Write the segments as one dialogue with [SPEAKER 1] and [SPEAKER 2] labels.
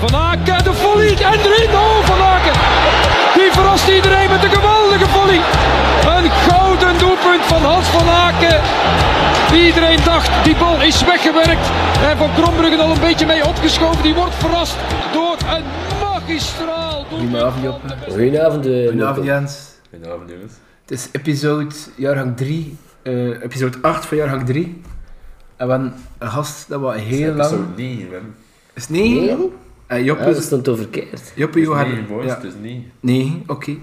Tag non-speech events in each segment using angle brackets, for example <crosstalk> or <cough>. [SPEAKER 1] Van Aken, de volley en erin. Oh, Van Aken. Die verrast iedereen met een geweldige volley. Een gouden doelpunt van Hans van Aken. Iedereen dacht, die bal is weggewerkt. En Van Krombruggen al een beetje mee opgeschoven. Die wordt verrast door een magistraal doelpunt.
[SPEAKER 2] Goedenavond, Joppe.
[SPEAKER 3] Goedenavond, eh,
[SPEAKER 2] Goedenavond,
[SPEAKER 3] Nico.
[SPEAKER 2] Jens.
[SPEAKER 4] Goedenavond, jongens.
[SPEAKER 2] Het is episode jaargang 3, eh, episode 8 van jaargang 3. En we hebben een gast dat we heel
[SPEAKER 4] Het is
[SPEAKER 2] lang...
[SPEAKER 4] ook niet, man.
[SPEAKER 2] Is het niet?
[SPEAKER 3] Nee?
[SPEAKER 2] Eh,
[SPEAKER 3] Ja, dat
[SPEAKER 2] Joppe,
[SPEAKER 3] stond al verkeerd.
[SPEAKER 2] Joppe,
[SPEAKER 4] Het is
[SPEAKER 2] Johan-
[SPEAKER 4] niet, boys. dus-
[SPEAKER 2] ja.
[SPEAKER 4] Het is niet.
[SPEAKER 2] Nee, oké. Eh,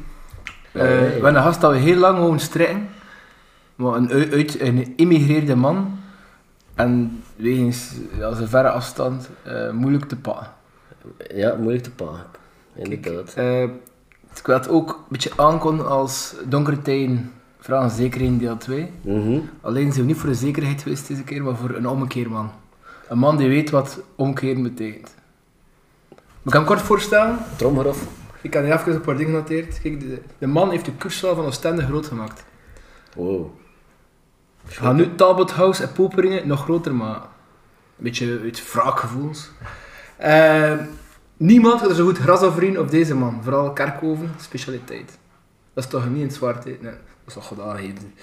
[SPEAKER 3] nee.
[SPEAKER 2] We hebben een gast dat we heel lang gewoon strekken. Maar een, u- uit, een immigreerde man. En wegens ja, zijn verre afstand eh, moeilijk te pakken.
[SPEAKER 3] Ja, moeilijk te pakken. Inderdaad.
[SPEAKER 2] Eh, ik wil het ook een beetje aankondigen als Donkere Tijden, Vragen Zeker in deel 2.
[SPEAKER 3] Mhm.
[SPEAKER 2] Alleen zijn we niet voor de zekerheid geweest deze keer, maar voor een omkeerman. Een man die weet wat omkeren betekent. Ik kan hem kort voorstellen.
[SPEAKER 3] Tromgerof.
[SPEAKER 2] Ik had hier even een paar dingen genoteerd. Kijk, de, de man heeft de cursuszaal van Oostende groot gemaakt.
[SPEAKER 3] Wow.
[SPEAKER 2] We gaan nu Talbot House en Poperingen nog groter maken. Een beetje uit wraakgevoels. Eh, niemand gaat er zo goed gras afrien of deze man. Vooral Kerkhoven, specialiteit. Dat is toch niet een zwart eten? Nee, dat is toch gedaan eten.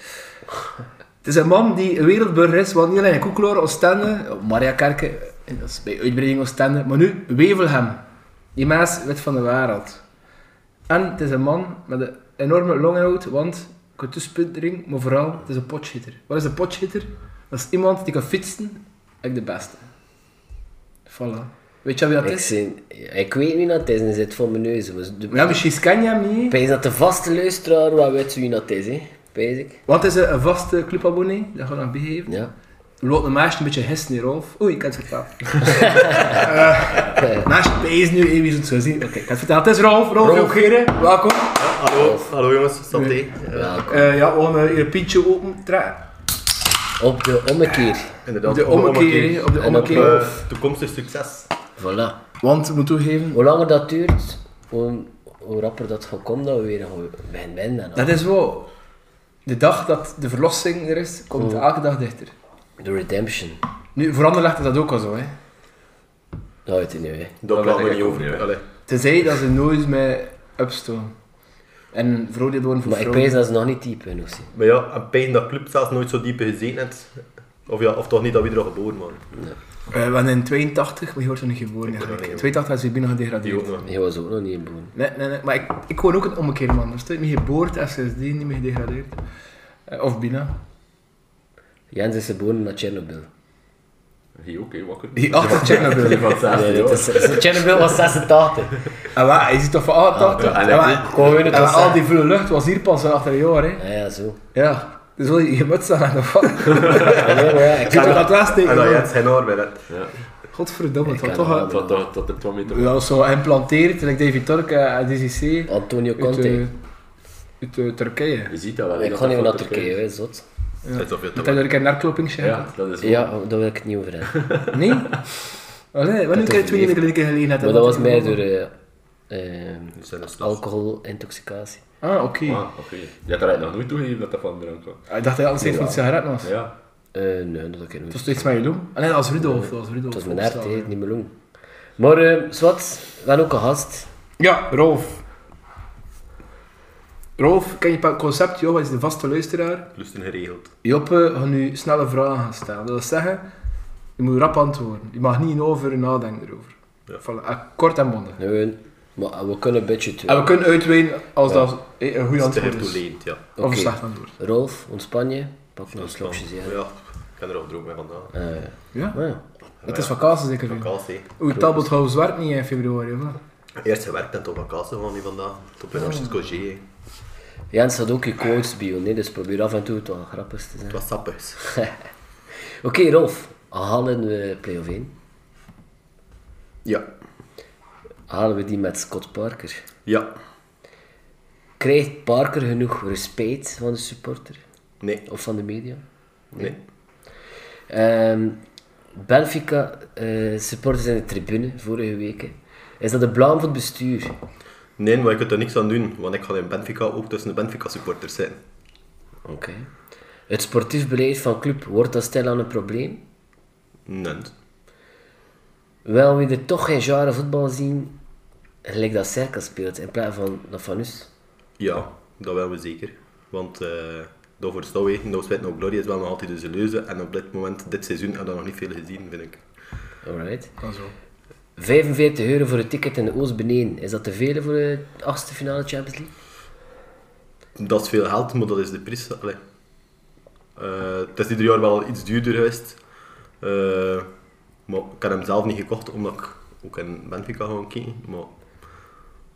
[SPEAKER 2] Het is een man die een wereldburger is, want niet alleen in Koekeloor, Oostende, Maria Kerken, dat is bij uitbreiding Oostende, maar nu Wevelhem. Die mens werd van de wereld. En het is een man met een enorme longinhoud, want ik kan toespitting, maar vooral, het is een potschitter. Wat is een potschitter? Dat is iemand die kan fietsen, ik de beste. Voilà. Weet je wie dat
[SPEAKER 3] Ik,
[SPEAKER 2] is?
[SPEAKER 3] zie, ik weet niet dat het is, hij zit voor mijn neus. Maar de,
[SPEAKER 2] Ja, misschien ken je hem niet.
[SPEAKER 3] Ik denk dat de vaste luisteraar wel weet wie dat is, hè? Weet ik.
[SPEAKER 2] Want het is een een vaste clubabonnee, dat gaan we nog begeven.
[SPEAKER 3] Ja.
[SPEAKER 2] Loopt een meisje een beetje hissen hier, Rolf. Oei, ik had het verteld.
[SPEAKER 3] <laughs>
[SPEAKER 2] uh, meisje pees nu, eh, wie zou het zo zien? Oké, ik had het verteld. Het is Rolf, Rolf, Rolf. Geren, welkom.
[SPEAKER 5] Hallo, hallo jongens, santé.
[SPEAKER 3] Welkom.
[SPEAKER 2] Eh, ja, we gaan eh, hier een pintje open trekken.
[SPEAKER 3] Op de ommekeer.
[SPEAKER 5] Inderdaad,
[SPEAKER 2] De
[SPEAKER 5] op
[SPEAKER 2] ommekeer, hè, op de
[SPEAKER 3] En op,
[SPEAKER 2] ommekeer.
[SPEAKER 3] eh,
[SPEAKER 5] Eh, Toekomstig succes.
[SPEAKER 3] Voilà.
[SPEAKER 2] Want, ik moet toegeven,
[SPEAKER 3] Hoe langer dat duurt, hoe, hoe rapper dat gaat komen, dat we weer gaan beginnen binnen. en al.
[SPEAKER 2] dat is wel... De dag dat de verlossing er is, komt elke dag dichter.
[SPEAKER 3] De redemption.
[SPEAKER 2] Nu, voor Anderlecht is dat ook al zo, hè.
[SPEAKER 3] Dat houdt het nu, hè.
[SPEAKER 5] Daar
[SPEAKER 4] ben
[SPEAKER 5] praten we
[SPEAKER 4] ik
[SPEAKER 5] niet
[SPEAKER 4] ook
[SPEAKER 5] over.
[SPEAKER 4] niet, hè.
[SPEAKER 5] Allee.
[SPEAKER 2] Tenzij dat ze nooit met upstoon. En veroordeeld worden voor
[SPEAKER 3] Maar ik
[SPEAKER 2] fraude.
[SPEAKER 3] weet dat ze nog niet diep genoeg zijn.
[SPEAKER 5] Maar ja, een pijn dat club zelfs nooit zo diep gezeten heeft. Of ja, of toch niet dat we er al geboren waren.
[SPEAKER 2] Eh, we waren in 82, maar je wordt er niet geboren eigenlijk.
[SPEAKER 5] niet,
[SPEAKER 2] 82 is Sabine
[SPEAKER 5] Die
[SPEAKER 2] gedegradeerd.
[SPEAKER 5] ook nog.
[SPEAKER 3] Hij was ook nog niet in boven.
[SPEAKER 2] Nee, nee, nee, maar ik, ik woon ook een ommekeer, man. Dus mijn geboorte en sindsdien niet meer gedegradeerd. Eh, of Bina.
[SPEAKER 3] Jens is geboren naar Chernobyl.
[SPEAKER 4] Hier ook, hè, wakker.
[SPEAKER 2] Die achter Chernobyl.
[SPEAKER 4] <laughs> Die van
[SPEAKER 3] Nee,
[SPEAKER 4] zesde,
[SPEAKER 3] dit
[SPEAKER 4] hoor.
[SPEAKER 3] is, Chernobyl was 86.
[SPEAKER 2] En wat, je ziet toch van, ah, dat.
[SPEAKER 4] ja, en
[SPEAKER 2] en
[SPEAKER 4] hij-
[SPEAKER 2] wat-
[SPEAKER 3] Gewoon weer het
[SPEAKER 2] en wat,
[SPEAKER 3] was
[SPEAKER 2] al die vuile lucht was hier pas achter een jaar, hè.
[SPEAKER 3] Ja, Eh, ja, zo.
[SPEAKER 2] Ja. Dus wil je je muts aan hebben, of wat? Je
[SPEAKER 3] Ja, nee, maar ja, ik
[SPEAKER 2] ziet
[SPEAKER 3] kan
[SPEAKER 2] toch
[SPEAKER 3] nog-
[SPEAKER 2] dat
[SPEAKER 5] En dat Ah, nou,
[SPEAKER 2] laatste
[SPEAKER 5] Jens geen haar bij dat.
[SPEAKER 2] Godverdomme, het was
[SPEAKER 3] Ik
[SPEAKER 2] toch...
[SPEAKER 3] kan
[SPEAKER 2] wel-
[SPEAKER 3] dat.
[SPEAKER 4] Dat- dat- Dat er 2 meter
[SPEAKER 2] Ja, zo geïmplanteerd, like David Turk eh, en DCC.
[SPEAKER 3] Antonio
[SPEAKER 2] Uit, eh,
[SPEAKER 3] Conte.
[SPEAKER 2] uit eh, Turkije.
[SPEAKER 4] Je ziet dat wel. hè,
[SPEAKER 3] Ik
[SPEAKER 4] dat
[SPEAKER 3] ga niet meer
[SPEAKER 4] dat
[SPEAKER 3] naar
[SPEAKER 4] van
[SPEAKER 3] Turkije, hè, zot.
[SPEAKER 5] Net of je
[SPEAKER 2] Dat
[SPEAKER 5] het
[SPEAKER 2] heb je
[SPEAKER 5] wel-
[SPEAKER 2] er een narkloping
[SPEAKER 4] Ja, dat is
[SPEAKER 3] Ja, daar wil ik het niet over hebben.
[SPEAKER 2] Nee? <laughs> Allee, wanneer
[SPEAKER 3] Dat
[SPEAKER 2] kan je twee
[SPEAKER 3] overleeft.
[SPEAKER 2] keer geleden hebben?
[SPEAKER 3] Maar dat was mij door eh, eh,
[SPEAKER 5] Nu zijn er straks.
[SPEAKER 3] alcoholintoxicatie.
[SPEAKER 2] Ah, oké.
[SPEAKER 4] Ah, oké. Je hebt daar eigenlijk nog nooit toegegeven dat dat van drank was.
[SPEAKER 2] Ah, Ik dacht dat hij altijd van de sigaretten was.
[SPEAKER 4] Ja.
[SPEAKER 3] Eh, nee, dat kan ik
[SPEAKER 2] Dat
[SPEAKER 3] niet.
[SPEAKER 2] was toch iets met je doen? Ah, nee, dat was Rudolf. Dat was Rudolf.
[SPEAKER 3] Het was mijn hart, hè, niet mijn long. Maar eh, zwart, we hebben ook een gast.
[SPEAKER 2] Ja, Rolf. Rolf, ken je het concept? Joh, hij is de vaste luisteraar.
[SPEAKER 5] Lusten geregeld.
[SPEAKER 2] Joppe gaat nu snelle vragen gaan stellen. Dat wil zeggen, je moet rap antwoorden. Je mag niet in over en nadenken erover.
[SPEAKER 5] Ja.
[SPEAKER 2] Voilà, eh, kort en bondig.
[SPEAKER 3] Nee, maar eh, we kunnen een beetje twee.
[SPEAKER 2] En we kunnen uitwijnen als dat eh, een goed
[SPEAKER 5] Dat is
[SPEAKER 2] antwoord
[SPEAKER 5] te
[SPEAKER 2] is.
[SPEAKER 5] toeleend, ja.
[SPEAKER 2] Of een
[SPEAKER 3] Oké.
[SPEAKER 2] slecht antwoord.
[SPEAKER 3] Rolf, ontspan je. Pak nog een
[SPEAKER 5] Dat is
[SPEAKER 3] slokje,
[SPEAKER 5] dan-
[SPEAKER 3] ja.
[SPEAKER 5] Ja, ik ben er al droog mee vandaag.
[SPEAKER 3] Eh,
[SPEAKER 2] Ja?
[SPEAKER 3] maar ja.
[SPEAKER 2] Het is vakantie zeker
[SPEAKER 5] Van
[SPEAKER 2] weer.
[SPEAKER 5] Kalsi.
[SPEAKER 2] Oei, Talbot House werkt niet in februari, of wat?
[SPEAKER 5] Eerst gewerkt en tot vakantie van die vandaag. Tot bij Narcis Cogé. hè.
[SPEAKER 3] Jens had ook je quotesbio, nee, dus probeer af en toe het wel grappigs te zijn.
[SPEAKER 5] Het was sappig.
[SPEAKER 3] Oké, Rolf. Halen we play-off 1?
[SPEAKER 5] Ja.
[SPEAKER 3] Halen we die met Scott Parker?
[SPEAKER 5] Ja.
[SPEAKER 3] Krijgt Parker genoeg respect van de supporter?
[SPEAKER 5] Nee.
[SPEAKER 3] Of van de media?
[SPEAKER 5] Nee.
[SPEAKER 3] Ehm, Benfica, eh, supporters in de tribune vorige week. hè. Is dat de blaam van het bestuur?
[SPEAKER 5] Nee, maar ik kan er niks aan doen, want ik ga in Benfica ook tussen de Benfica-supporters zijn.
[SPEAKER 3] Oké. Het sportief beleid van club, wordt dat stil aan een probleem?
[SPEAKER 5] Nee.
[SPEAKER 3] wel weer toch geen genre voetbal zien gelijk dat Cerkel speelt in plaats van dat van ons.
[SPEAKER 5] Ja, dat wel we zeker. Want eh door voor Stouwwegen, No Sweat No Glory is wel nog altijd een leuze. En op dit moment, dit seizoen, hebben we dat nog niet veel gezien, vind ik.
[SPEAKER 3] Alright.
[SPEAKER 2] Kan zo.
[SPEAKER 3] 45 euro voor een ticket in de Oost beneden. Is dat te veel voor de achtste finale Champions League?
[SPEAKER 5] Dat is veel geld, maar dat is de prijs. Allee. Eh, het is ieder jaar wel iets duurder geweest. Eh, maar ik heb hem zelf niet gekocht, omdat ik ook in Benfica gewoon kijken. Maar...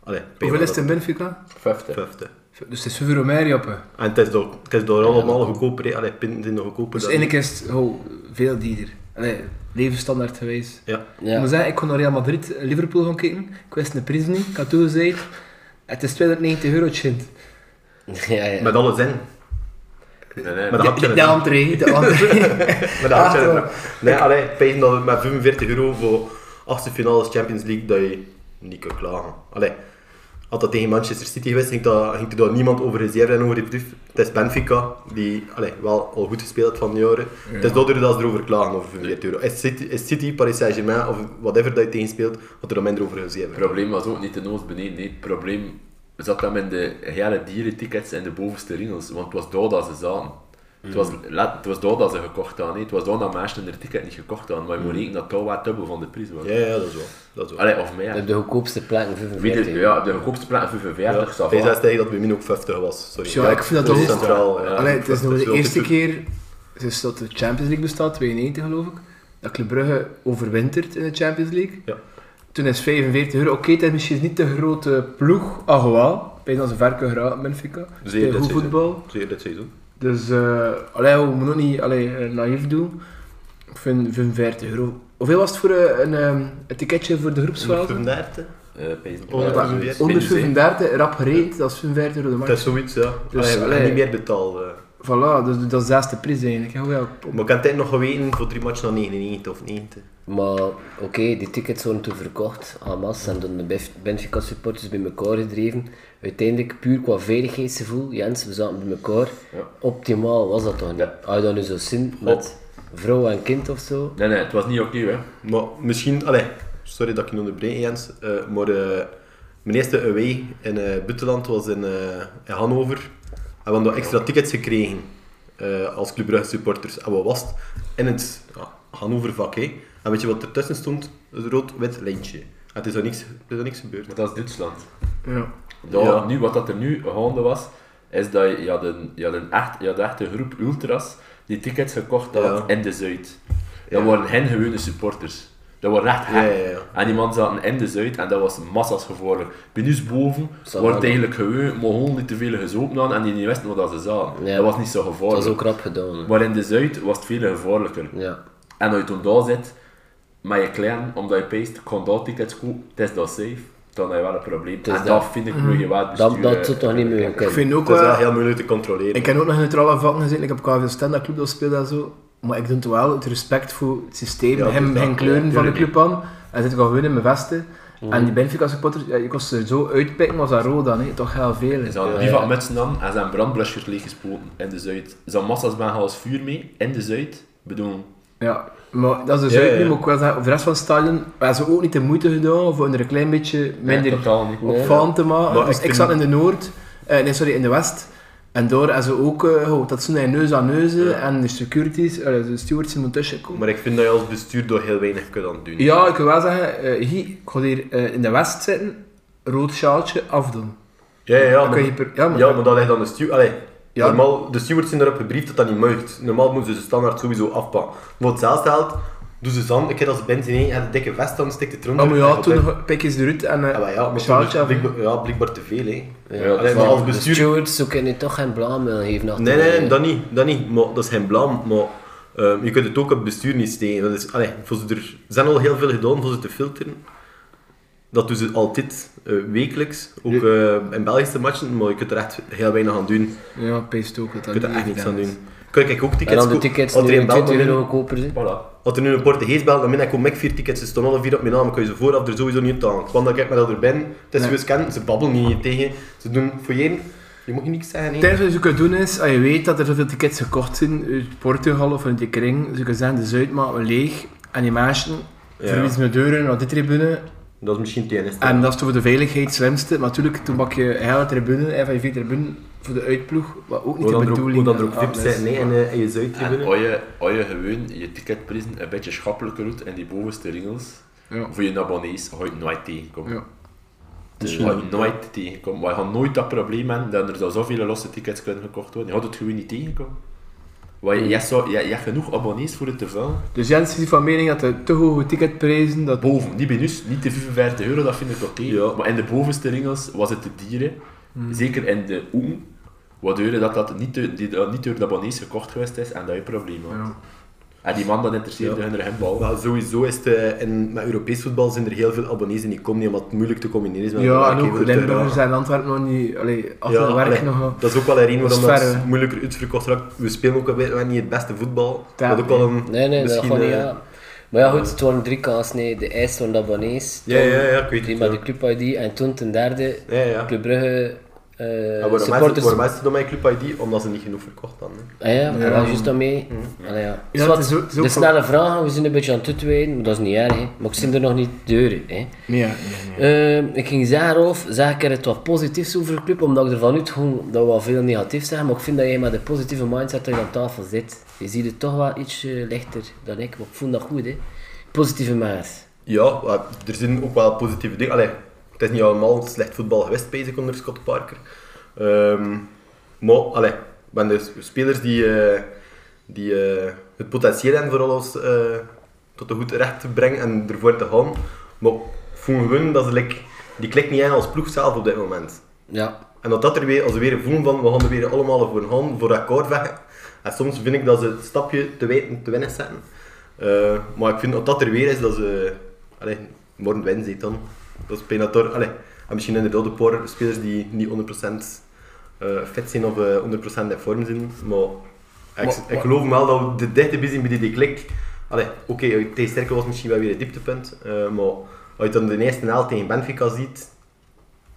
[SPEAKER 5] Allee,
[SPEAKER 2] Hoeveel is het in Benfica?
[SPEAKER 4] 50.
[SPEAKER 5] 50.
[SPEAKER 2] Dus het is veel meer op. hè.
[SPEAKER 5] En het is door, het is door allemaal goedkoper. hè. Allee, pinten zijn nog goedkoper
[SPEAKER 2] Dus
[SPEAKER 5] dan-
[SPEAKER 2] eigenlijk is het oh, veel dierder. Allee, levensstandaard geweest.
[SPEAKER 5] Ja.
[SPEAKER 2] Ik moet
[SPEAKER 3] Ja. <laughs>
[SPEAKER 2] zeggen, ik kon naar Real Madrid, eh, Liverpool gaan kijken. Ik wist de prijs niet. Ik had toegezegd, het is 290 euro, kind.
[SPEAKER 3] ja, ja.
[SPEAKER 5] Met alle zin.
[SPEAKER 4] Nee, nee.
[SPEAKER 5] Maar dat-
[SPEAKER 4] Maar
[SPEAKER 5] had je
[SPEAKER 2] De,
[SPEAKER 5] het
[SPEAKER 2] de
[SPEAKER 5] niet.
[SPEAKER 2] entree, de <laughs> entree.
[SPEAKER 5] Maar dat had je
[SPEAKER 2] Ah,
[SPEAKER 5] het nog. Nee, allee, pijzen dat het met 45 euro voor achtste finales Champions League dat je niet kunt klagen. Allee, had dat tegen Manchester City geweest, ging, dat, ging er daar niemand over reserve en over die brief. Het is Benfica, die allee, wel al goed gespeeld heeft van de jaren. Het is daardoor dat ze erover klagen over 45 euro. Is City, is City Paris Saint-Germain of whatever dat je tegen speelt, had er dan minder over
[SPEAKER 4] het
[SPEAKER 5] reserve.
[SPEAKER 4] probleem was ook niet de nood beneden. Nee, het probleem zat hem in de hele dierentickets en de bovenste ringels. Want het was daar dat ze zaten. Het was, let- het was daar dat ze gekocht hadden. hè. Het was daar dat mensen hun ticket niet gekocht hadden. Maar je moet rekenen dat dat wel dubbel van de prijs was.
[SPEAKER 5] Ja, ja, dat is wel. Dat is wel.
[SPEAKER 4] Allee, of meer.
[SPEAKER 3] Op de goedkoopste plekken
[SPEAKER 4] Wie
[SPEAKER 3] 45
[SPEAKER 4] de,
[SPEAKER 3] euro.
[SPEAKER 4] ja, de goedkoopste plaat 45
[SPEAKER 5] Ja,
[SPEAKER 4] zou
[SPEAKER 5] hij zei tegen dat Wimino ook 50 was. Sorry.
[SPEAKER 2] Ja, ik vind dat
[SPEAKER 5] dat is
[SPEAKER 2] toch-
[SPEAKER 5] centraal. ja.
[SPEAKER 2] Allee, het is nog
[SPEAKER 5] <laughs> Dat
[SPEAKER 2] de
[SPEAKER 5] wel
[SPEAKER 2] eerste
[SPEAKER 5] te-
[SPEAKER 2] keer sinds dat de Champions League bestaat, 92 geloof ik, dat Club Brugge overwintert in de Champions League.
[SPEAKER 5] Ja.
[SPEAKER 2] Toen is 45 euro, oké, het is misschien niet de grote ploeg, ah wel, bij dat ze ver kunnen geraken, Benfica.
[SPEAKER 5] Zeer
[SPEAKER 2] Speelt
[SPEAKER 5] dit
[SPEAKER 2] goed
[SPEAKER 5] seizoen.
[SPEAKER 2] voetbal.
[SPEAKER 5] Zeer dit seizoen.
[SPEAKER 2] Dus, eh allee, we moeten ook niet allee, eh, naïef doen. Ik vind 45 euro. Hoeveel was het voor eh, een, ehm, een ticketje voor de groepsfase?
[SPEAKER 5] 135.
[SPEAKER 4] Eh, ja,
[SPEAKER 5] Honderd-
[SPEAKER 4] zoiets.
[SPEAKER 5] honderd-
[SPEAKER 2] Onder
[SPEAKER 4] Minus, hè.
[SPEAKER 2] 35, rap gereed, dat is 45 euro de
[SPEAKER 5] Het is
[SPEAKER 2] max.
[SPEAKER 5] zoiets, ja.
[SPEAKER 2] Dus,
[SPEAKER 5] Dus,
[SPEAKER 2] allee.
[SPEAKER 5] niet meer betaald. eh.
[SPEAKER 2] Voilà, dus dat is de zesde prijs eigenlijk. hè. Hoewel,
[SPEAKER 5] Maar ik heb het nog geweten voor drie matchen naar 99 of 90.
[SPEAKER 3] Maar oké, die tickets worden toen verkocht aan massa en door de Bef- Benfica supporters bij elkaar gedreven. Uiteindelijk, puur qua veiligheidsgevoel, Jens, we zaten bij elkaar.
[SPEAKER 4] Ja.
[SPEAKER 3] Optimaal was dat toch niet?
[SPEAKER 4] Ja.
[SPEAKER 3] Had je dat nu zo zin met vrouw en kind of zo?
[SPEAKER 4] Nee, nee, het was niet oké, hè.
[SPEAKER 5] Maar misschien, allee, sorry dat ik je onderbreek Jens, eh, maar eh, mijn eerste away in eh buitenland was in, eh, in Hannover. En we hadden daar extra tickets gekregen eh, als Club Brugge supporters. En wat was het? In het ja, Hannover vak, hè. En weet je wat ertussen stond? Een rood-wit lijntje. En het is er niks, er is niks gebeurd.
[SPEAKER 4] Want dat is Duitsland.
[SPEAKER 2] ja.
[SPEAKER 4] Daar,
[SPEAKER 5] Ja.
[SPEAKER 4] nu, wat dat er nu gaande was, is dat je, je, had, een, je, had, een echt, je had echt een groep ultras die tickets gekocht hadden
[SPEAKER 5] Ja.
[SPEAKER 4] in de Zuid.
[SPEAKER 5] Ja.
[SPEAKER 4] Dat waren hen gewone supporters. Dat waren echt hen.
[SPEAKER 5] Ja, ja, ja.
[SPEAKER 4] En die man zaten in de Zuid en dat was massas gevaarlijk. Bij ons boven
[SPEAKER 3] Zal
[SPEAKER 4] wordt
[SPEAKER 3] wel.
[SPEAKER 4] eigenlijk gewoon, maar gewoon niet te veel gezopen aan en die niet wisten wat dat ze zaten.
[SPEAKER 3] Ja.
[SPEAKER 4] Dat was niet zo
[SPEAKER 3] Dat
[SPEAKER 4] gevaarlijk.
[SPEAKER 3] is ook rap gedaan. hè.
[SPEAKER 4] Maar in de Zuid was het veel gevaarlijker.
[SPEAKER 3] Ja.
[SPEAKER 4] En als je toen daar zit, met je klein, omdat je peest, ik kon daar tickets kopen, het is dat safe, dan heb je wel een probleem.
[SPEAKER 3] is
[SPEAKER 4] en
[SPEAKER 3] dat.
[SPEAKER 4] dat vind ik moet je wel
[SPEAKER 3] Dat,
[SPEAKER 4] besturen.
[SPEAKER 3] dat zou
[SPEAKER 5] eh,
[SPEAKER 3] toch niet meer
[SPEAKER 2] Ik
[SPEAKER 3] kunnen.
[SPEAKER 2] vind ook eh,
[SPEAKER 5] Het is wel
[SPEAKER 2] wel...
[SPEAKER 5] heel moeilijk te controleren.
[SPEAKER 2] Ik heb ook nog in neutrale vakken gezeten. Ik heb KV Stenda Club dat speelde en zo. Maar ik doe het wel uit respect voor het systeem.
[SPEAKER 5] Ja,
[SPEAKER 2] hem
[SPEAKER 5] dus dat-
[SPEAKER 2] geen kleuren
[SPEAKER 5] ja,
[SPEAKER 2] van de
[SPEAKER 5] tuurlijk. Mhm.
[SPEAKER 2] club aan. En zit ik al gewoon in mijn vesten. En die Benfica supporters, ja, ik kon ze er zo uitpikken, was dat rood dan. Hè. Toch heel veel. hè.
[SPEAKER 4] Ze hadden die van mutsen aan en zijn brandblusjes leeggespoten in de Zuid. Zijn massa's ben als vuur mee in de Zuid. bedoel,
[SPEAKER 2] Ja, maar dat is dus
[SPEAKER 5] Ja,
[SPEAKER 2] ook
[SPEAKER 5] ja.
[SPEAKER 2] niet, maar ik wil zeggen, over de rest van het stadion hebben ze ook niet de moeite gedaan voor er een klein beetje minder
[SPEAKER 4] Nee, totaal niet.
[SPEAKER 2] opvallend te maken.
[SPEAKER 5] Maar
[SPEAKER 2] dus
[SPEAKER 5] ik
[SPEAKER 2] ik,
[SPEAKER 5] vind-
[SPEAKER 2] zat in de Noord, eh, nee sorry, in de West. En daar hebben ze ook, eh, oh, dat zijn neus aan neus en de securities, eh, de stewards moeten tussenkomen.
[SPEAKER 5] Maar ik vind dat je als bestuur door heel weinig kunt aan doen.
[SPEAKER 2] Ja, ik wil wel zeggen, eh, hier, ik ga hier eh, in de West zitten, rood sjaaltje afdoen.
[SPEAKER 5] Ja, ja, ja,
[SPEAKER 2] Dan
[SPEAKER 5] maar,
[SPEAKER 2] kun je per- ja, maar-
[SPEAKER 5] ja, maar dat ligt aan de steward. Allee,
[SPEAKER 2] Ja.
[SPEAKER 5] normaal, de stewards zijn erop gebriefd dat dat niet mag. Normaal moeten ze de standaard sowieso afpakken. Maar hetzelfde geldt, doen ze dan, een keer als ze binnen zijn heen, en een dikke vest dan stikt het eronder.
[SPEAKER 2] Ah, Maar ja, toen
[SPEAKER 5] Ja,
[SPEAKER 2] nog pikjes eruit en eh,
[SPEAKER 5] maar ja, maar
[SPEAKER 2] sjaaltje
[SPEAKER 5] toen-
[SPEAKER 2] af.
[SPEAKER 5] blijkbaar, ja, blijkbaar te veel, hè.
[SPEAKER 4] Ja, dat
[SPEAKER 5] Allee,
[SPEAKER 4] is
[SPEAKER 5] maar
[SPEAKER 4] wel-
[SPEAKER 5] als
[SPEAKER 3] De
[SPEAKER 5] bestuur...
[SPEAKER 3] stewards, zo kunnen je toch geen blaam willen geven. achter
[SPEAKER 5] Nee,
[SPEAKER 3] de-
[SPEAKER 5] nee, nee, dat niet, dat niet. Maar dat is geen blaam, maar... ehm, je kunt het ook op het bestuur niet steken. Dat is, allee, voor ze, er ze zijn al heel veel gedaan voor ze te filteren. Dat doen ze altijd, eh, wekelijks. Ook eh, in Belgische matchen, maar je kunt er echt heel weinig aan doen.
[SPEAKER 2] Ja, peest ook. Dat dat
[SPEAKER 5] Ik kan er echt
[SPEAKER 2] niet
[SPEAKER 5] niks aan
[SPEAKER 2] gedaan is.
[SPEAKER 5] doen. Kun ik ook
[SPEAKER 3] En
[SPEAKER 5] tickets
[SPEAKER 3] dan de
[SPEAKER 5] kopen?
[SPEAKER 3] tickets
[SPEAKER 5] Als er
[SPEAKER 3] nu
[SPEAKER 5] een belt
[SPEAKER 3] 20
[SPEAKER 5] dan
[SPEAKER 3] euro
[SPEAKER 5] min-
[SPEAKER 3] goedkoper zijn.
[SPEAKER 4] voilà.
[SPEAKER 5] als er nu een Portugees belt, dan min ik ook met vier tickets. Ze staan alle vier op mijn naam. Ik kan je ze vooraf er sowieso niet aan. Want dan kijk maar dat er ben. Het is
[SPEAKER 2] Nee.
[SPEAKER 5] zoals kennen. Ze babbelen niet tegen. Ze doen voor je. Je moet je niks zeggen.
[SPEAKER 2] Het
[SPEAKER 5] hè.
[SPEAKER 2] enige wat je kunt doen is, als je weet dat er zoveel tickets dus gekocht zijn uit Portugal of uit die kring, ze kunnen zeggen, de Zuid maken we leeg. En die mensen verwies mijn deuren naar die tribune.
[SPEAKER 5] Dat is misschien het enige.
[SPEAKER 2] En dat is toch voor de veiligheid het slimste. Maar natuurlijk, toen bak je een hele tribune, een van je vier tribune, voor de uitploeg, wat ook niet
[SPEAKER 5] Hoe
[SPEAKER 2] de
[SPEAKER 5] dan er ook- hoe
[SPEAKER 2] bedoeling
[SPEAKER 5] dan er ook
[SPEAKER 2] en
[SPEAKER 5] VIP's
[SPEAKER 2] alles.
[SPEAKER 5] zijn nee, en eh, in je
[SPEAKER 4] En
[SPEAKER 5] Zuidtribune.
[SPEAKER 4] als je, als je gewoon je ticketprijzen een beetje schappelijker doet en die bovenste ringels,
[SPEAKER 2] Ja.
[SPEAKER 4] voor je abonnees, ga je het nooit tegenkomen.
[SPEAKER 2] Ja.
[SPEAKER 4] Dus ga je het nooit tegenkomen. Maar je gaat nooit dat probleem hebben dat er zo zoveel losse tickets kunnen gekocht worden. Je gaat het gewoon niet tegenkomen. Want je, je, hebt zo- je, je hebt genoeg abonnees voor het te vullen.
[SPEAKER 2] Dus Jens is van mening dat de te hoge ticketprijzen, dat
[SPEAKER 4] Boven, niet benus, niet de 55 euro, dat vind ik oké.
[SPEAKER 5] Ja. Hmm.
[SPEAKER 4] Maar in de bovenste ringels was het te dieren. Zeker in de oem, waardoor dat, dat niet, door- die, dat niet door de abonnees gekocht geweest is en dat je een probleem had.
[SPEAKER 2] Ja.
[SPEAKER 4] En die man dat interesseerde
[SPEAKER 5] Ja.
[SPEAKER 4] hun er geen bal.
[SPEAKER 5] Maar sowieso is het, eh, in, met Europees voetbal zijn er heel veel abonnees en die komen niet omdat het moeilijk te combineren is met
[SPEAKER 2] Ja,
[SPEAKER 5] elkaar.
[SPEAKER 2] en
[SPEAKER 5] Ik
[SPEAKER 2] ook
[SPEAKER 5] wil het
[SPEAKER 2] Limburgers
[SPEAKER 5] eruit.
[SPEAKER 2] en Antwerpen nog niet, allee, af
[SPEAKER 5] eh, Ja,
[SPEAKER 2] ja, werk
[SPEAKER 5] allee,
[SPEAKER 2] nog.
[SPEAKER 5] dat is ook wel een reden
[SPEAKER 2] dat is
[SPEAKER 5] waarom dat
[SPEAKER 2] ver,
[SPEAKER 5] het
[SPEAKER 2] hè.
[SPEAKER 5] moeilijker uitverkocht raakt. We spelen ook wel weer niet het beste voetbal.
[SPEAKER 2] Ja,
[SPEAKER 5] dat ook al een,
[SPEAKER 3] Nee, nee, dat
[SPEAKER 5] misschien,
[SPEAKER 3] gaat niet,
[SPEAKER 5] eh,
[SPEAKER 3] ja. Maar ja, goed, het waren drie kaas, nee. De ijs van de abonnees.
[SPEAKER 5] Ja,
[SPEAKER 3] toen
[SPEAKER 5] ja, ja, ik weet het,
[SPEAKER 3] Die met
[SPEAKER 5] ja.
[SPEAKER 3] de Club ID. En toen ten derde,
[SPEAKER 5] Ja, ja.
[SPEAKER 3] Club Brugge eh,
[SPEAKER 5] Ja, waarom is het-
[SPEAKER 3] supporters.
[SPEAKER 5] waarom is het dan mijn Club ID? Omdat ze niet genoeg verkocht hadden. hè.
[SPEAKER 3] Ah ja, maar dat is juist daarmee. Allee, ja.
[SPEAKER 2] Ja,
[SPEAKER 3] Zwat,
[SPEAKER 2] het is ook- het is ook
[SPEAKER 3] de
[SPEAKER 2] wel-
[SPEAKER 3] snelle vragen, we zijn een beetje aan het uitweiden, maar dat is niet erg. Hè. Maar ik zie er nog niet deuren. Hè.
[SPEAKER 2] Nee, nee, nee.
[SPEAKER 3] Ehm, ik ging zeggen, Rolf, zeg ik er het wat positiefs over de club, omdat ik ervan uitging dat we wel veel negatief zeggen, maar ik vind dat jij met een positieve mindset terug aan tafel zit. Je ziet het toch wel iets eh, lichter dan ik, maar ik vond dat goed, hè. Positieve maat.
[SPEAKER 5] Ja, maar er zijn ook wel positieve dingen. Allee, het is niet allemaal slecht voetbal geweest, bezig onder Scott Parker. Ehm, maar, allee, ik ben dus spelers die, eh, die eh, het potentieel hebben vooral als, eh, tot een goed recht te brengen en ervoor te gaan. Maar ik voel gewoon dat ze like, die klikt niet aan als ploeg zelf op dit moment.
[SPEAKER 3] Ja.
[SPEAKER 5] En dat dat er weer, als ze weer voelen van, we gaan er weer allemaal voor gaan, voor akkoord vechten. En soms vind ik dat ze het stapje te wijd te weinig zetten. Eh, maar ik vind dat dat er weer is, dat ze... Allee, morgen winnen zit dan. Dat is bijna door... Allee, en misschien inderdaad een paar spelers die niet 100% eh fit zijn of eh, 100% in vorm zijn. Maar ik,
[SPEAKER 2] Maar-
[SPEAKER 5] ik
[SPEAKER 2] maar-
[SPEAKER 5] geloof wel dat we de dichte zijn bij die klik. Allee, oké, tegen Sterkel was misschien wel weer een dieptepunt. eh, maar als je dan de eerste helft tegen Benfica ziet,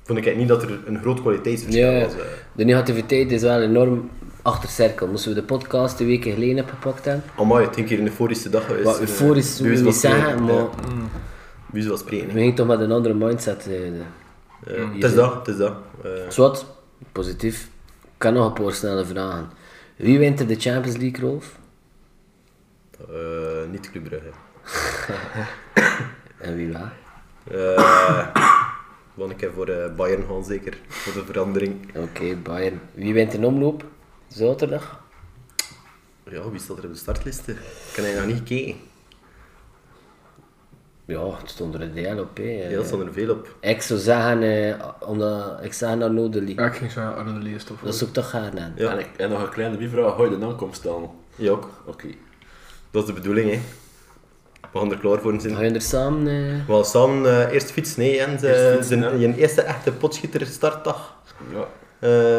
[SPEAKER 5] vond ik niet dat er een groot kwaliteitsverschil
[SPEAKER 3] ja,
[SPEAKER 5] was. eh.
[SPEAKER 3] de negativiteit is wel enorm achter cirkel. Moesten we de podcast twee weken geleden opgepakt hebben?
[SPEAKER 5] Amai, ik denk hier een euforische dag geweest.
[SPEAKER 3] Wat euforisch,
[SPEAKER 5] Eh,
[SPEAKER 3] hoe
[SPEAKER 5] wie
[SPEAKER 3] we
[SPEAKER 5] zal
[SPEAKER 3] niet zeggen,
[SPEAKER 5] spreken,
[SPEAKER 3] maar
[SPEAKER 5] ja. Wie zal spreken?
[SPEAKER 3] we
[SPEAKER 5] hè.
[SPEAKER 3] gingen toch met een andere mindset. eh, de-
[SPEAKER 5] Eh, Het is dat, het is dat. Eh,
[SPEAKER 3] Zwart, positief. Ik kan nog een paar snelle vragen. Wie wint er de Champions League, Rolf?
[SPEAKER 5] eh, niet Club Brugge.
[SPEAKER 3] En wie wel?
[SPEAKER 5] Eh, Want ik heb voor eh, Bayern gaan zeker, voor de verandering.
[SPEAKER 3] Oké, Bayern. Wie wint in omloop? Zaterdag?
[SPEAKER 5] Ja, wie staat er op de startliste? Ik heb eigenlijk nog niet gekeken.
[SPEAKER 3] Ja, het stond er een deel op. Hè.
[SPEAKER 5] Ja, er staan er veel op.
[SPEAKER 3] Ik zou zeggen, eh, omdat ik zeg dat nodig liep.
[SPEAKER 2] Ja, ik ging zo aan de leest of
[SPEAKER 3] Dat zou ik toch gaan aan.
[SPEAKER 5] Ja.
[SPEAKER 4] En, ik, en nog een kleine bivraag, hou je de aankomst dan? Oké.
[SPEAKER 5] Ja, ook. dat is de bedoeling hè. We gaan er klaar voor zijn.
[SPEAKER 3] Ga je er samen? eh,
[SPEAKER 5] We gaan samen eh, eerst fietsen hè, Jens. eh,
[SPEAKER 4] Eerst fietsen,
[SPEAKER 5] zijn-
[SPEAKER 4] hè.
[SPEAKER 5] Je eerste echte potschieter startdag
[SPEAKER 4] Ja,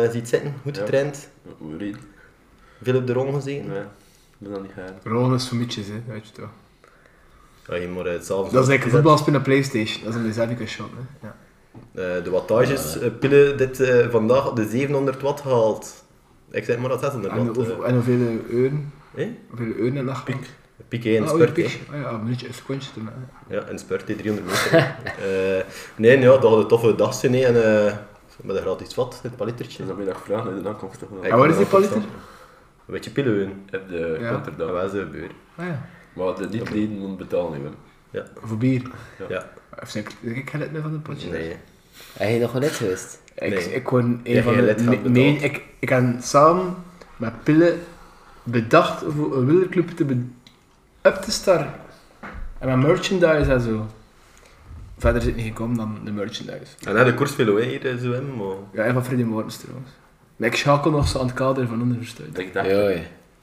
[SPEAKER 5] eh ziet zitten, goed
[SPEAKER 4] Ja.
[SPEAKER 5] getraind.
[SPEAKER 4] hoe reed
[SPEAKER 5] Veel op de rond gezeten.
[SPEAKER 4] Nee, ben dat niet gaan.
[SPEAKER 2] Ron is voor mietjes, hè, weet je toch.
[SPEAKER 5] Ja, Ah, je moet het zelf
[SPEAKER 2] Dat is eigenlijk voetbal spelen op Playstation, dat is een dezelfde shot. Hè. Ja.
[SPEAKER 5] Eh, de wattages eh, pillen dit eh, vandaag op de 700 watt gehaald. Ik zeg maar dat 600
[SPEAKER 2] En,
[SPEAKER 5] watt.
[SPEAKER 2] hoe-
[SPEAKER 5] eh.
[SPEAKER 2] en hoeveel uren,
[SPEAKER 5] Eh?
[SPEAKER 2] hoeveel uren en dag? Piek.
[SPEAKER 5] Piek hè, en
[SPEAKER 2] Ah, oei,
[SPEAKER 5] spurt.
[SPEAKER 2] piek.
[SPEAKER 5] hè.
[SPEAKER 2] Ah ja, een minuutje, een secondje toen. hè.
[SPEAKER 5] Ja, en spurt hè, 300 meter. <laughs> Eh, nee, ja, dat had een toffe dag zijn. hè, En, eh, met een gratis vat, het palitertje.
[SPEAKER 4] Dus dan middag vragen naar de aankomst toch
[SPEAKER 5] Ik
[SPEAKER 4] wel.
[SPEAKER 2] En Ah, waar is die
[SPEAKER 5] ben er wel
[SPEAKER 2] paliter?
[SPEAKER 5] van. Een beetje pillen.
[SPEAKER 4] Heb de
[SPEAKER 2] Ja.
[SPEAKER 5] Dat
[SPEAKER 4] Rotterdam.
[SPEAKER 5] was een beur.
[SPEAKER 2] Ah ja,
[SPEAKER 4] Maar de niet-leden moeten betalen, hè, Wim.
[SPEAKER 5] Ja.
[SPEAKER 2] voor bier.
[SPEAKER 5] ja.
[SPEAKER 2] Of zeg ik, ik ga het nu van de potje.
[SPEAKER 5] Nee.
[SPEAKER 3] Heb je nog wel net geweest?
[SPEAKER 2] Ik,
[SPEAKER 5] Nee.
[SPEAKER 2] ik kon
[SPEAKER 5] Ja,
[SPEAKER 2] een van
[SPEAKER 5] jij
[SPEAKER 2] de...
[SPEAKER 5] lid gaat
[SPEAKER 2] Nee,
[SPEAKER 5] betaald.
[SPEAKER 2] nee, ik, ik heb samen met Pille bedacht voor een wielerclub te be- up te starten. En met merchandise en zo. Verder is het niet gekomen dan de merchandise.
[SPEAKER 5] En dan de koersvelo hè, hier eh, zo hem, maar...
[SPEAKER 2] Ja, en van Freddy Mortens trouwens. Maar ik schakel nog zo aan het kader van onderverstuit.
[SPEAKER 4] Dus Ik dacht,
[SPEAKER 3] Ja, ja.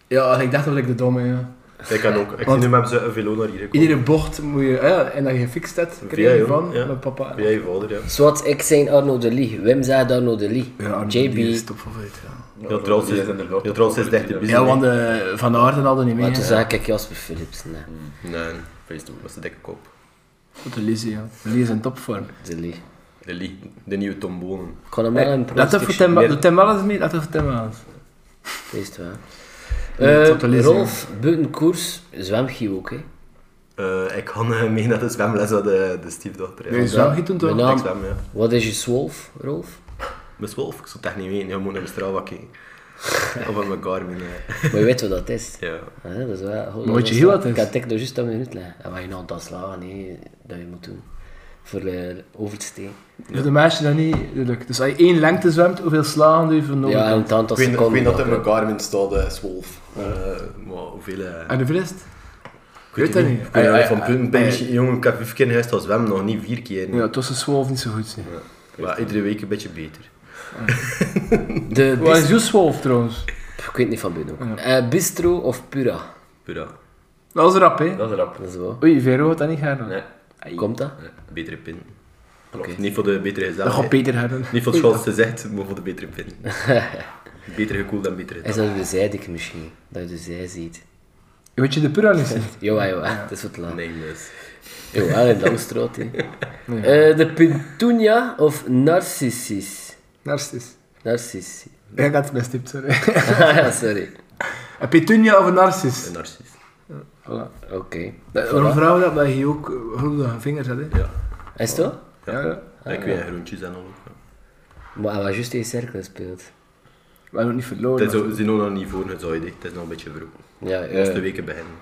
[SPEAKER 2] Ja, ik dacht dat ik de domme, ja.
[SPEAKER 5] Ik kan ook. Ik zie
[SPEAKER 2] Want-
[SPEAKER 5] nu hebben ze een velo naar hier gekomen.
[SPEAKER 2] Iedere bocht moet je... ah Ja, en dat je gefixt hebt,
[SPEAKER 5] Via
[SPEAKER 2] krijg je
[SPEAKER 5] jou,
[SPEAKER 2] van
[SPEAKER 5] ja.
[SPEAKER 2] met papa.
[SPEAKER 5] Via je vader, ja.
[SPEAKER 3] Zwart, ik zijn Arno de Lee. Wim zei Arno de Lee. JB.
[SPEAKER 2] topfavoriet, ja.
[SPEAKER 5] Ja, trouwens is- ja, trouwens is het echt de business.
[SPEAKER 2] Ja, want de Van Aarden hadden niet mee.
[SPEAKER 3] Maar toen
[SPEAKER 2] hè.
[SPEAKER 3] zei ik Jasper Philips. Nee,
[SPEAKER 5] Nee, Facebook was de dikke kop.
[SPEAKER 2] Tot de Lizzie, ja. De Lizzie is in topvorm.
[SPEAKER 3] de Lee.
[SPEAKER 5] De, Lee, de nieuwe tombonen.
[SPEAKER 3] Ik kon hem wel een
[SPEAKER 2] Eh, Laat even
[SPEAKER 3] proefstukje.
[SPEAKER 2] Tim, doe Tim Wellens mee, laat even Tim Wellens.
[SPEAKER 3] Is het waar.
[SPEAKER 2] Nee,
[SPEAKER 3] Eh,
[SPEAKER 2] tot de lezing.
[SPEAKER 3] Rolf, buiten koers, zwemgie ook hè.
[SPEAKER 5] Eh, ik kan eh, mee naar de zwemles aan de, de stiefdochter.
[SPEAKER 2] Nee,
[SPEAKER 5] Ja.
[SPEAKER 2] zwemgiet doen
[SPEAKER 3] Mijn
[SPEAKER 2] toch?
[SPEAKER 5] Ik
[SPEAKER 3] naam,
[SPEAKER 5] zwem, ja.
[SPEAKER 3] wat is je zwolf,
[SPEAKER 2] <laughs>
[SPEAKER 3] Rolf?
[SPEAKER 5] Mijn Wolf, ik zou het echt niet weten. Je moet naar mijn Strava kijken. of op mijn Garmin. eh.
[SPEAKER 3] Maar je weet wat dat is.
[SPEAKER 5] Ja.
[SPEAKER 3] Ah, dat is wel,
[SPEAKER 2] weet je heel wat
[SPEAKER 3] Ik
[SPEAKER 2] is?
[SPEAKER 3] kan het nog juist een minuut leggen. En wat je nou dat slagen, nee, dat je moet doen. Voor eh, over te steken.
[SPEAKER 2] Voor de meisje dat niet lukt. Dus als je één lengte zwemt, hoeveel slagen doe je voor nodig?
[SPEAKER 3] Ja, en het aantal
[SPEAKER 5] Ik weet, ik
[SPEAKER 3] seconden.
[SPEAKER 5] weet dat er
[SPEAKER 3] dat-
[SPEAKER 5] mijn Garmin staat, de Wolf. maar hoeveel... eh,
[SPEAKER 2] En hoeveel is het?
[SPEAKER 5] ik weet
[SPEAKER 2] weet dat
[SPEAKER 5] het
[SPEAKER 2] niet.
[SPEAKER 5] Ik weet
[SPEAKER 2] Ah,
[SPEAKER 5] dat
[SPEAKER 2] ja,
[SPEAKER 5] van
[SPEAKER 2] ja,
[SPEAKER 5] punten. Ben
[SPEAKER 2] ja.
[SPEAKER 5] misschien- Jongen, ik heb vijf keer in huis staan zwemmen, nog niet vier keer.
[SPEAKER 2] Ja, tussen 12 niet zo goed. nee.
[SPEAKER 5] maar iedere week een beetje beter.
[SPEAKER 3] De
[SPEAKER 2] Wat is
[SPEAKER 3] bist-
[SPEAKER 2] jouw 12 trouwens?
[SPEAKER 3] Pff, ik weet niet van binnen.
[SPEAKER 2] Ja.
[SPEAKER 3] Eh, bistro of Pura?
[SPEAKER 5] Pura.
[SPEAKER 2] Dat was rap, hè?
[SPEAKER 4] Dat is rap.
[SPEAKER 3] Dat is wel.
[SPEAKER 2] Oei, Vero had dat niet gedaan.
[SPEAKER 4] Nee.
[SPEAKER 3] Komt dat?
[SPEAKER 5] Betere pin. Klopt. Niet voor de betere
[SPEAKER 2] Dat
[SPEAKER 5] gezelligheid.
[SPEAKER 2] gaat beter hebben.
[SPEAKER 5] Niet voor het zoals ze zegt, maar voor de betere pin. betere gekoeld en betere
[SPEAKER 3] Is
[SPEAKER 5] gezelligheid.
[SPEAKER 3] dat de zijdik misschien? Dat je de zij ziet.
[SPEAKER 2] Weet je de Pura niet? hè?
[SPEAKER 3] Jawel, jawel, ah, dat is wat ah, laat.
[SPEAKER 5] Nee, dus.
[SPEAKER 3] Jawel, in Damstraat. <laughs> hè. Eh, de Pintunia of Narcissus?
[SPEAKER 2] Narcis.
[SPEAKER 3] Narcissus. <laughs>
[SPEAKER 2] Ik had het best sorry.
[SPEAKER 3] Ah, Sorry.
[SPEAKER 2] Een petunia of een narcis?
[SPEAKER 5] Een narcist.
[SPEAKER 2] Voilà.
[SPEAKER 3] Oké.
[SPEAKER 2] Dat- Waarom vragen we dat? Omdat je hier ook eh, grote vingers had, hè?
[SPEAKER 5] Ja.
[SPEAKER 3] Is dat?
[SPEAKER 2] Ja, ja.
[SPEAKER 5] Ja, ik weet groentjes en al. ook, ja.
[SPEAKER 3] Maar hij was juist in cirkel speelt.
[SPEAKER 2] We hebben nog niet
[SPEAKER 5] Het
[SPEAKER 2] verloren.
[SPEAKER 5] is ook- ze zijn nog niet voor gezaaid, hè. het is nog een beetje vroeg.
[SPEAKER 3] Ja,
[SPEAKER 5] De eerste
[SPEAKER 3] eh,
[SPEAKER 5] weken beginnen.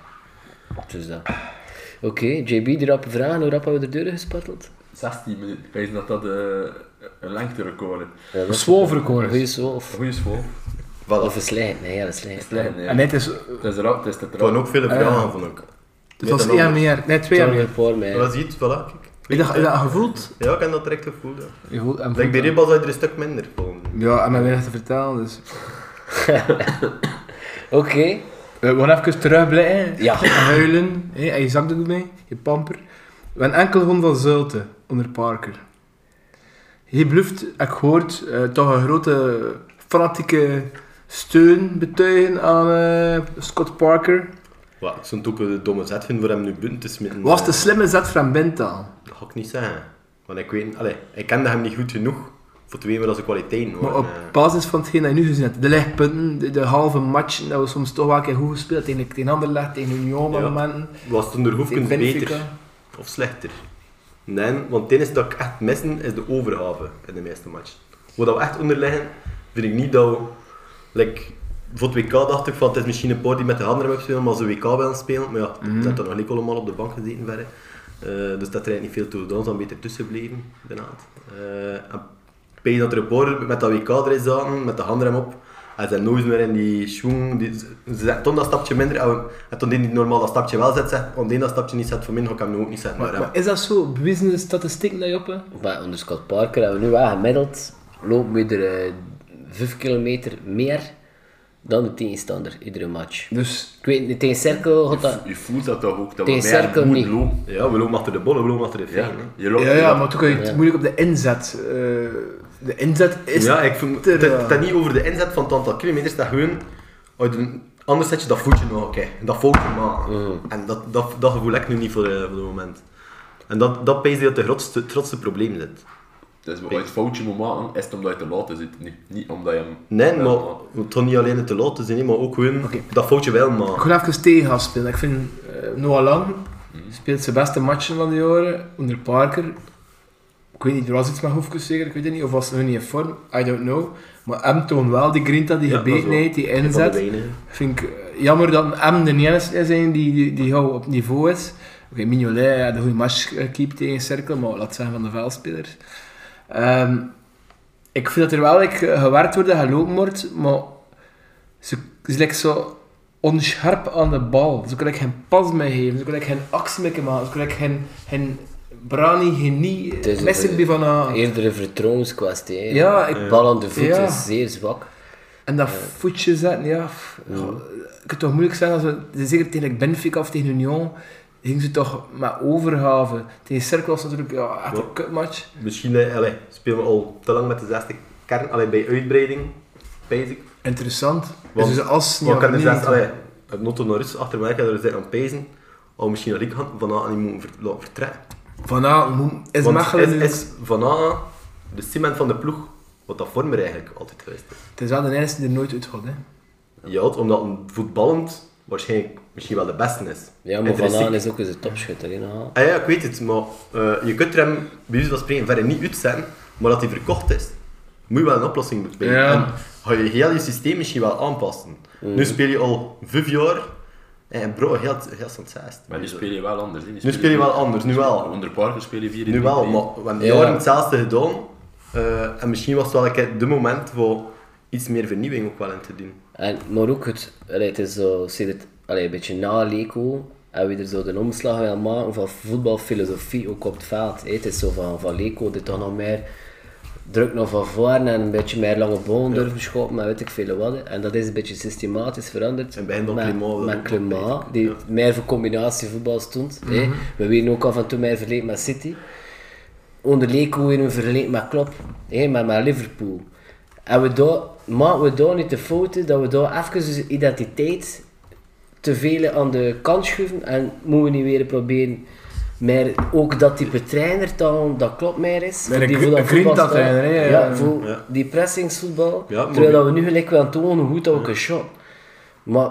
[SPEAKER 3] dus dat. Oké, JB, de rappe vragen. Hoe rap hebben we de deuren gespatteld?
[SPEAKER 4] 16 minuten. Ik weet dat dat eh, een lengte-record is.
[SPEAKER 3] Ja, dat
[SPEAKER 2] Een
[SPEAKER 3] is
[SPEAKER 2] zwoelverkoren.
[SPEAKER 3] een goede zwolf.
[SPEAKER 4] Goeie school.
[SPEAKER 3] Of
[SPEAKER 5] Voilà.
[SPEAKER 3] een slijt. Nee, ja, dat is slijt.
[SPEAKER 4] Slecht, nee.
[SPEAKER 2] En net is...
[SPEAKER 4] Het is rap, het is te
[SPEAKER 5] Er waren
[SPEAKER 4] trouw.
[SPEAKER 5] ook veel vragen, vond ik.
[SPEAKER 2] Eh, Het was één jaar meer. Nee, twee jaar
[SPEAKER 3] Zorg
[SPEAKER 2] meer.
[SPEAKER 3] ervoor, mij.
[SPEAKER 5] Dat is iets, voilà. Kijk.
[SPEAKER 2] Heb je dat- heb je dat gevoeld?
[SPEAKER 5] Ja, ik heb dat direct gevoeld. ja.
[SPEAKER 2] Je voelt en
[SPEAKER 5] Like
[SPEAKER 2] voelt
[SPEAKER 5] bij
[SPEAKER 2] dat.
[SPEAKER 5] Ribbas had je er een stuk minder van.
[SPEAKER 2] Ja, en mij weinig te vertellen, dus...
[SPEAKER 3] Oké.
[SPEAKER 2] Eh, We gaan even terugblijven.
[SPEAKER 3] Ja.
[SPEAKER 2] Huilen. Hè? En je zakdoek mee. Je pamper. We hebben enkel gewoon van Zulte. Onder Parker. Hij bluft, heb ik gehoord, eh, toch een grote fanatieke steun betuigen aan eh, Scott Parker.
[SPEAKER 5] Wat, ik zou het ook een domme zet vinden voor hem nu bunt te smitten.
[SPEAKER 2] Was de slimme zet van Bintaal.
[SPEAKER 5] Dat ga ik niet zeggen. Want ik weet... Allee, ik kende hem niet goed genoeg voor te weten wat zijn kwaliteiten
[SPEAKER 2] Maar
[SPEAKER 5] waren.
[SPEAKER 2] op
[SPEAKER 5] eh.
[SPEAKER 2] basis van hetgeen dat je nu gezien hebt, de lichtpunten, de, de halve matchen, dat we soms toch wel een keer goed gespeeld tegen, tegen Anderlecht, tegen Union op
[SPEAKER 5] Ja.
[SPEAKER 2] momenten,
[SPEAKER 5] Was toen de
[SPEAKER 2] tegen
[SPEAKER 5] hoefkens
[SPEAKER 2] Benfica.
[SPEAKER 5] beter of slechter? Nee, want het enige dat ik echt missen is de overgave in de meeste matchen. Wat we echt onder liggen, vind ik niet dat we... Like, voor het WK dacht ik van het is misschien een paar die met de handen hebben spelen, maar ze WK wel spelen. Maar ja, dat had dan nog niet allemaal op de bank gezeten verder. Eh, dus dat er eigenlijk niet veel toe gedaan, dan beter tussen bleven, de naad. Eh, en ik denk dat er een paar met dat WK erin zaten, met de handrem op. En ze zijn nooit meer in die schoen. Die, ze zetten toen dat stapje minder. En, en toen die niet normaal dat stapje wel zet, zegt, omdat die dat stapje niet zet, voor min ga ik hem nu ook niet zetten. Maar,
[SPEAKER 2] Maar,
[SPEAKER 5] ja.
[SPEAKER 2] maar is dat zo? Bewezen de statistiek dat je op? hè?
[SPEAKER 3] Maar onder Scott Parker hebben we nu wel gemiddeld lopen we er eh, 5 kilometer meer dan de tegenstander iedere match.
[SPEAKER 2] Dus
[SPEAKER 3] Ik weet niet, tegen cirkel gaat dat...
[SPEAKER 4] Je voelt dat toch ook, dat we
[SPEAKER 3] Tegen cirkel
[SPEAKER 4] meer
[SPEAKER 3] niet.
[SPEAKER 4] moeten lopen.
[SPEAKER 5] ja, we lopen achter de bollen, we lopen achter de
[SPEAKER 4] Ja,
[SPEAKER 5] veen. hè.
[SPEAKER 4] je loopt
[SPEAKER 2] Ja,
[SPEAKER 4] je
[SPEAKER 2] ja,
[SPEAKER 4] loopt-
[SPEAKER 2] maar toen kun je het
[SPEAKER 3] Ja.
[SPEAKER 2] moeilijk op de inzet. eh, de inzet is.
[SPEAKER 5] ja, ik vind,
[SPEAKER 2] er, eh,
[SPEAKER 5] het,
[SPEAKER 2] ja.
[SPEAKER 5] het gaat niet over de inzet van het aantal kilometers, dat gewoon... uit een- Anders zet je dat voetje nog, oké. Dat volgt je maar.
[SPEAKER 2] Mhm.
[SPEAKER 5] En dat, dat, dat gevoel heb ik nu niet voor, eh, voor het moment. En dat, dat pees dat het grootste, het grootste probleem zit.
[SPEAKER 4] Dus als je een foutje moet maken, is het omdat je te laat zit. Niet, niet omdat je hem...
[SPEAKER 5] Nee, maar
[SPEAKER 4] Ja,
[SPEAKER 5] het gaat niet alleen het te laten zijn, hè, maar ook gewoon dat foutje wel
[SPEAKER 2] Ik
[SPEAKER 5] maken.
[SPEAKER 2] ga even tegengas spelen. Ik vind eh, Noah Lang speelt zijn beste matchen van de jaren onder Parker. Ik weet niet, er was iets met Hoefkes zeker, ik weet het niet. Of was ze nog niet in vorm, I don't know. Maar hem toont wel die grinta, die
[SPEAKER 5] Ja, dat is
[SPEAKER 2] gebetenheid, die
[SPEAKER 5] Van de
[SPEAKER 2] inzet.
[SPEAKER 5] weinigen.
[SPEAKER 2] Vind ik eh, jammer dat hem de enige zijn die, die, die gauw op niveau is. Oké, Mignolet had een goede match eh, keep tegen Cirkel, maar laat zijn van de veldspelers. Ehm, ik vind dat er wel like, gewerkt wordt en gelopen wordt, maar ze ze is like, zo onscherp aan de bal. Ze kan ik geen pas mee geven, ze kan ik geen actie mee maken, ze kan ik geen, geen brani, geen nie,
[SPEAKER 3] is een
[SPEAKER 2] missen die van ah, aan.
[SPEAKER 3] Eerder een vertrouwenskwestie. hè.
[SPEAKER 2] Ja, ik-
[SPEAKER 3] De Bal aan de voet
[SPEAKER 2] Ja.
[SPEAKER 3] is zeer zwak.
[SPEAKER 2] En dat voetje zetten, ja. f- goh, Ik kan toch moeilijk zijn als we, zeker tegen Benfica of tegen Union, gingen ze toch met overhaven. Tegen Cirkel was natuurlijk ja, echt een kutmatch.
[SPEAKER 5] Misschien eh, allee, spelen we al te lang met de 60 kern, alleen bij uitbreiding, pees ik.
[SPEAKER 2] Interessant.
[SPEAKER 5] Want-
[SPEAKER 2] dus als
[SPEAKER 5] Maar ik kan de
[SPEAKER 2] niet
[SPEAKER 5] 60,
[SPEAKER 2] doen.
[SPEAKER 5] allee, het notto naar Rus achter mij, ik heb er zitten aan pezen. Al misschien dat ik had vanavond niet moeten ver- laten vertrekken.
[SPEAKER 2] Vanavond moet- is
[SPEAKER 5] Want
[SPEAKER 2] Mechelen
[SPEAKER 5] is,
[SPEAKER 2] nu...
[SPEAKER 5] is vanavond de cement van de ploeg, wat dat vormer eigenlijk altijd geweest is.
[SPEAKER 2] Het is wel de enige die er nooit uit gaat, hè.
[SPEAKER 5] Ja, omdat voetballend waarschijnlijk misschien wel de beste is.
[SPEAKER 3] Ja,
[SPEAKER 5] En
[SPEAKER 3] maar
[SPEAKER 5] er
[SPEAKER 3] Van Aan
[SPEAKER 5] zeker-
[SPEAKER 3] is ook eens een topschutter nou. in haal.
[SPEAKER 5] Ah ja, ik weet het, maar eh, je kunt er hem bij wijze van spreken verder niet uitzetten, maar dat hij verkocht is, moet je wel een oplossing bedenken.
[SPEAKER 2] Ja.
[SPEAKER 5] En ga je heel je systeem misschien wel aanpassen. Nu speel je al vijf jaar eh, en bro, heel, heel sensaast.
[SPEAKER 4] Maar nu speel je wel anders. hè.
[SPEAKER 5] Nu speel je wel anders, nu wel.
[SPEAKER 4] Onder Parker speel je 4
[SPEAKER 5] Nu wel, maar we hebben
[SPEAKER 3] Ja.
[SPEAKER 5] jaren hetzelfde gedaan. eh, en misschien was het wel een keer de moment voor iets meer vernieuwing ook wel in te doen.
[SPEAKER 3] En, maar ook het, allee, het is zo, zit het allee, een beetje na Leco, hebben we er zo de omslag wel maken van voetbalfilosofie ook op het veld. hè. Het is zo van, van Leco, dit toch nog meer druk naar van voren en een beetje meer lange bomen durven schoppen en weet ik veel wat. hè. En dat is een beetje systematisch veranderd.
[SPEAKER 5] En bij hen dan
[SPEAKER 3] met,
[SPEAKER 5] Clément, dat
[SPEAKER 3] met
[SPEAKER 5] ook nog
[SPEAKER 3] Clément,
[SPEAKER 5] beter,
[SPEAKER 3] die
[SPEAKER 5] ja. Mhm.
[SPEAKER 3] meer voor combinatievoetbal stond. hè. We werden ook af en toe meer verleden met City onder Leco in een verleden met Klopp, hè, met, met Liverpool. En we daar, maken we daar niet de fouten dat we daar even onze identiteit te veel aan de kant schuiven en moeten we niet weer proberen meer ook dat type trainer te halen, dat Klopp meer is.
[SPEAKER 2] Meer een
[SPEAKER 3] die
[SPEAKER 2] gr-
[SPEAKER 3] voor dat
[SPEAKER 2] een grinta
[SPEAKER 3] voetbal staat.
[SPEAKER 2] trainer, hè, ja.
[SPEAKER 3] Ja, voor
[SPEAKER 5] Ja.
[SPEAKER 3] die pressingsvoetbal.
[SPEAKER 5] Ja, maar
[SPEAKER 3] terwijl
[SPEAKER 5] wie-
[SPEAKER 3] dat we nu gelijk wel tonen hoe goed dat we kunnen shot. Maar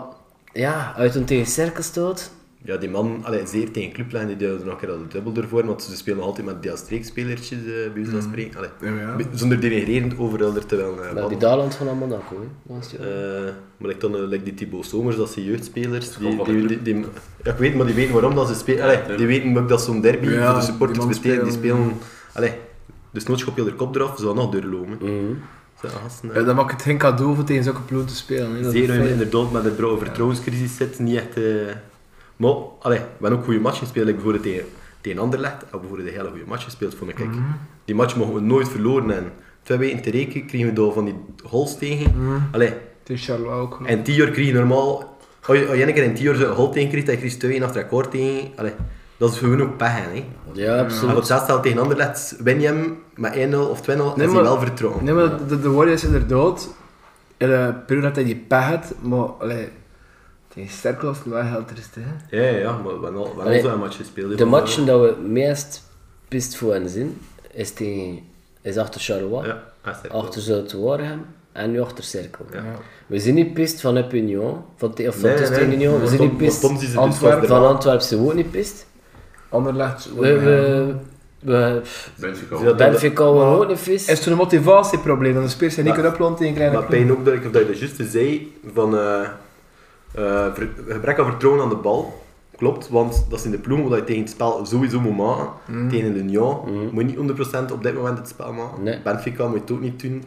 [SPEAKER 3] ja, uit een tegen cirkel stoot,
[SPEAKER 5] Ja, die man, allee, zeer tegen clublijn, die deelde nog een keer al de dubbel ervoor, want ze spelen nog altijd met die streekspelertjes, eh, bij ons van spreken. Allee,
[SPEAKER 2] Mhm. Ja, ja.
[SPEAKER 5] be- Zonder denigrerend over elkaar te wel eh,
[SPEAKER 3] maar die
[SPEAKER 5] babbelen.
[SPEAKER 3] Daland van Monaco. Hè, last jaar.
[SPEAKER 5] Eh, maar ik dan, eh, like die Thibaut Somers, dat zijn jeugdspelers.
[SPEAKER 4] gewoon
[SPEAKER 5] Die,
[SPEAKER 4] van de
[SPEAKER 5] die, die, die- ja, ik weet, maar die weten waarom dat ze spelen. Allee, die weten ook dat zo'n derby
[SPEAKER 2] Ja,
[SPEAKER 5] voor de supporters
[SPEAKER 2] die man
[SPEAKER 5] besteedt. Die
[SPEAKER 2] spelen.
[SPEAKER 5] spelen... Allee, dus noodschop je er kop eraf, zou nog doorlopen.
[SPEAKER 3] Mhm.
[SPEAKER 5] Zo, gasten, eh,
[SPEAKER 2] Ja, dan maakt het geen cadeau voor tegen zulke ploegen te spelen. hè. Dat is
[SPEAKER 5] Zeer
[SPEAKER 2] fijn.
[SPEAKER 5] inderdaad met een brouwe vertrouwenscrisis zit, niet echt... eh, Maar, allee, we hebben ook goede matchen gespeeld, like bijvoorbeeld tegen, tegen Anderlecht, hebben we bijvoorbeeld een hele goede match gespeeld, vond ik. Die match mogen we nooit verloren en Twee weken te rekenen kregen we daar van die goals tegen. Allee,
[SPEAKER 2] Het is Charlotte ook. hè.
[SPEAKER 5] en tien jaar kreeg je normaal... Als je, als je een keer in tien jaar zo'n goal tegen kreeg, dan kreeg je twee weken achter akkoord tegen. Allee, dat is gewoon ook pech, hè.
[SPEAKER 3] ja, absoluut.
[SPEAKER 5] En op hetzelfde tegen Anderlecht win je hem met 1-0 of 2-0, dan is hij wel vertrouwen.
[SPEAKER 2] Nee, maar de, de Warriors inderdaad, in een periode dat hij die pech had, maar allee, tegen Sterkel was het wel heel triest, hè.
[SPEAKER 5] Ja, ja, ja, maar we hebben al, we hebben
[SPEAKER 3] Allee,
[SPEAKER 5] al zo'n match gespeeld. hè,
[SPEAKER 3] De
[SPEAKER 5] van-
[SPEAKER 3] matchen dat we meest pist voor hen zijn, is, tegen, is achter Charleroi,
[SPEAKER 5] eh, Ja, dat is er.
[SPEAKER 3] achter Zuid-Waregem en nu achter Cirkel. We zijn niet pist van Epignon, van, te- of van
[SPEAKER 5] Nee,
[SPEAKER 3] nee,
[SPEAKER 5] nee, nee.
[SPEAKER 3] Union, we
[SPEAKER 5] Maar
[SPEAKER 3] zijn
[SPEAKER 5] Tom-
[SPEAKER 3] niet pist
[SPEAKER 5] maar Tom is de
[SPEAKER 3] Antwerpen,
[SPEAKER 5] pist
[SPEAKER 3] van
[SPEAKER 5] van de-
[SPEAKER 3] Antwerpen zijn we ook niet pist.
[SPEAKER 2] Anderlecht, eh,
[SPEAKER 3] We, we, we,
[SPEAKER 4] Benfica.
[SPEAKER 5] Ja, dat-
[SPEAKER 3] Benfica we ook niet pist.
[SPEAKER 2] is toen een motivatieprobleem, dan speelt hij niet
[SPEAKER 5] Maar-
[SPEAKER 2] kunnen oplopen tegen kleine
[SPEAKER 5] Maar pijn ook dat ik, of dat je dat juist zei, van eh, eh, ver- gebrek aan vertrouwen aan de bal. Klopt, want dat is in de ploeg omdat je tegen het spel sowieso moet maken. Tegen Union moet je niet 100% op dit moment het spel maken.
[SPEAKER 3] Mhm. Nee. Mhm.
[SPEAKER 5] Benfica moet je het ook niet doen.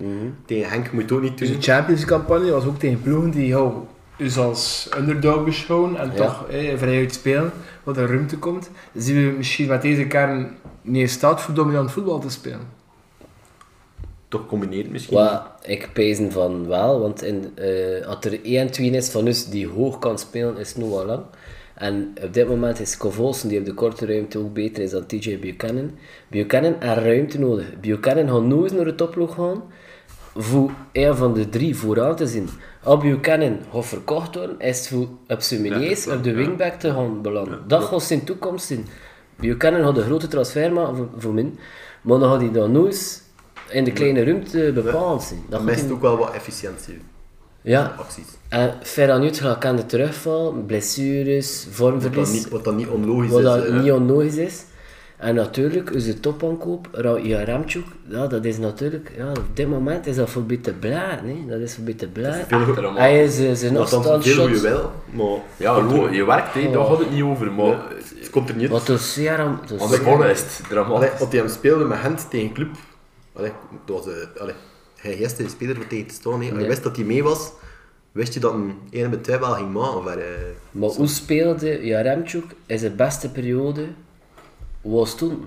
[SPEAKER 5] Tegen Henk moet je het ook niet
[SPEAKER 2] Dus
[SPEAKER 5] doen.
[SPEAKER 2] de Champions campagne was ook tegen ploegen die jou dus als underdog beschouwen en
[SPEAKER 3] Ja.
[SPEAKER 2] toch eh, vrijuit spelen, wat er ruimte komt, zien we misschien met deze kern niet in staat voor dominant voetbal te spelen.
[SPEAKER 5] Toch combineert misschien.
[SPEAKER 3] Wat ik pezen van wel, want in, eh, als er 1 2 is van ons die hoog kan spelen, is Noah Lang. En op dit moment is Kovolsen, die op de korte ruimte ook beter is dan TJ Buchanan. Buchanan heeft ruimte nodig. Buchanan gaat nooit naar de topploeg gaan voor een van de drie vooraan te zien. Als Buchanan gaat verkocht worden, is het voor op zijn meneers op de wingback te gaan belanden. dat gaat zijn toekomst zijn. Buchanan gaat een grote transfer maken voor, voor min, maar dan gaat hij dan nooit in de kleine ruimte bepaald zijn. Dat
[SPEAKER 5] Dat
[SPEAKER 3] gaat
[SPEAKER 5] mist
[SPEAKER 3] hij-
[SPEAKER 5] ook wel wat efficiëntie.
[SPEAKER 3] ja,
[SPEAKER 5] Acties. Wat
[SPEAKER 3] en verder nu kan de terugval, blessures,
[SPEAKER 5] dan
[SPEAKER 3] vormverlies,
[SPEAKER 5] niet, wat dan niet onlogisch
[SPEAKER 3] wat
[SPEAKER 5] is.
[SPEAKER 3] dat
[SPEAKER 5] eh.
[SPEAKER 3] niet onnodig is. En natuurlijk, onze topaankoop, Rauja Ramchuk, ja, dat is natuurlijk, ja, op dit moment is dat voorbij te blaren, hè. dat is voorbij te blaren.
[SPEAKER 5] Veel-
[SPEAKER 4] Achter hem
[SPEAKER 3] Hij
[SPEAKER 4] aan.
[SPEAKER 3] is eh, zijn
[SPEAKER 5] Althans, veel goede
[SPEAKER 3] afstandsshot,
[SPEAKER 5] wel, maar
[SPEAKER 4] Ja, gewoon, je werkt, hè, daar gaat het niet over, maar
[SPEAKER 5] het komt er niet uit.
[SPEAKER 3] wat een zeer aan
[SPEAKER 4] aan de bonnen is het
[SPEAKER 5] Allee,
[SPEAKER 4] dramatisch.
[SPEAKER 5] als hij hem speelde met Gent tegen een club, allee, dat was, eh, allee, hij is de speler voor tegen te staan. hè. Als je
[SPEAKER 3] Ja.
[SPEAKER 5] wist dat hij mee was, wist je dat een ene met twee wel ging maken. Of, eh,
[SPEAKER 3] Maar hoe speelde Jaremchuk in zijn beste periode was toen?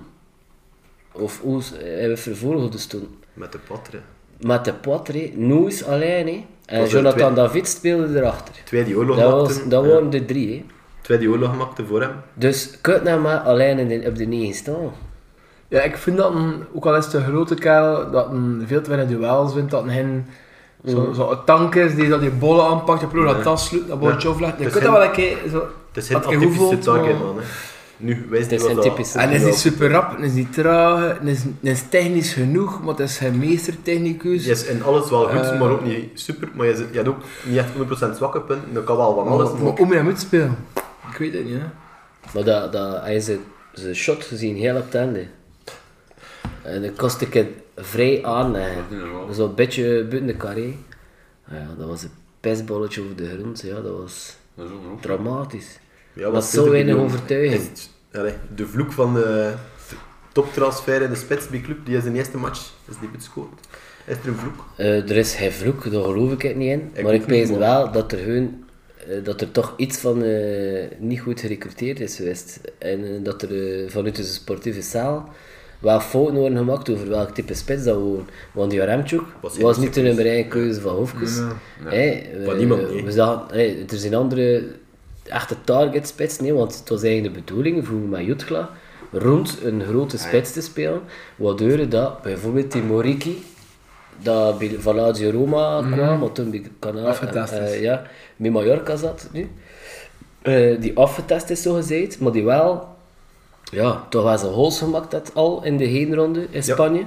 [SPEAKER 3] Of hoe hij vervolgde toen?
[SPEAKER 5] met de patteren.
[SPEAKER 3] Met de poitre, Noes alleen hè. En
[SPEAKER 5] was de
[SPEAKER 3] Jonathan
[SPEAKER 5] tweede.
[SPEAKER 3] David speelde erachter.
[SPEAKER 5] Twee die oorlog
[SPEAKER 3] Dat,
[SPEAKER 5] maakten.
[SPEAKER 3] was, dat
[SPEAKER 5] ja.
[SPEAKER 3] waren de drie. hè.
[SPEAKER 5] Twee die oorlog maakten voor hem.
[SPEAKER 3] Dus kut nou maar alleen in de, op de negen staan.
[SPEAKER 2] Ja, ik vind dat een, ook al is het een grote kerel, dat een veel te weinig duels wint, dat een geen zo, zo een tank is die dat die bollen aanpakt, je ploeg dat tas sluit, dat balletje
[SPEAKER 5] Ja.
[SPEAKER 2] aflegt. Je
[SPEAKER 5] Het is
[SPEAKER 2] kunt dat wel
[SPEAKER 5] geen-
[SPEAKER 2] een keer zo...
[SPEAKER 5] Het is geen
[SPEAKER 2] had ik
[SPEAKER 5] atypische
[SPEAKER 2] gevoeld,
[SPEAKER 5] target,
[SPEAKER 2] maar-
[SPEAKER 5] man. hè. Nu, wij
[SPEAKER 3] Dat
[SPEAKER 5] zijn
[SPEAKER 3] zijn
[SPEAKER 5] wat
[SPEAKER 3] typische.
[SPEAKER 2] En hij is
[SPEAKER 3] Ja.
[SPEAKER 2] niet super rap, hij is niet traag, hij is, hij is technisch genoeg, maar hij is geen meestertechnicus.
[SPEAKER 5] Je is in alles wel goed,
[SPEAKER 2] Eh.
[SPEAKER 5] maar ook niet super. Maar je zit- je hebt ook niet echt 100% zwakke punten. Dat kan wel van alles.
[SPEAKER 2] maar, maar om hem uit te spelen. Ik weet het niet, hè.
[SPEAKER 3] Maar dat, dat, hij zijn, zijn shot gezien heel op het einde. En dat kostte ik het vrij aanleggen.
[SPEAKER 4] normaal.
[SPEAKER 3] Zo'n beetje buiten de carré. Ah ja, dat was een pestballetje over de grond. Ja, dat was
[SPEAKER 4] Dat is ook nog.
[SPEAKER 3] dramatisch.
[SPEAKER 5] Ja,
[SPEAKER 3] dat
[SPEAKER 5] wat
[SPEAKER 3] was
[SPEAKER 5] speelt
[SPEAKER 3] zo
[SPEAKER 5] er
[SPEAKER 3] weinig
[SPEAKER 5] nu?
[SPEAKER 3] overtuiging.
[SPEAKER 5] Is het- allee, de vloek van de toptransfer in de spits bij club, die is in de eerste match is die gescoord. Is er een vloek?
[SPEAKER 3] Eh, er is geen vloek, daar geloof ik het niet in.
[SPEAKER 5] Ik
[SPEAKER 3] maar
[SPEAKER 5] ook
[SPEAKER 3] ik weet
[SPEAKER 5] niet,
[SPEAKER 3] wel dat er, hun, eh, dat er toch iets van eh, niet goed gerecruiteerd is geweest. En eh, dat er eh, vanuit de sportieve zaal wel fouten worden gemaakt over welk type spits dat wonen. Want die Remchuk was,
[SPEAKER 5] Was eerste
[SPEAKER 3] niet de nummer 1 keuze van Hofkes. Hey, eh,
[SPEAKER 5] Van niemand, nee.
[SPEAKER 3] we zagen, hey, er zijn andere echte target spits, nee, want het was eigenlijk de bedoeling vroeger met Jutgla rond een
[SPEAKER 5] Ah,
[SPEAKER 3] grote spits te spelen, waardoor dat bijvoorbeeld die Moriki dat bij van Lazio Roma kwam, wat toen bij Cana-
[SPEAKER 2] Afgetast is.
[SPEAKER 3] eh, ja, met Mallorca zat nu, eh, die afgetest is zo gezegd, maar die wel, ja, toch wel zijn goals gemaakt had al in de heenronde in Spanje.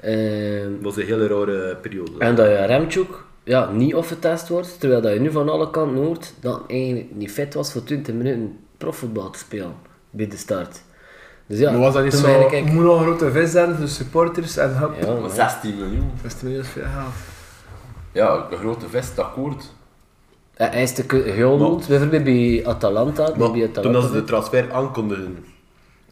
[SPEAKER 3] Ehm,
[SPEAKER 5] Dat was een hele rare periode.
[SPEAKER 3] en dat je Remchuk ja, niet afgetest wordt, terwijl dat je nu van alle kanten hoort dat hij eigenlijk niet fit was voor 20 minuten profvoetbal te spelen bij de start. Dus ja,
[SPEAKER 2] Maar was dat niet
[SPEAKER 3] toen
[SPEAKER 2] zo...
[SPEAKER 3] eigenlijk
[SPEAKER 2] moet nog een grote vis zijn voor de supporters en hop.
[SPEAKER 3] Ja,
[SPEAKER 4] Maar
[SPEAKER 3] maar-
[SPEAKER 4] 16 miljoen.
[SPEAKER 2] Dat is tenminste veel geld.
[SPEAKER 4] Ja, een grote vest, akkoord.
[SPEAKER 3] hij hij is te ke- geholmd, bijvoorbeeld bij Atalanta.
[SPEAKER 5] Maar
[SPEAKER 3] bij
[SPEAKER 5] toen
[SPEAKER 3] Atalanta
[SPEAKER 5] dat ze de transfer aankondigden,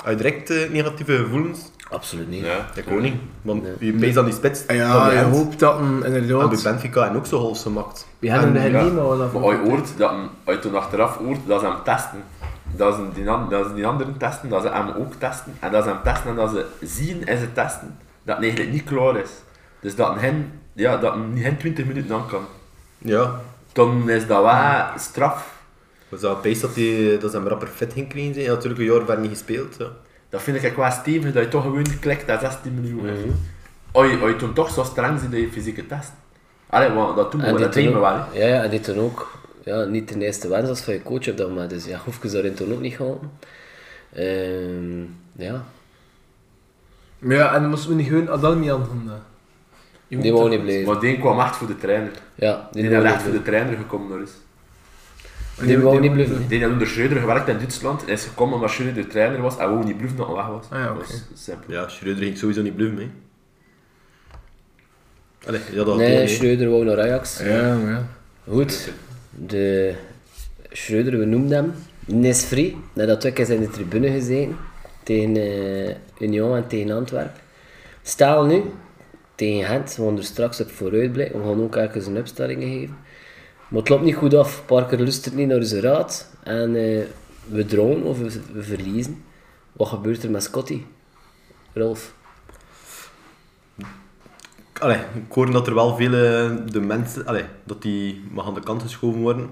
[SPEAKER 5] uit direct eh, negatieve gevoelens?
[SPEAKER 3] Absoluut niet.
[SPEAKER 4] Ja.
[SPEAKER 5] Ik ook niet. Want wie pees aan die spits?
[SPEAKER 2] En
[SPEAKER 5] dan
[SPEAKER 2] ja,
[SPEAKER 5] die
[SPEAKER 2] je
[SPEAKER 5] Hens.
[SPEAKER 2] hoopt dat een,
[SPEAKER 5] En bij
[SPEAKER 2] inderdaad...
[SPEAKER 5] Benfica en ook zo half gemaakt.
[SPEAKER 2] We hebben
[SPEAKER 5] En-
[SPEAKER 2] er
[SPEAKER 4] ja.
[SPEAKER 2] geen maar wat
[SPEAKER 4] Maar
[SPEAKER 2] dat
[SPEAKER 4] als je hoort, dat, hem- als je toen achteraf hoort dat ze hem testen, dat ze, die, an- dat ze die anderen testen, dat ze hem ook testen, en dat ze hem testen en dat ze zien en ze testen, dat het eigenlijk niet klaar is. Dus dat hen, ja, dat hem geen 20 minuten aan kan.
[SPEAKER 5] Ja,
[SPEAKER 4] Dan is dat wel straf.
[SPEAKER 5] was dat pees dat, die, dat ze hem rapper fit ging krijgen? Hij had natuurlijk een jaar ver niet gespeeld. Ja.
[SPEAKER 4] Dat vind ik echt wel stevig, dat je toch gewoon klikt dat 16 miljoen is. Als je, als je toen toch zo streng zit dat je fysieke test. Allee, want dat doen we,
[SPEAKER 3] En
[SPEAKER 4] maar
[SPEAKER 3] die
[SPEAKER 4] dat
[SPEAKER 3] toen
[SPEAKER 4] doen we wel. hè.
[SPEAKER 3] ook, ja, ja, en die toen ook ja, niet de eerste wens was van je coach op dat moment. Dus ja, hoef ik daarin toen ook niet geholpen. Ehm, ja,
[SPEAKER 2] Maar ja, en dan moesten we niet gewoon Adalmian gaan doen. Je
[SPEAKER 3] die
[SPEAKER 2] moet
[SPEAKER 3] wou
[SPEAKER 2] toch-
[SPEAKER 3] niet blijven.
[SPEAKER 4] Maar die kwam echt voor de trainer.
[SPEAKER 3] Ja,
[SPEAKER 4] Die
[SPEAKER 3] die
[SPEAKER 4] is
[SPEAKER 3] wou
[SPEAKER 4] echt
[SPEAKER 3] niet
[SPEAKER 4] voor de trainer gekomen door is.
[SPEAKER 3] blijven. Die wou niet blijven.
[SPEAKER 4] Die had onder Schreuder gewerkt in Duitsland en is gekomen omdat Schreuder de trainer was en wou niet bluffen dat hij weg was.
[SPEAKER 2] Ah ja, oké.
[SPEAKER 4] Dat was simpel.
[SPEAKER 5] Ja, Schreuder ging sowieso niet bluffen, hè. Allee, ja, dat
[SPEAKER 3] Nee,
[SPEAKER 5] nee,
[SPEAKER 3] Schreuder wou naar Ajax.
[SPEAKER 2] Ja, maar ja.
[SPEAKER 3] Goed, de Schreuder, we noemden hem Nesfri. Nadat we eens in de tribune gezeten tegen eh, Union en tegen Antwerpen. Stel nu, tegen Gent, we gaan er straks op vooruit blijven. We gaan ook ergens een opstelling geven. Maar het loopt niet goed af. Parker luistert niet naar zijn raad. En eh, we dromen of we, we verliezen. Wat gebeurt er met Scotty? Rolf.
[SPEAKER 5] Allee, ik hoorde dat er wel veel eh, de mensen, allee, dat die mag aan de kant geschoven worden.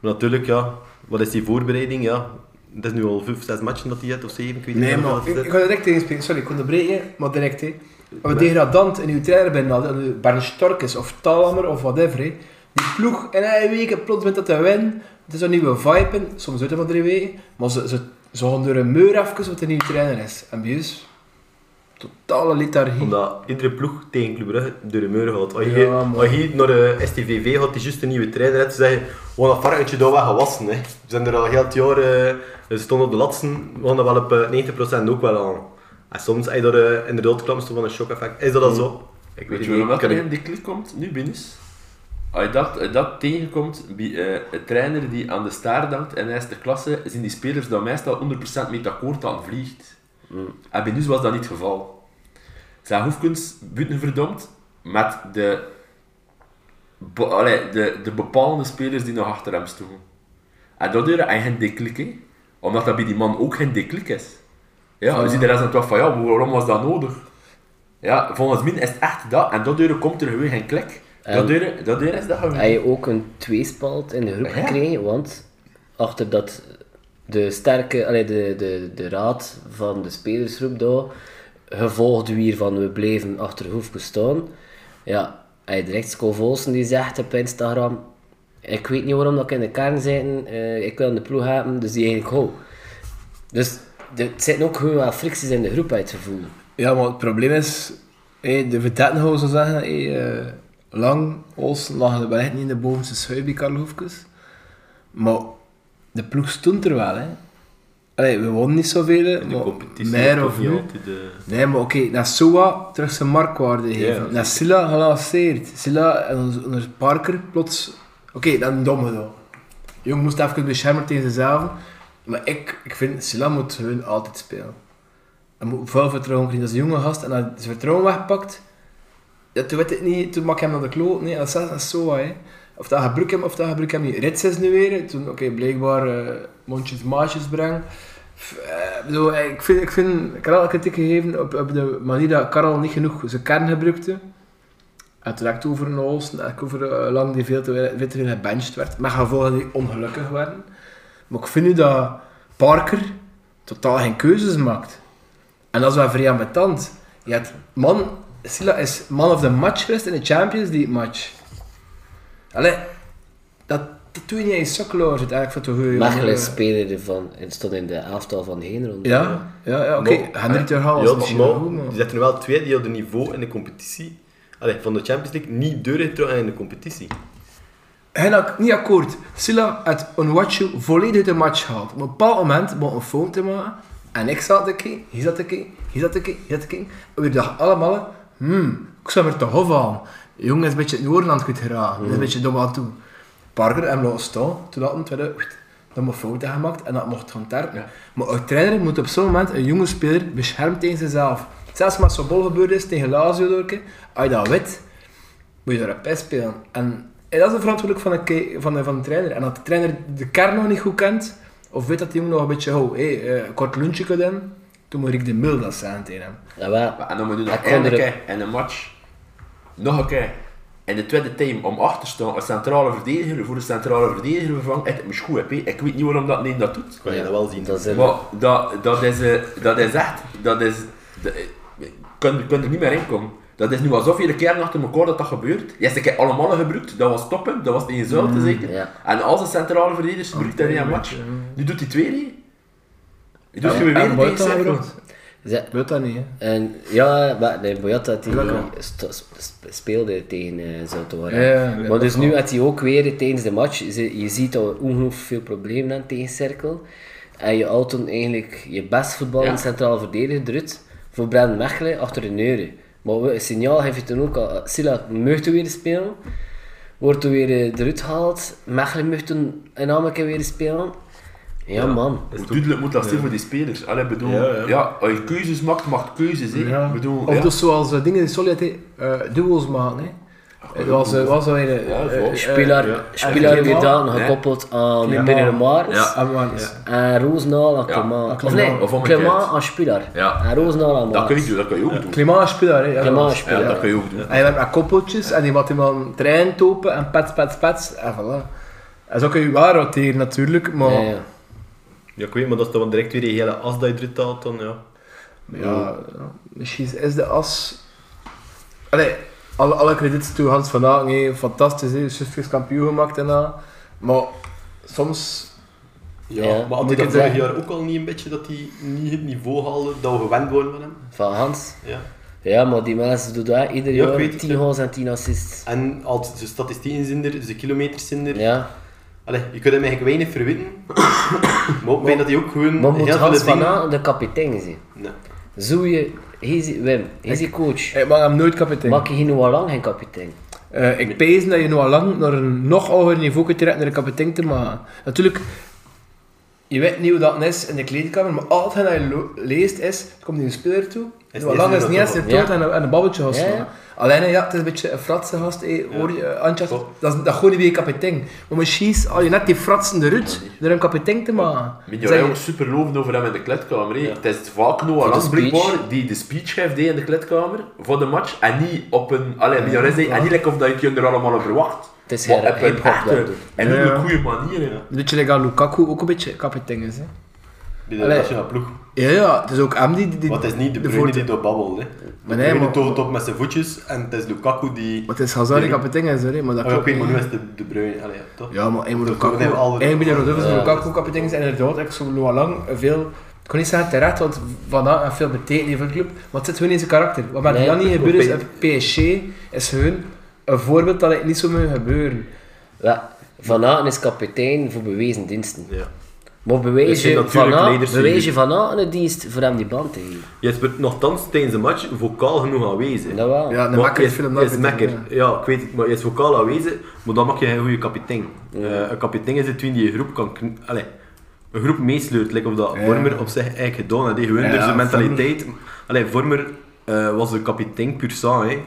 [SPEAKER 5] Maar natuurlijk, ja, wat is die voorbereiding? Ja, het is nu al vijf, zes matchen dat hij heeft, of zeven, ik weet
[SPEAKER 2] Nee,
[SPEAKER 5] niet.
[SPEAKER 2] maar ik, ik ga direct tegen spreken. Sorry, ik onderbreek je, maar direct. Hè. Als we
[SPEAKER 5] Nee.
[SPEAKER 2] degradant in uw trainer bent, dat u Bernd Stork is eh, of Talamer of whatever, hè. die ploeg in eigen weken plots bent dat te winnen. Het is een nieuwe vibe, in, soms uit van drie weken, maar ze, ze, ze gaan door een muur even wat een nieuwe trainer is. En bij ons, totale lethargie.
[SPEAKER 5] Omdat iedere ploeg tegen Club Brugge door de muren gaat. Als je,
[SPEAKER 2] Ja, man.
[SPEAKER 5] als je naar eh, de STVV gaat, die juist een nieuwe trainer hebt, ze zeggen, we gaan dat varkentje daar wel gewassen. Hè. Ze zijn er al heel het jaar, eh, ze stonden op de latsen, we gaan dat wel op eh, 90% ook wel aan. En soms heb je daar eh, inderdaad klamste van een shock effect. Is dat dan zo? Ik
[SPEAKER 4] Mm. Weet
[SPEAKER 5] het
[SPEAKER 4] je waarom dat
[SPEAKER 5] Ik
[SPEAKER 4] er
[SPEAKER 5] heb-
[SPEAKER 4] in die klik komt, nu binnen? is? Als je dat, eh, dat tegenkomt bij eh, een trainer die aan de staart dankt in eerste klasse, zijn die spelers dan meestal 100% met akkoord aan vliegt. En bij ons was dat niet het geval. Zijn Hoefkens buiten verdomd met de, be- allee, de, de bepalende spelers die nog achter hem stonden. En dat deed hij geen deklik, hè. omdat dat bij die man ook geen deklik is. Ja, we
[SPEAKER 3] Ah.
[SPEAKER 4] zien de rest dan toch van ja, waarom was dat nodig? Ja, volgens mij is het echt dat. En dat deuren komt er gewoon geen klik.
[SPEAKER 3] En-
[SPEAKER 4] Dat deuren, dat deuren is dat gewoon.
[SPEAKER 3] Hij je ook een tweespalt in de groep
[SPEAKER 4] Ja.
[SPEAKER 3] gekregen, want achter dat de sterke, allee, de, de, de raad van de spelersgroep daar, gevolgd wie van we bleven achter Hoefkes staan, ja, hij direct Sco Volsen die zegt op Instagram, ik weet niet waarom dat ik in de kern zit, eh, ik wil in de ploeg hebben, dus die eigenlijk hou. Dus de, het zitten ook gewoon wel fricties in de groep uit te voelen.
[SPEAKER 2] Ja, maar het probleem is, hé, de verdetten gaan zo zeggen, hé, eh, Lang, Olsen lagen wel echt niet in de bovenste schuif bij Karl Hoefkes. Maar de ploeg stond er wel. Hè. Allee, we wonnen niet zoveel, hè,
[SPEAKER 5] De
[SPEAKER 2] maar
[SPEAKER 5] competitie
[SPEAKER 2] meer
[SPEAKER 5] is
[SPEAKER 2] of
[SPEAKER 5] niet
[SPEAKER 2] nu.
[SPEAKER 5] altijd de...
[SPEAKER 2] Nee, maar oké, naar Soa terug zijn marktwaarde geven.
[SPEAKER 5] Ja,
[SPEAKER 2] naar Silla gelanceerd. Silla en ons, ons Parker plots... Oké, dan een domme dan. Jong moest even beschermen tegen zichzelf. Maar ik, ik vind, Silla moet gewoon altijd spelen. Hij moet veel vertrouwen krijgen. Dat is een jonge gast en als hij zijn vertrouwen wegpakt... Ja, toen weet ik niet, toen maak ik hem naar de kloot. Nee, dat is zelfs naar Soa, hè. Of dat gebruik hem, of dat gebruik hem niet. Rits is nu weer, hè. toen, oké, blijkbaar eh, mondjes maatjes brengen. F- eh, ik bedoel, ik vind, ik vind, ik had al kritiek gegeven op, op de manier dat Karel niet genoeg zijn kern gebruikte. En toen had ik het over een Olsen, en ik over eh, Lang die veel te we- veel te veel gebenched werd. Met gevolgen die ongelukkig werden. Maar ik vind nu dat Parker totaal geen keuzes maakt. En dat is wel vrij ambetant. Je hebt man, Silla is man of the match geweest in de Champions League match. Allee, dat, dat doe je niet in je sokkenloor zit eigenlijk voor te horen.
[SPEAKER 3] Mechelen spelen ervan en stond in de elftal van geen ronde.
[SPEAKER 2] Ja, ja, ja oké.
[SPEAKER 5] Maar-
[SPEAKER 2] Henry Ter Hal
[SPEAKER 5] Ja,
[SPEAKER 2] was misschien wel
[SPEAKER 5] maar
[SPEAKER 2] goed, maar...
[SPEAKER 5] Die zetten wel twee die hadden niveau in de competitie. Allee, van de Champions League niet doorgetrokken in de competitie.
[SPEAKER 2] Hij had niet akkoord. Silla had Onwachu volledig uit de match gehaald. Op een bepaald moment begon een phone te maken. En ik zat te kijken, hij zat te kijken, hij zat te kijken, hij zat te kijken. En we dachten allemaal, hmm, ik zou er toch af aan. De jongen is een beetje in Noorland goed geraakt.
[SPEAKER 5] Hmm.
[SPEAKER 2] Hij is een beetje dom aan toe. Parker hem laten staan, toen had hij tweede, oeit, dan een fouten gemaakt en dat mocht gaan terpen. Maar een trainer moet op zo'n moment een jonge speler beschermen tegen zichzelf. Zelfs als zo'n bol gebeurd is tegen Lazio, door een keer, als je dat weet, moet je daar een pijs spelen. En dat is de verantwoordelijk van de, ke- van, de, van de trainer. En dat de trainer de kern nog niet goed kent, of weet dat die jongen nog een beetje, oh, hé, eh, een kort lunchje kan doen, toen moet ik de mil dat zijn tegen hem.
[SPEAKER 3] Jawel.
[SPEAKER 4] En dan moet je
[SPEAKER 3] Hij
[SPEAKER 4] nog
[SPEAKER 3] kon
[SPEAKER 4] één
[SPEAKER 3] er-
[SPEAKER 4] keer in een match, nog een keer in de tweede team om achter te staan, een centrale verdediger voor de centrale verdediger vervangen. Het is goed, hè. ik weet niet waarom dat neemt dat doet.
[SPEAKER 5] Ik kan je dat wel zien.
[SPEAKER 3] Dat is een-
[SPEAKER 4] Maar dat, dat, is, eh, dat is echt, dat is, dat- je kunt kunt er niet meer in komen. Dat is nu alsof je de keer achter elkaar dat dat gebeurt. Je hebt een keer allemaal gebruikt, dat was toppen, dat was tegen Zuil
[SPEAKER 2] Mm,
[SPEAKER 4] te zeker.
[SPEAKER 3] ja.
[SPEAKER 4] En als de centrale verdedigers gebruikt in één match, nu doet hij twee niet. Je doet je weer
[SPEAKER 2] En
[SPEAKER 4] tegen
[SPEAKER 2] Boyata
[SPEAKER 4] Zuil.
[SPEAKER 2] gebruikt.
[SPEAKER 3] Ze-
[SPEAKER 2] Boyata niet, hè.
[SPEAKER 3] En ja, maar nee, Boyata die
[SPEAKER 2] Gelukkig.
[SPEAKER 3] sto- sp- speelde tegen uh,
[SPEAKER 2] Ja, ja, ja.
[SPEAKER 3] maar dus nu had hij ook weer tijdens de match, ze- je ziet al ongelooflijk veel problemen aan tegen cirkel. En je houdt dan eigenlijk je best voetbal
[SPEAKER 4] Ja.
[SPEAKER 3] in centraal verdediger eruit voor Brand Mechelen achter de neuren. Maar we- een signaal heeft je toen ook al, eh, Silla mocht weer spelen, wordt er weer eh, eruit gehaald, Mechelen mocht toen een keer weer spelen. Ja, man.
[SPEAKER 4] Hoe duidelijk moet dat zijn voor die spelers? Allee, bedoel, ja,
[SPEAKER 5] Ja, ja.
[SPEAKER 4] als je keuzes maakt, maakt keuzes. hè.
[SPEAKER 2] Ja.
[SPEAKER 4] Bedoel,
[SPEAKER 2] of
[SPEAKER 4] ja.
[SPEAKER 2] dus zoals eh, dingen die Solid eh duels maken, hè. Het was, eh, was al een... eh,
[SPEAKER 4] Ja,
[SPEAKER 2] eh,
[SPEAKER 4] vol.
[SPEAKER 2] eh,
[SPEAKER 3] Spelaar,
[SPEAKER 5] ja.
[SPEAKER 3] spelaar weer
[SPEAKER 2] Klimaat,
[SPEAKER 3] dan
[SPEAKER 4] hè?
[SPEAKER 3] gekoppeld aan
[SPEAKER 2] Klimaat.
[SPEAKER 3] Binnen Maartens.
[SPEAKER 4] Ja.
[SPEAKER 2] ah, man, ja.
[SPEAKER 3] En Roosendaal aan
[SPEAKER 4] Ja,
[SPEAKER 3] Clément.
[SPEAKER 2] aan
[SPEAKER 3] Of
[SPEAKER 2] Clément.
[SPEAKER 3] nee,
[SPEAKER 4] Of omgekeerd.
[SPEAKER 3] Clément aan Spielaar.
[SPEAKER 4] Ja.
[SPEAKER 3] En Roosendaal aan
[SPEAKER 4] dat kun je
[SPEAKER 3] Maas.
[SPEAKER 4] doen, dat kun je ook doen.
[SPEAKER 2] Klimaat is speler, hè. eh, Ja,
[SPEAKER 3] Clément aan
[SPEAKER 2] dat is-
[SPEAKER 4] Ja,
[SPEAKER 3] Spielaar.
[SPEAKER 4] dat kun je ook doen.
[SPEAKER 2] En je hebt met koppeltjes en die wat iemand trein topen en pets, pets, pets. En voilà. En zo kun je wel roteren natuurlijk, maar...
[SPEAKER 3] Ja, ja.
[SPEAKER 5] Ja, ik weet, maar dat is dan direct weer die hele as dat je eruit haalt, dan ja.
[SPEAKER 2] Ja, ja, misschien is de as. Allee, alle, alle credits toe Hans van Aken, hé, fantastisch, hè, Suffies kampioen gemaakt en dat. Maar soms.
[SPEAKER 5] Ja,
[SPEAKER 3] Ja,
[SPEAKER 5] maar
[SPEAKER 2] moet
[SPEAKER 5] had ik
[SPEAKER 2] dat
[SPEAKER 5] het vorig
[SPEAKER 2] zeggen.
[SPEAKER 5] jaar ook al niet een beetje dat hij niet het niveau haalde dat we gewend worden van hem?
[SPEAKER 3] Van Hans.
[SPEAKER 5] Ja.
[SPEAKER 3] Ja, maar die mensen doen dat ieder
[SPEAKER 5] Ja, ik
[SPEAKER 3] jaar
[SPEAKER 5] weet het,
[SPEAKER 3] 10
[SPEAKER 5] ja.
[SPEAKER 3] goals en 10 assists.
[SPEAKER 5] En als zijn statistieken zijn er, zijn kilometers zijn er.
[SPEAKER 3] Ja.
[SPEAKER 5] Allee, je kunt hem eigenlijk weinig verwinnen. <coughs> maar ik denk dat hij ook gewoon
[SPEAKER 3] Maar moet
[SPEAKER 5] heel veel
[SPEAKER 3] Hans van
[SPEAKER 5] dingen...
[SPEAKER 3] Aan de kapitein zijn?
[SPEAKER 5] Nee.
[SPEAKER 3] Zo je, hij is- Wim, hij is je coach.
[SPEAKER 2] Ik mag hem nooit kapitein.
[SPEAKER 3] Maak je hier nu al lang geen kapitein?
[SPEAKER 2] Eh, ik pees dat je nou al lang naar een nog hoger niveau kunt trekken naar de kapitein te maken. Natuurlijk, je weet niet hoe dat is in de kleedkamer, maar altijd dat je lo- leest is, er komt een speler toe.
[SPEAKER 5] Is
[SPEAKER 2] Is al
[SPEAKER 5] niet
[SPEAKER 2] lang
[SPEAKER 5] zo
[SPEAKER 2] is
[SPEAKER 5] dat
[SPEAKER 2] niet eens
[SPEAKER 5] toch
[SPEAKER 2] in
[SPEAKER 3] wel.
[SPEAKER 2] toon en, een- en een babbeltje gaan
[SPEAKER 3] Ja, ja.
[SPEAKER 2] slaan. Alleen ja, het is een beetje een fratse gast, hey, hoor je, eh, Antje?
[SPEAKER 5] Klopt.
[SPEAKER 2] Dat, is- dat gooi je bij je kapitein. Maar misschien is al je net die fratsen eruit, door een kapitein te maken.
[SPEAKER 4] Mijn
[SPEAKER 2] Zeg
[SPEAKER 4] jongen
[SPEAKER 2] je-
[SPEAKER 4] ook super lovend over hem in de kledkamer. hè. Het is vaak Noah
[SPEAKER 3] Voor de
[SPEAKER 4] Lang blijkbaar
[SPEAKER 3] speech.
[SPEAKER 4] die de speech geeft die in de kledkamer voor de match en niet op een. Allee, mijn jongen zei, en niet lekker of dat je het er allemaal op verwacht.
[SPEAKER 3] Het is
[SPEAKER 4] maar
[SPEAKER 3] her-
[SPEAKER 4] op een
[SPEAKER 3] hip-hop dat
[SPEAKER 4] echte
[SPEAKER 3] doet.
[SPEAKER 4] en niet op
[SPEAKER 2] Ja.
[SPEAKER 4] een goede manier. hè.
[SPEAKER 2] Een beetje lekker Lukaku, ook een beetje kapitein is. Hè.
[SPEAKER 5] Bij de
[SPEAKER 2] Allee.
[SPEAKER 5] nationale ploeg.
[SPEAKER 2] Ja, ja, het is ook hem die... die, die
[SPEAKER 5] Want het is niet de
[SPEAKER 2] voort-
[SPEAKER 5] Bruyne die door babbelt. Hè.
[SPEAKER 2] Maar nee,
[SPEAKER 5] Maar de Bruyne
[SPEAKER 2] maar-
[SPEAKER 5] toont op met zijn voetjes en het is Lukaku die...
[SPEAKER 2] Maar het is Hazard die
[SPEAKER 5] Ja.
[SPEAKER 2] kapitein is, hoor, hè, maar dat
[SPEAKER 5] Oh, ja, ik
[SPEAKER 2] klopt
[SPEAKER 5] weet maar nu
[SPEAKER 2] niet.
[SPEAKER 5] is het de, de Bruyne. Allee, ja, toch?
[SPEAKER 2] Ja, maar hij moet
[SPEAKER 5] Nee,
[SPEAKER 2] Lukaku...
[SPEAKER 5] we al-
[SPEAKER 2] Hij moet de Rodolfus
[SPEAKER 3] Ja.
[SPEAKER 2] Lukaku kapitein is, inderdaad. Ik zou Noah Lang veel kan niet zeggen terecht, want Van Dijk heeft veel betekend voor de club. Maar het zit gewoon in zijn karakter. Wat met
[SPEAKER 3] Nee,
[SPEAKER 2] Janni gebeurd is op
[SPEAKER 5] klopt.
[SPEAKER 2] PSG, is gewoon een voorbeeld dat het niet zou moeten gebeuren.
[SPEAKER 3] Ja, Van Aken is kapitein voor bewezen diensten.
[SPEAKER 5] Ja.
[SPEAKER 3] Maar
[SPEAKER 5] Het
[SPEAKER 3] bewijs
[SPEAKER 5] zijn
[SPEAKER 3] je Van
[SPEAKER 5] natuurlijk
[SPEAKER 3] Aken,
[SPEAKER 5] leiders die-
[SPEAKER 3] bewijs je Van Aken een dienst voor hem die band te geven?
[SPEAKER 5] Jesper, nogthans tijdens de match vocaal genoeg aanwezig.
[SPEAKER 3] Dat wel.
[SPEAKER 2] Ja, de
[SPEAKER 5] Maar
[SPEAKER 2] makker
[SPEAKER 5] je-
[SPEAKER 2] film
[SPEAKER 5] je is mekker. Ja. ik weet het, maar je is vocaal aanwezig, maar dan maak je een goede kapitein. Eh, een kapitein is het wie die een groep kan... kn- Allee, een groep meesleurt, like of dat Vormer op zich eigenlijk gedaan had. hè. Gewoon door zijn mentaliteit. Allee, Vormer eh, was de kapitein pur sang. hè.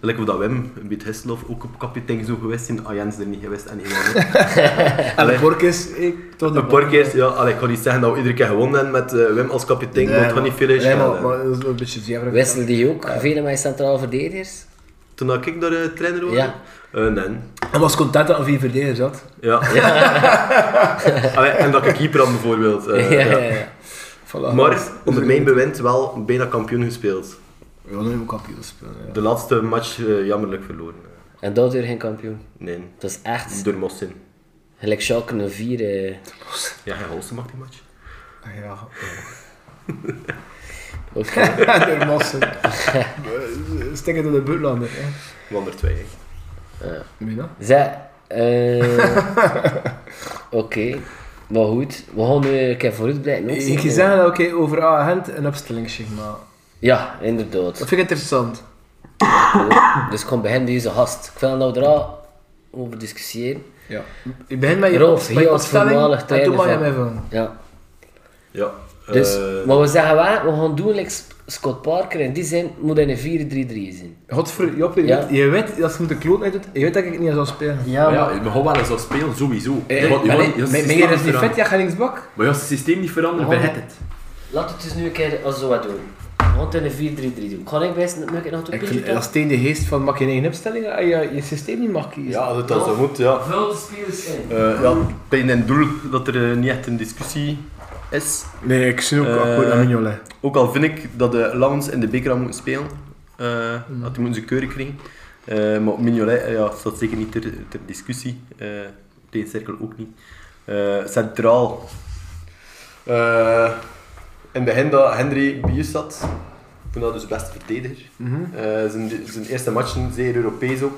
[SPEAKER 5] Like of dat Wim, een beetje Hesselhoff, ook op kapitein zou geweest zijn. Ah, Jens er niet geweest en iemand.
[SPEAKER 2] <laughs>
[SPEAKER 5] hè.
[SPEAKER 2] En
[SPEAKER 5] Allee.
[SPEAKER 2] de Bork is, ik, tot de
[SPEAKER 5] Een paar keer, ja, allee, ik ga niet zeggen dat we iedere keer gewonnen hebben met eh, Wim als kapitein, want het gaat niet veel
[SPEAKER 2] Nee, maar,
[SPEAKER 5] uitschelen.
[SPEAKER 2] maar dat is wel een beetje zeer.
[SPEAKER 3] Wisselde die ook? Vele mijn centrale verdedigers?
[SPEAKER 5] Toen dat ik daar eh, trainer was?
[SPEAKER 3] Ja.
[SPEAKER 5] Eh, nee.
[SPEAKER 2] Hij was content dat hij vier verdedigers had.
[SPEAKER 3] <laughs>
[SPEAKER 5] Ja. Allee, en dat ik keeper had bijvoorbeeld. eh,
[SPEAKER 3] ja, ja,
[SPEAKER 5] ja.
[SPEAKER 3] ja.
[SPEAKER 2] Voilà.
[SPEAKER 5] Maar onder mijn bewind wel bijna kampioen gespeeld.
[SPEAKER 2] We willen hem kampioen spelen. Ja. <laughs>
[SPEAKER 5] De laatste match eh, jammerlijk verloren.
[SPEAKER 3] En dat weer geen kampioen.
[SPEAKER 5] Nee,
[SPEAKER 3] Dat is echt.
[SPEAKER 5] door Mossin.
[SPEAKER 3] Gelijk Schalke 04. eh
[SPEAKER 5] Ja, hij Holsten mag die match.
[SPEAKER 2] Ja.
[SPEAKER 3] oké.
[SPEAKER 2] de massen. We
[SPEAKER 5] <laughs>
[SPEAKER 2] Stikken door de buitenlander. hè.
[SPEAKER 5] Wander 2. hè.
[SPEAKER 2] Meen je dat?
[SPEAKER 3] <laughs> Zij. eh, Oké. Maar goed, we gaan nu een keer vooruit blijven. ook
[SPEAKER 2] Ik
[SPEAKER 3] zeker.
[SPEAKER 2] ga zeggen dat ik over agent een opstelling zeg, maar
[SPEAKER 3] Ja, inderdaad.
[SPEAKER 2] dat vind ik interessant.
[SPEAKER 3] Dus ik kom bij hen deze gast. Ik wil nou er al over discussiëren.
[SPEAKER 2] Ja. Ik begin met je,
[SPEAKER 3] Rolf,
[SPEAKER 2] met je
[SPEAKER 3] hier als voormalig
[SPEAKER 2] opstelling en
[SPEAKER 3] trainer
[SPEAKER 2] toen mag je
[SPEAKER 3] van-
[SPEAKER 2] mij van.
[SPEAKER 3] Ja.
[SPEAKER 5] Ja.
[SPEAKER 3] Dus,
[SPEAKER 5] eh,
[SPEAKER 3] maar we zeggen wel, we gaan doen like Scott Parker. In die zin moet hij een 4-3-3 zijn.
[SPEAKER 2] Godver, Job, je,
[SPEAKER 3] Ja.
[SPEAKER 2] weet, je weet dat ze moeten kloot uit doet. Je weet dat ik het niet zou spelen.
[SPEAKER 4] Maar ja, je mag wel eens zo spelen, sowieso.
[SPEAKER 3] Eh,
[SPEAKER 4] Je gaat- je gaat- je gaat het
[SPEAKER 2] Mijn
[SPEAKER 4] systeem
[SPEAKER 2] heer is niet
[SPEAKER 4] veranderen.
[SPEAKER 2] fit, ja, ga linksbak.
[SPEAKER 4] Maar je gaat het systeem niet veranderen,
[SPEAKER 3] Maar
[SPEAKER 4] ben het het.
[SPEAKER 3] Laten we het dus nu een keer als zo wat doen. We gaan het in een 4-3-3 doen. Ga ik best nog een
[SPEAKER 2] Ik
[SPEAKER 3] toepietje
[SPEAKER 2] vind dat
[SPEAKER 3] doen?
[SPEAKER 2] steen de geest van maak je eigen opstelling en je je systeem niet mag kiezen.
[SPEAKER 5] ja, als het dan zo moet, ja.
[SPEAKER 3] Vul de spelers in.
[SPEAKER 5] Eh ja, pijn en doel dat er eh, niet echt een discussie is.
[SPEAKER 2] Nee, ik zie ook
[SPEAKER 5] Eh,
[SPEAKER 2] akkoord aan Mignolet.
[SPEAKER 5] Ook al vind ik dat de Lans in de beker aan moeten spelen. eh, Dat die moeten ze keurig krijgen. Eh, maar Mignolet eh, ja, staat zeker niet ter, ter discussie. eh Teencirkel ook niet. Eh, centraal. Eh, in het begin dat Henry Bius zat. Toen dat dus beste verdediger. Eh, zijn, zijn eerste matchen, zeer Europees ook.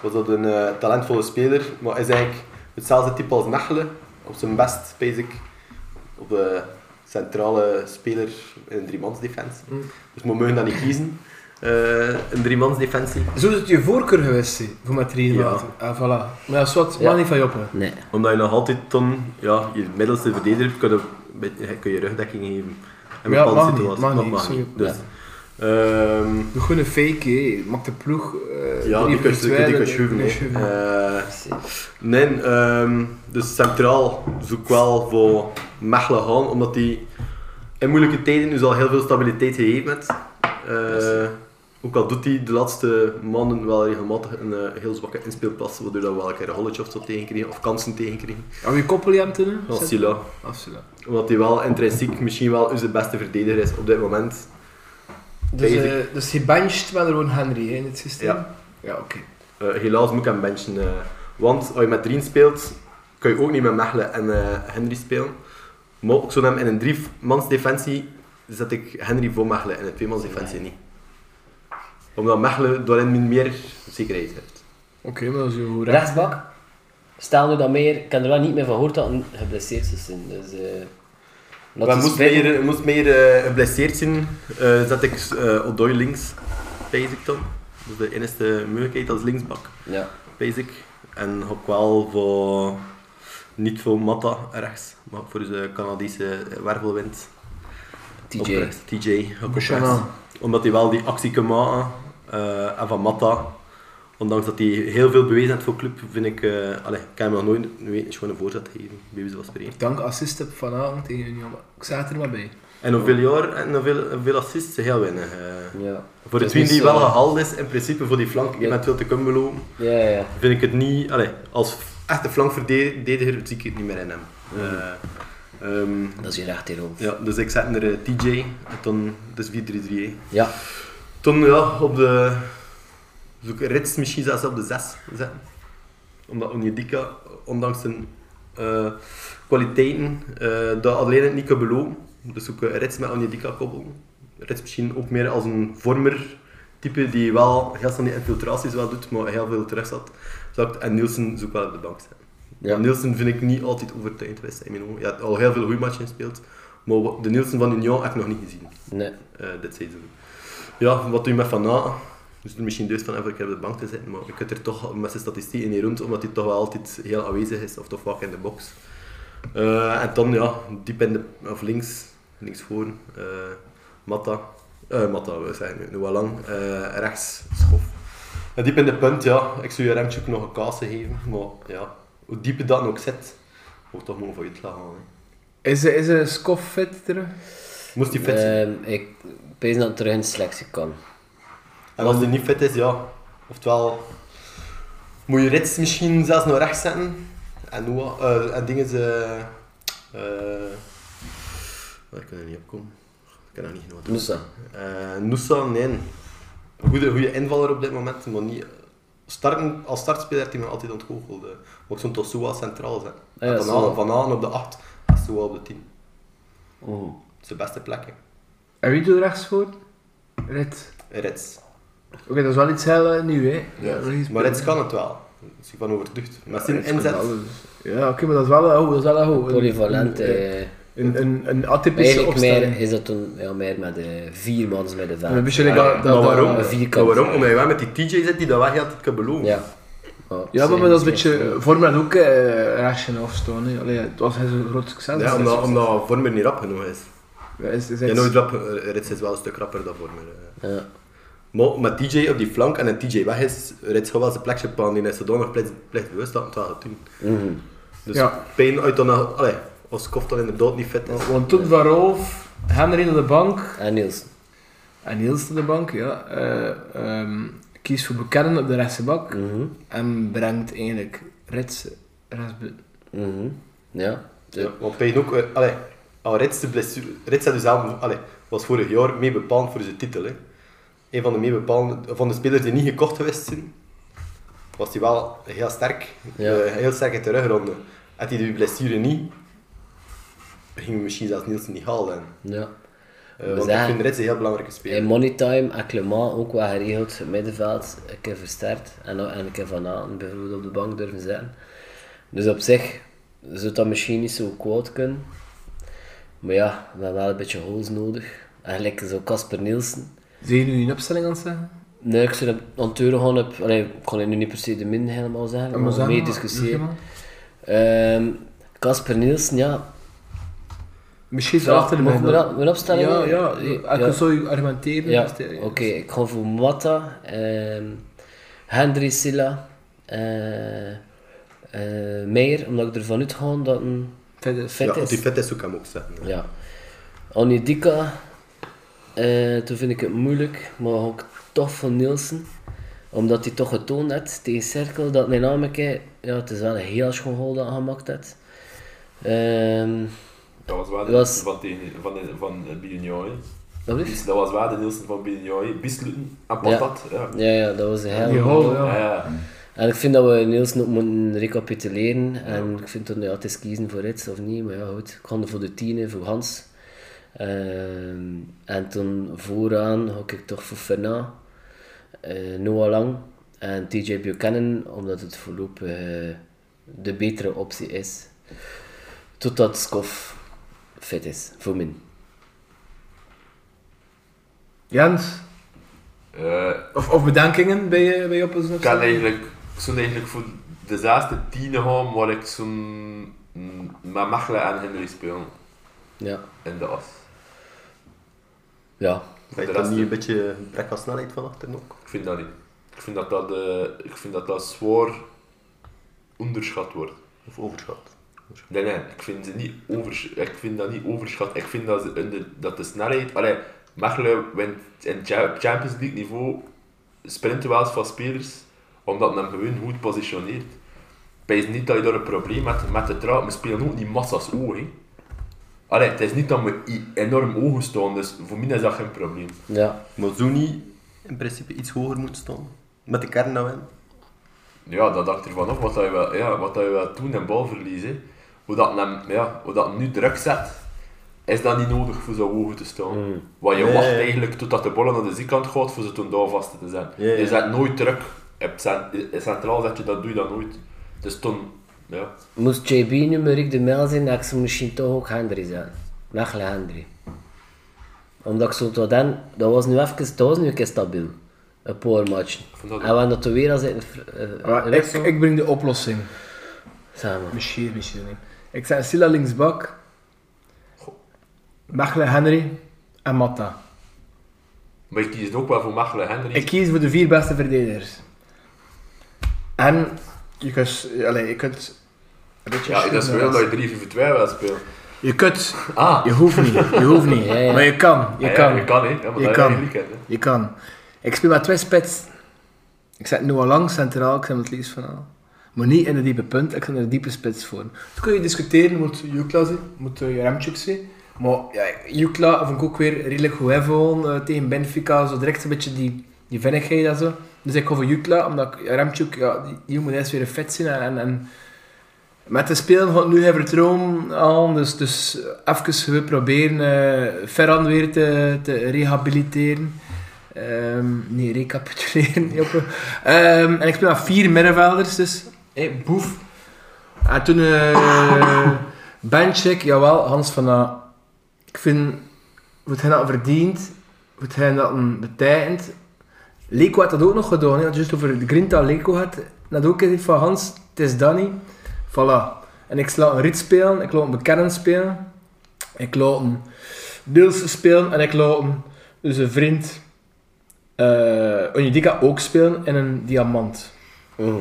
[SPEAKER 5] Was dat een eh, talentvolle speler. Maar is eigenlijk hetzelfde type als Nachelen. Op zijn best, basic op eh, de centrale speler in een driemansdefensie.
[SPEAKER 2] Mm.
[SPEAKER 5] Dus we mogen dat niet kiezen, eh, een driemansdefensie.
[SPEAKER 2] Zo is het je voorkeur geweest zijn, voor met drie
[SPEAKER 5] Ja.
[SPEAKER 2] maten. Ah, voilà. Maar dat is wat,
[SPEAKER 3] Ja.
[SPEAKER 2] maar niet van Joppe.
[SPEAKER 3] Nee.
[SPEAKER 5] Omdat je nog altijd dan, ja, je middelste verdediger kun je, kun je rugdekking geven. En
[SPEAKER 2] Ja,
[SPEAKER 5] bepaalde
[SPEAKER 2] mag niet,
[SPEAKER 5] situaties,
[SPEAKER 2] mag
[SPEAKER 5] dat
[SPEAKER 2] niet,
[SPEAKER 5] mag
[SPEAKER 2] sorry.
[SPEAKER 5] niet. Dus, ehm,
[SPEAKER 2] Doe gewoon een fake, hé. maak de ploeg. eh,
[SPEAKER 5] ja,
[SPEAKER 2] drie
[SPEAKER 5] die kun je
[SPEAKER 2] plus twee,
[SPEAKER 5] die kun je
[SPEAKER 2] dat-
[SPEAKER 5] schuiven.
[SPEAKER 2] dat-
[SPEAKER 5] hè. Eh, Nee, ehm, dus centraal zoek wel voor Mechelen gaan, omdat die in moeilijke tijden dus al heel veel stabiliteit gegeven heeft. Eh, ook al doet hij de laatste maanden wel regelmatig een eh, heel zwakke inspeelpas, waardoor dat we wel een keer een holletje of zo tegenkrijgen, of kansen tegenkrijgen.
[SPEAKER 2] Aan wie koppel je hem te doen?
[SPEAKER 5] Als Silla,
[SPEAKER 2] Absoluut.
[SPEAKER 5] omdat hij wel intrinsiek misschien wel onze beste verdediger is op dit moment.
[SPEAKER 2] Dus, eh,
[SPEAKER 5] Basic.
[SPEAKER 2] dus je bencht met gewoon Henry hè, in het systeem?
[SPEAKER 5] Ja.
[SPEAKER 2] Ja, oké.
[SPEAKER 5] Eh, helaas moet ik hem benchen, eh, want als je met Drien speelt, kun je ook niet met Mechelen en eh, Henry spelen. Maar ik zou hem in een driemans defensie zet ik Henry voor Mechelen en een tweemans defensie niet. Omdat Mechelen daarin meer zekerheid heeft.
[SPEAKER 2] Oké, maar dat is heel goed.
[SPEAKER 3] Rechtsbak. Stel nu dat meer. Ik kan er wel niet meer van gehoord dat een geblesseerd zou zijn. Dus, eh laat
[SPEAKER 5] Maar
[SPEAKER 3] ons
[SPEAKER 5] moest
[SPEAKER 3] spelen.
[SPEAKER 5] meer, moest meer eh, geblesseerd zijn, eh, zet ik eh Odoi links, basic dan. Dat is de enige mogelijkheid als linksbak,
[SPEAKER 3] Ja.
[SPEAKER 5] basic. En ook wel voor, niet voor Matta rechts, maar voor de Canadese wervelwind.
[SPEAKER 3] TJ.
[SPEAKER 5] Oprecht, TJ, ook
[SPEAKER 2] Buchanan.
[SPEAKER 5] oprecht. Omdat hij wel die actie kan maken. eh, en van Matta, ondanks dat hij heel veel bewezen heeft voor club, vind ik... eh allee, ik kan hem nog nooit een, een schone voorzet geven, bij wijze van spreken.
[SPEAKER 2] Dank assist heb vanavond tegen Union. maar Ik zat er maar bij.
[SPEAKER 5] En hoeveel jaar en hoeveel, hoeveel assists, heel weinig. eh.
[SPEAKER 3] Ja.
[SPEAKER 5] voor de
[SPEAKER 3] Dus
[SPEAKER 5] twin
[SPEAKER 3] niet
[SPEAKER 5] die
[SPEAKER 3] zo-
[SPEAKER 5] wel gehaald is, in principe voor die flank eventueel te kunnen beloven,
[SPEAKER 3] Ja, ja, ja.
[SPEAKER 5] vind ik het niet... Allee, als echte flankverdediger zie ik het niet meer in hem. Eh, ehm,
[SPEAKER 3] Dat is hier echt hierover.
[SPEAKER 5] ja, dus ik zet hem er eh, TJ, en dan, dus 4-3-3. hè.
[SPEAKER 3] Ja.
[SPEAKER 5] Toen ja, op de. Zoek rits misschien zelfs op de 6 zetten. Omdat Onyedika, ondanks zijn eh, kwaliteiten, eh dat alleen het niet kan beloven. Dus ook eh, Reds met Anelika koppelen. Reds misschien ook meer als een vormer type die wel heel snel die infiltraties wel doet, maar heel veel terug zat. zakt. En Nielsen zoek wel op de bank staan.
[SPEAKER 3] Ja.
[SPEAKER 5] Nielsen vind ik niet altijd overtuigend geweest. in mijn ogen. Hij had al heel veel goede matchen gespeeld, maar wa- de Nielsen van Union heb ik nog niet gezien
[SPEAKER 3] Nee.
[SPEAKER 5] eh, dit seizoen. Ja, wat doe je met Van Na? Dus er misschien deus van even een keer op de bank te zitten, maar je kunt er toch met zijn statistieken niet rond, omdat hij toch wel altijd heel aanwezig is, of toch vaak in de box. Eh, en dan ja, diep in de, of links, links voor, eh, Matta, eh, Matta we zeggen nu, wel lang, Eh, rechts, Schof. En diep in de punt, ja, ik zou je Remtje ook nog een kaas geven, maar ja, hoe diep je dat ook zit, wordt toch mooi voor je te lachen. hè.
[SPEAKER 2] Is, is een scoff fit terug?
[SPEAKER 5] Moest die fit zijn.
[SPEAKER 3] Ehm, ik pees dat het terug in de selectie kan.
[SPEAKER 5] En als die
[SPEAKER 3] Ehm.
[SPEAKER 5] niet fit is, ja. Oftewel, moet je Rits misschien zelfs naar rechts zetten. En, Noah, eh, en dingen ze. ik kan er niet op komen. Ik kan er niet genoeg
[SPEAKER 3] Moussa.
[SPEAKER 5] Eh Nusa, nee. Een Goede, goede invaller op dit moment, maar niet. eh, Starten, als startspeler heeft hij me altijd ontgoocheld. eh. Ook zo'n Tosua centraal zijn.
[SPEAKER 3] Ah ja,
[SPEAKER 5] En van,
[SPEAKER 3] Soa.
[SPEAKER 5] Aan, van Aan op de 8 en Soa op de 10.
[SPEAKER 3] Oh.
[SPEAKER 5] Het is de beste plek, hè.
[SPEAKER 2] En wie doet rechts voor? Rit.
[SPEAKER 5] Rits.
[SPEAKER 2] Oké, dat is wel iets heel eh, nieuw, hè?
[SPEAKER 5] Ja.
[SPEAKER 2] dat is-
[SPEAKER 5] Maar Rits kan het wel. Daar ben ik van overtuigd. Met zijn
[SPEAKER 2] Rits kan
[SPEAKER 5] inzet.
[SPEAKER 2] alles. Ja, oké, maar dat is wel een goed. Dat is wel een goed. Een-
[SPEAKER 3] Polyvalent.
[SPEAKER 2] Een,
[SPEAKER 3] eh,
[SPEAKER 2] een, een, een atypische
[SPEAKER 3] eigenlijk
[SPEAKER 2] opstelling.
[SPEAKER 3] meer, is dat een, ja, meer met de vier mans met de
[SPEAKER 2] Een
[SPEAKER 3] veld.
[SPEAKER 2] beetje like dat- dat-
[SPEAKER 5] maar waarom?
[SPEAKER 3] een vierkant.
[SPEAKER 5] Maar waarom? Omdat je wel met die TJ zit die dat wel heel altijd kan beloven.
[SPEAKER 3] Ja. Oh,
[SPEAKER 2] Ja, maar dat is een beetje... Voor mij ook eh Ration afstaan, hè. Allee, het was een groot succes.
[SPEAKER 5] Ja,
[SPEAKER 2] Dat is-
[SPEAKER 5] omdat, omdat Vormer niet rap genoeg is.
[SPEAKER 2] Ja, is, is,
[SPEAKER 5] Ja,
[SPEAKER 2] is-
[SPEAKER 5] nooit rap, eh, Rits is wel een stuk rapper dan Vormer. eh.
[SPEAKER 3] Ja.
[SPEAKER 5] Maar met TJ op die flank en een TJ weg is, Rits gaat wel zijn plekje pakken. Die is zodanig plicht- plichtbewust dat het wel gaat doen.
[SPEAKER 3] Mhm.
[SPEAKER 5] Dus
[SPEAKER 2] Ja.
[SPEAKER 5] pijn uit dan... Allee, als Kof dan inderdaad niet fit is.
[SPEAKER 2] Want toen van Rolf, Henry naar de bank
[SPEAKER 3] En Niels.
[SPEAKER 2] en Niels naar de bank, ja. eh, ehm, kiest voor Buchanan op de rechtse bak
[SPEAKER 3] Mhm.
[SPEAKER 2] en brengt eigenlijk Rits rechtsbuiten.
[SPEAKER 3] Mhm. Ja.
[SPEAKER 5] Ja. Want pijn ook... eh, Allee, al Rits de blessure... Rits had dus zelf, allee, was vorig jaar mee bepaald voor zijn titel. Hè. Een van de, mee bepaalde, van de spelers die niet gekocht geweest zijn, was hij wel heel sterk.
[SPEAKER 3] Ja.
[SPEAKER 5] eh, heel sterk in de terugronde. Had hij die blessure niet, ging hij misschien zelfs Nielsen niet halen.
[SPEAKER 3] ja.
[SPEAKER 5] Eh,
[SPEAKER 3] We
[SPEAKER 5] want ik
[SPEAKER 3] zagen-
[SPEAKER 5] vind Rits een heel belangrijke speler.
[SPEAKER 3] In Moneytime en Clement ook wel geregeld het middenveld een keer versterkt en, dan- en een keer van Aten bijvoorbeeld op de bank durven zetten. Dus op zich zou dat misschien niet zo kwaad kunnen. Maar ja, we hebben wel een beetje holes nodig. Eigenlijk zo Casper Nielsen.
[SPEAKER 2] Zie je nu een opstelling aan het zeggen?
[SPEAKER 3] Nee, ik zou hem aan het deuren gaan op... Allee, ik kon het nu niet per se de min helemaal zeggen, maar,
[SPEAKER 2] zeggen,
[SPEAKER 3] mee
[SPEAKER 2] maar-
[SPEAKER 3] discussiëren.
[SPEAKER 2] zeg
[SPEAKER 3] Ehm, Casper Nielsen, ja.
[SPEAKER 2] Misschien is het
[SPEAKER 3] Mocht
[SPEAKER 2] achter de
[SPEAKER 3] mijn,
[SPEAKER 2] middag.
[SPEAKER 3] op- mijn opstelling...
[SPEAKER 2] Ja,
[SPEAKER 3] doen?
[SPEAKER 2] ja, ik
[SPEAKER 3] Ja.
[SPEAKER 2] kan zo argumenteren.
[SPEAKER 3] Ja,
[SPEAKER 2] dus, eh,
[SPEAKER 3] oké. Ik ga voor Mata, Hendry Silla, eh, eh, Meijer, omdat ik ervan uitga dat een
[SPEAKER 2] verder.
[SPEAKER 5] ja,
[SPEAKER 3] vet
[SPEAKER 5] want die
[SPEAKER 3] is.
[SPEAKER 5] fit is ook hem ook zetten. hè.
[SPEAKER 3] Ja. Onidika, eh, toen vind ik het moeilijk, maar ook tof van Nielsen. Omdat hij toch getoond heeft tegen Cirkel dat mijn naam een keer- ja, het is wel een heel schoon goal dat hij gemaakt heeft. Ehm,
[SPEAKER 4] Dat was waar de
[SPEAKER 3] Dat was-
[SPEAKER 4] Nielsen van, tegen, van, de- van eh, Bilinjoy.
[SPEAKER 3] wat is
[SPEAKER 4] Bis- Dat was waar de Nielsen van Bilinjoy. Bisluten en Patat. Ja.
[SPEAKER 3] Ja, ja, dat was een heel
[SPEAKER 2] Die
[SPEAKER 3] goal.
[SPEAKER 2] hol, ja.
[SPEAKER 4] Ja.
[SPEAKER 3] En ik vind dat we Nielsen ook moeten recapituleren. En ik vind dat ja, het is kiezen voor Rits of niet. Maar ja, goed. Ik ga er voor de tien en voor Hans. Ehm, en toen vooraan ga ik toch voor Fena, eh, Noah Lang en TJ Buchanan. Omdat het voorlopig eh, de betere optie is. Totdat Skof fit is, voor min.
[SPEAKER 2] Jens,
[SPEAKER 4] Eh,
[SPEAKER 2] of, of bedankingen bij je, bij je op een
[SPEAKER 4] ik kan eigenlijk, ik zou eigenlijk voor de zesde tiende gaan waar ik zo'n mm, met Machla en Henry speel
[SPEAKER 3] Ja.
[SPEAKER 4] in de as.
[SPEAKER 3] Ja.
[SPEAKER 5] Vind je
[SPEAKER 4] De
[SPEAKER 5] dat
[SPEAKER 4] rest-
[SPEAKER 5] niet een beetje brek aan snelheid van achteren ook?
[SPEAKER 4] Ik vind dat niet. Ik vind dat dat, eh, ik vind dat, dat zwaar onderschat wordt.
[SPEAKER 5] Of overschat?
[SPEAKER 4] Nee, nee, ik vind, ze niet overs- ik vind dat niet overschat. Ik vind dat, ze in de, dat de snelheid. Allee, Mechelen wint in cha- Champions League niveau sprintduels van spelers, omdat men hem gewoon goed positioneert. Het is niet dat je daar een probleem hebt met de traag. We spelen ook niet massas ogen. Allee, het is niet dat we i- enorm ogen staan, dus voor mij is dat geen probleem.
[SPEAKER 3] Ja.
[SPEAKER 5] Maar zo niet in principe iets hoger moet staan. Met de kern nou in.
[SPEAKER 4] Ja, dat hangt ervan af wat dat je wel, ja, wat dat je wel doen en balverlies. hè. Hoe dat, hem, ja, hoe dat hem nu druk zet, is dat niet nodig voor zo hoog te staan.
[SPEAKER 5] Mm.
[SPEAKER 4] Want je wacht eigenlijk totdat de bal aan de zijkant gaat voor ze toen daar vast te zijn.
[SPEAKER 5] Ja, ja.
[SPEAKER 4] Je zet nooit druk. Op cent- in centraal zet je dat, doe je dat nooit. Dus toen, ja.
[SPEAKER 3] Moest JB nu met Rick de Mel zijn, dat ik ze misschien toch ook Hendry zijn. Lachle Hendry. Omdat ik zo tot dan, dat was nu even, dat was nu e een keer stabiel. Een paar matchen.
[SPEAKER 4] vond
[SPEAKER 3] En
[SPEAKER 4] dat
[SPEAKER 3] we hadden dat weer als in e-
[SPEAKER 2] Maar ik, ik breng de oplossing.
[SPEAKER 3] samen.
[SPEAKER 2] Misschien, misschien niet. Ik zet Silla linksbak. Mechelen, Henry en Matta.
[SPEAKER 4] Maar ik kies ook wel voor Mechelen Hendry.
[SPEAKER 2] Ik kies voor de vier beste verdedigers. En je kunt, allee, je kunt een beetje
[SPEAKER 4] ja, dat is
[SPEAKER 2] schuiven.
[SPEAKER 4] wel dat je 3 4 2 wil spelen.
[SPEAKER 2] Je kunt,
[SPEAKER 4] Ah,
[SPEAKER 2] je hoeft niet, je hoeft niet.
[SPEAKER 3] Ja, ja.
[SPEAKER 2] Maar je kan, je
[SPEAKER 4] ja,
[SPEAKER 2] kan,
[SPEAKER 4] Ja, je kan, hè. Ja, maar
[SPEAKER 2] Je
[SPEAKER 4] dat
[SPEAKER 2] kan.
[SPEAKER 4] is eigenlijk weekend, hè.
[SPEAKER 2] je kan. Ik speel met twee spits. Ik zet Noah Lang centraal, ik zet hem het liefst van al. Maar niet in de diepe punt, ik zet een diepe spits voor. Toen kun je discussiëren, moet Jukla zijn, moet eh, Remchuk zijn. Maar ja, Jukla vond ik ook weer redelijk goed hebben tegen Benfica, zo direct een beetje die, die vinnigheid en zo. Dus ik ga voor Jukla, omdat ik- ja, Remchuk, ja, die, die moet eerst weer fit zijn. En, en, en met de spelen gaat nu even droom aan, dus, dus even we proberen eh Ferran weer te, te rehabiliteren. Ehm, nee, recapituleren. <laughs> joppe. Ehm, en ik speel met vier middenvelders, dus hey, boef. En toen eh Benchik, jawel, Hans van A. Ik vind wat hij dat verdient, wat hij dat een betekent. Leko had dat ook nog gedaan, hè. had juist over de Grinta Leko had. Dat ook gezegd van Hans, het is dat niet. Voilà. En ik laat een Riet spelen, ik laat een Bekennen spelen, ik laat een Niels spelen en ik laat een, dus een vriend eh Onyedika ook spelen in een diamant.
[SPEAKER 3] Mhm.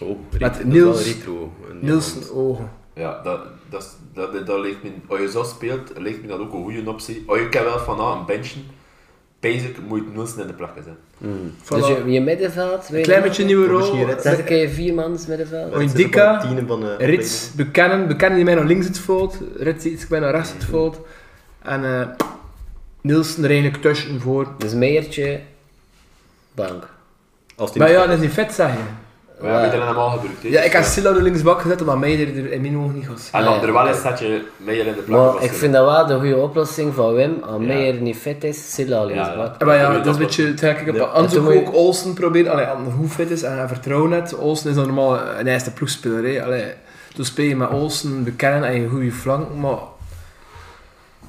[SPEAKER 5] Oh,
[SPEAKER 2] Met
[SPEAKER 5] retro.
[SPEAKER 2] Niels-
[SPEAKER 5] Dat is wel retro. een
[SPEAKER 2] Niels
[SPEAKER 5] diamant.
[SPEAKER 2] ogen.
[SPEAKER 4] Ja, dat, dat, is- dat, dat, dat leek me, als je zo speelt, leek me dat ook een goede optie. Als je kan wel van ah, een benchen, basic moet Nielsen in de plakken zijn.
[SPEAKER 3] Dus
[SPEAKER 2] Voilà.
[SPEAKER 3] je, je middenveld, weet
[SPEAKER 2] Een
[SPEAKER 3] je
[SPEAKER 2] klein
[SPEAKER 3] nog?
[SPEAKER 2] beetje nieuwe
[SPEAKER 5] Misschien
[SPEAKER 2] rol.
[SPEAKER 5] Rits.
[SPEAKER 3] Zet ik je vier e man middenveld?
[SPEAKER 2] Oei.
[SPEAKER 5] Dat zit op
[SPEAKER 2] Dika,
[SPEAKER 5] alle tienen van, eh,
[SPEAKER 2] Rits bekennen, bekennen die mij naar links het fout, Rits die iets mij naar rechts het fout. En eh, Nielsen er eigenlijk tussen voor.
[SPEAKER 3] Dus Meertje, bank.
[SPEAKER 5] Als die
[SPEAKER 2] Maar
[SPEAKER 5] niet-
[SPEAKER 2] ja, dat is niet vet zeg je.
[SPEAKER 4] We hebben het allemaal gebruikt. hè.
[SPEAKER 2] Ja, ik heb
[SPEAKER 4] Dus,
[SPEAKER 2] Silla op de linksbak gezet, omdat mij er er in mijn ogen niet was.
[SPEAKER 4] eh, En
[SPEAKER 3] Ah,
[SPEAKER 4] dan
[SPEAKER 3] ja,
[SPEAKER 4] er wel
[SPEAKER 3] oké.
[SPEAKER 4] eens dat je Meijer in de plakken
[SPEAKER 3] Maar
[SPEAKER 4] was.
[SPEAKER 3] ik vind dat wel de goede oplossing van Wim. Als Meijer niet fit is, Silla al in
[SPEAKER 4] Ja,
[SPEAKER 3] zijn
[SPEAKER 4] ja.
[SPEAKER 3] bak.
[SPEAKER 2] Maar ja,
[SPEAKER 4] Ja,
[SPEAKER 2] dat is
[SPEAKER 4] dat
[SPEAKER 2] een beetje het gekke.
[SPEAKER 5] Ja.
[SPEAKER 2] Ja, Anders
[SPEAKER 3] En toen moet
[SPEAKER 2] ook Olsen proberen. Allee, Anton, hoe fit is en hij vertrouwt net. Olsen is dan normaal een eerste ploegspeler. Hè. Allee, toen speel je met Olsen, bekennen en je goede flank. Maar,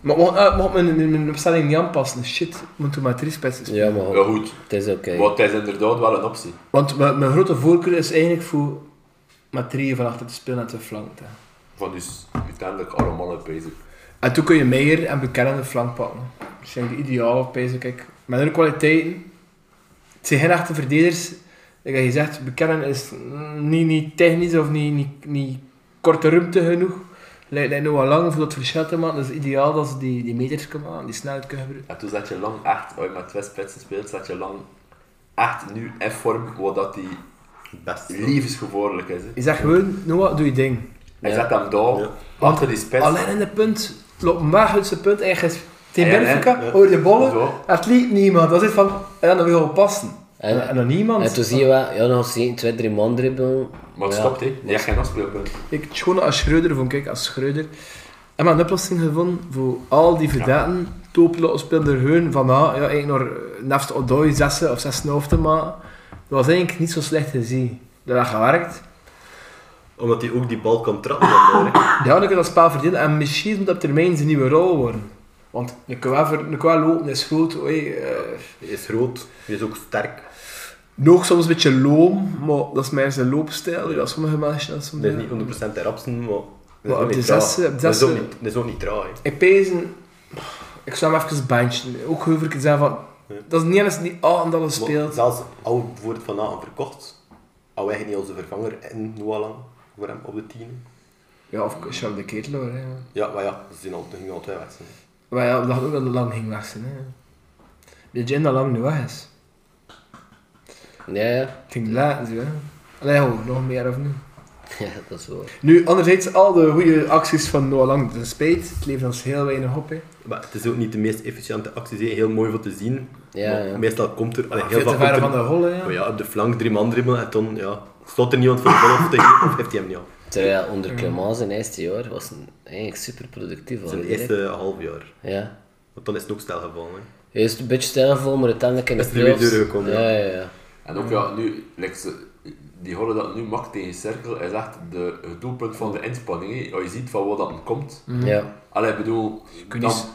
[SPEAKER 2] maar mocht, eh, mocht mijn, mijn, mijn opstelling niet aanpassen. Shit, moet toen maar drie spitsen spelen.
[SPEAKER 3] Ja, maar
[SPEAKER 4] Ja,
[SPEAKER 3] goed,
[SPEAKER 4] goed.
[SPEAKER 3] het is oké.
[SPEAKER 4] Maar het is inderdaad wel een optie.
[SPEAKER 2] Want mijn, mijn grote voorkeur is eigenlijk voor met drieën van achter te spelen en te flanken.
[SPEAKER 4] Van dus uiteindelijk allemaal een basic.
[SPEAKER 2] En toen kun je Meijer en bekennende flank pakken. Dat zijn de ideale pijzen, kijk. Met hun kwaliteiten. Het zijn geen echte verdedigers. Like je zegt, bekennen is niet, niet technisch of niet, niet, niet korte ruimte genoeg. Lijkt lijkt nog wel lang voor dat verschil te maken. Dus ideaal dat ze die, die meters kunnen maken, die snelheid kunnen gebruiken.
[SPEAKER 4] En toen zat je lang echt, als je met twee spitsen speelt, zat je lang echt nu in vorm, wat dat die
[SPEAKER 5] Het beste.
[SPEAKER 4] levensgevaarlijk is. hè.
[SPEAKER 2] Je zegt gewoon, Noah, doe je ding.
[SPEAKER 4] Hij zet hem daar,
[SPEAKER 5] Ja.
[SPEAKER 4] achter die spits.
[SPEAKER 2] Alleen in de punt, loopt maagdse punt eigenlijk. Tegen
[SPEAKER 4] Ja, ja,
[SPEAKER 2] Benfica,
[SPEAKER 5] ja.
[SPEAKER 2] over de bollen,
[SPEAKER 4] Zo.
[SPEAKER 2] het liep niemand. Dat is het van, en dan wil je wel passen.
[SPEAKER 3] En-
[SPEAKER 2] En, dan niemand.
[SPEAKER 3] En toen zie je wel, ja, nog eens twee, drie man dribbelen.
[SPEAKER 4] Maar het
[SPEAKER 3] Ja.
[SPEAKER 4] stopt, hè. Je hebt geen afspeelpunt.
[SPEAKER 2] Ik het gewoon als Schreuder vond, kijk, als Schreuder. En maar een oplossing gevonden voor al die verdaten. Ja. Topilot speelde er gewoon van, ah, ja, eigenlijk naar eh, Nefst Odoi 6 of 6,5 te maken. Dat was eigenlijk niet zo slecht gezien. Dat had gewerkt.
[SPEAKER 5] Omdat hij ook die bal kan trappen. dan door, hè.
[SPEAKER 2] Ja, dan kan dat spel verdienen. En misschien moet dat op termijn zijn nieuwe rol worden. Want een qua, ver- een qua lopen is groot. Oei, eh,
[SPEAKER 5] Hij is groot, hij is ook sterk.
[SPEAKER 2] nog soms een beetje loom, maar dat is mijn zijn loopstijl. Dat sommige mensen dat soms
[SPEAKER 5] Dat is
[SPEAKER 2] doen.
[SPEAKER 5] niet 100% de rapsen, maar... dat is
[SPEAKER 2] Maar
[SPEAKER 5] ook
[SPEAKER 2] op
[SPEAKER 5] niet
[SPEAKER 2] de
[SPEAKER 5] traag.
[SPEAKER 2] zes, eh, op de
[SPEAKER 5] Dat is
[SPEAKER 2] zes,
[SPEAKER 5] ook
[SPEAKER 2] eh,
[SPEAKER 5] niet- dat is ook niet traag. hè.
[SPEAKER 2] Ik pezen, ik zou hem even benchen. Ook heel veel keer zeggen van, dat is niet eens niet al omdat hij
[SPEAKER 5] Maar
[SPEAKER 2] speelt.
[SPEAKER 5] Zelfs al we bijvoorbeeld vanavond verkocht, al wij niet onze vervanger in Noah Lang voor hem op de tien.
[SPEAKER 2] Ja, of Charles de Keteler. hè.
[SPEAKER 5] Ja, maar ja, ze zijn al, ze gingen al twee wedstrijden.
[SPEAKER 2] Maar ja, we dachten ook dat het lang ging weg zijn. Hè. Weet je dat lang nu weg is?
[SPEAKER 3] Ja, ja.
[SPEAKER 2] Het ging laat, zo, hè. Allee, ho, nog meer of nu?
[SPEAKER 3] ja, dat is wel.
[SPEAKER 2] Nu, anderzijds, al de goede acties van Noah Lang, de spijt, het levert ons heel weinig op. Hè.
[SPEAKER 5] Maar het is ook niet de meest efficiënte actie, hè. heel mooi voor te zien.
[SPEAKER 3] Ja,
[SPEAKER 5] Maar
[SPEAKER 3] ja.
[SPEAKER 5] Meestal komt er, allee, heel
[SPEAKER 2] Ah, Veel
[SPEAKER 5] vaak
[SPEAKER 2] te
[SPEAKER 5] komt
[SPEAKER 2] ver
[SPEAKER 5] er,
[SPEAKER 2] van de hollen, ja.
[SPEAKER 5] maar ja, op de flank drie man dribbelen en dan ja, stond er niemand voor de bal of, tegen, of heeft hij hem niet af.
[SPEAKER 3] Terwijl onder Clement zijn eerste jaar was een, eigenlijk super productief.
[SPEAKER 5] Zijn eerste half jaar.
[SPEAKER 3] Ja.
[SPEAKER 5] Want dan is het ook snel gevallen. hè.
[SPEAKER 3] Eerst een beetje stijlvol, maar uiteindelijk in de
[SPEAKER 5] Is er weer
[SPEAKER 3] playoffs-
[SPEAKER 5] doorgekomen, ja.
[SPEAKER 3] Ja, ja, ja.
[SPEAKER 4] En ook ja, nu, like, ze- die holle dat nu maakt tegen Cirkel is echt de, het doelpunt van de inspanning. hè. Als je ziet van waar dat komt.
[SPEAKER 3] ja.
[SPEAKER 4] Allee, ik bedoel,
[SPEAKER 2] kunt
[SPEAKER 4] dan-
[SPEAKER 2] niet-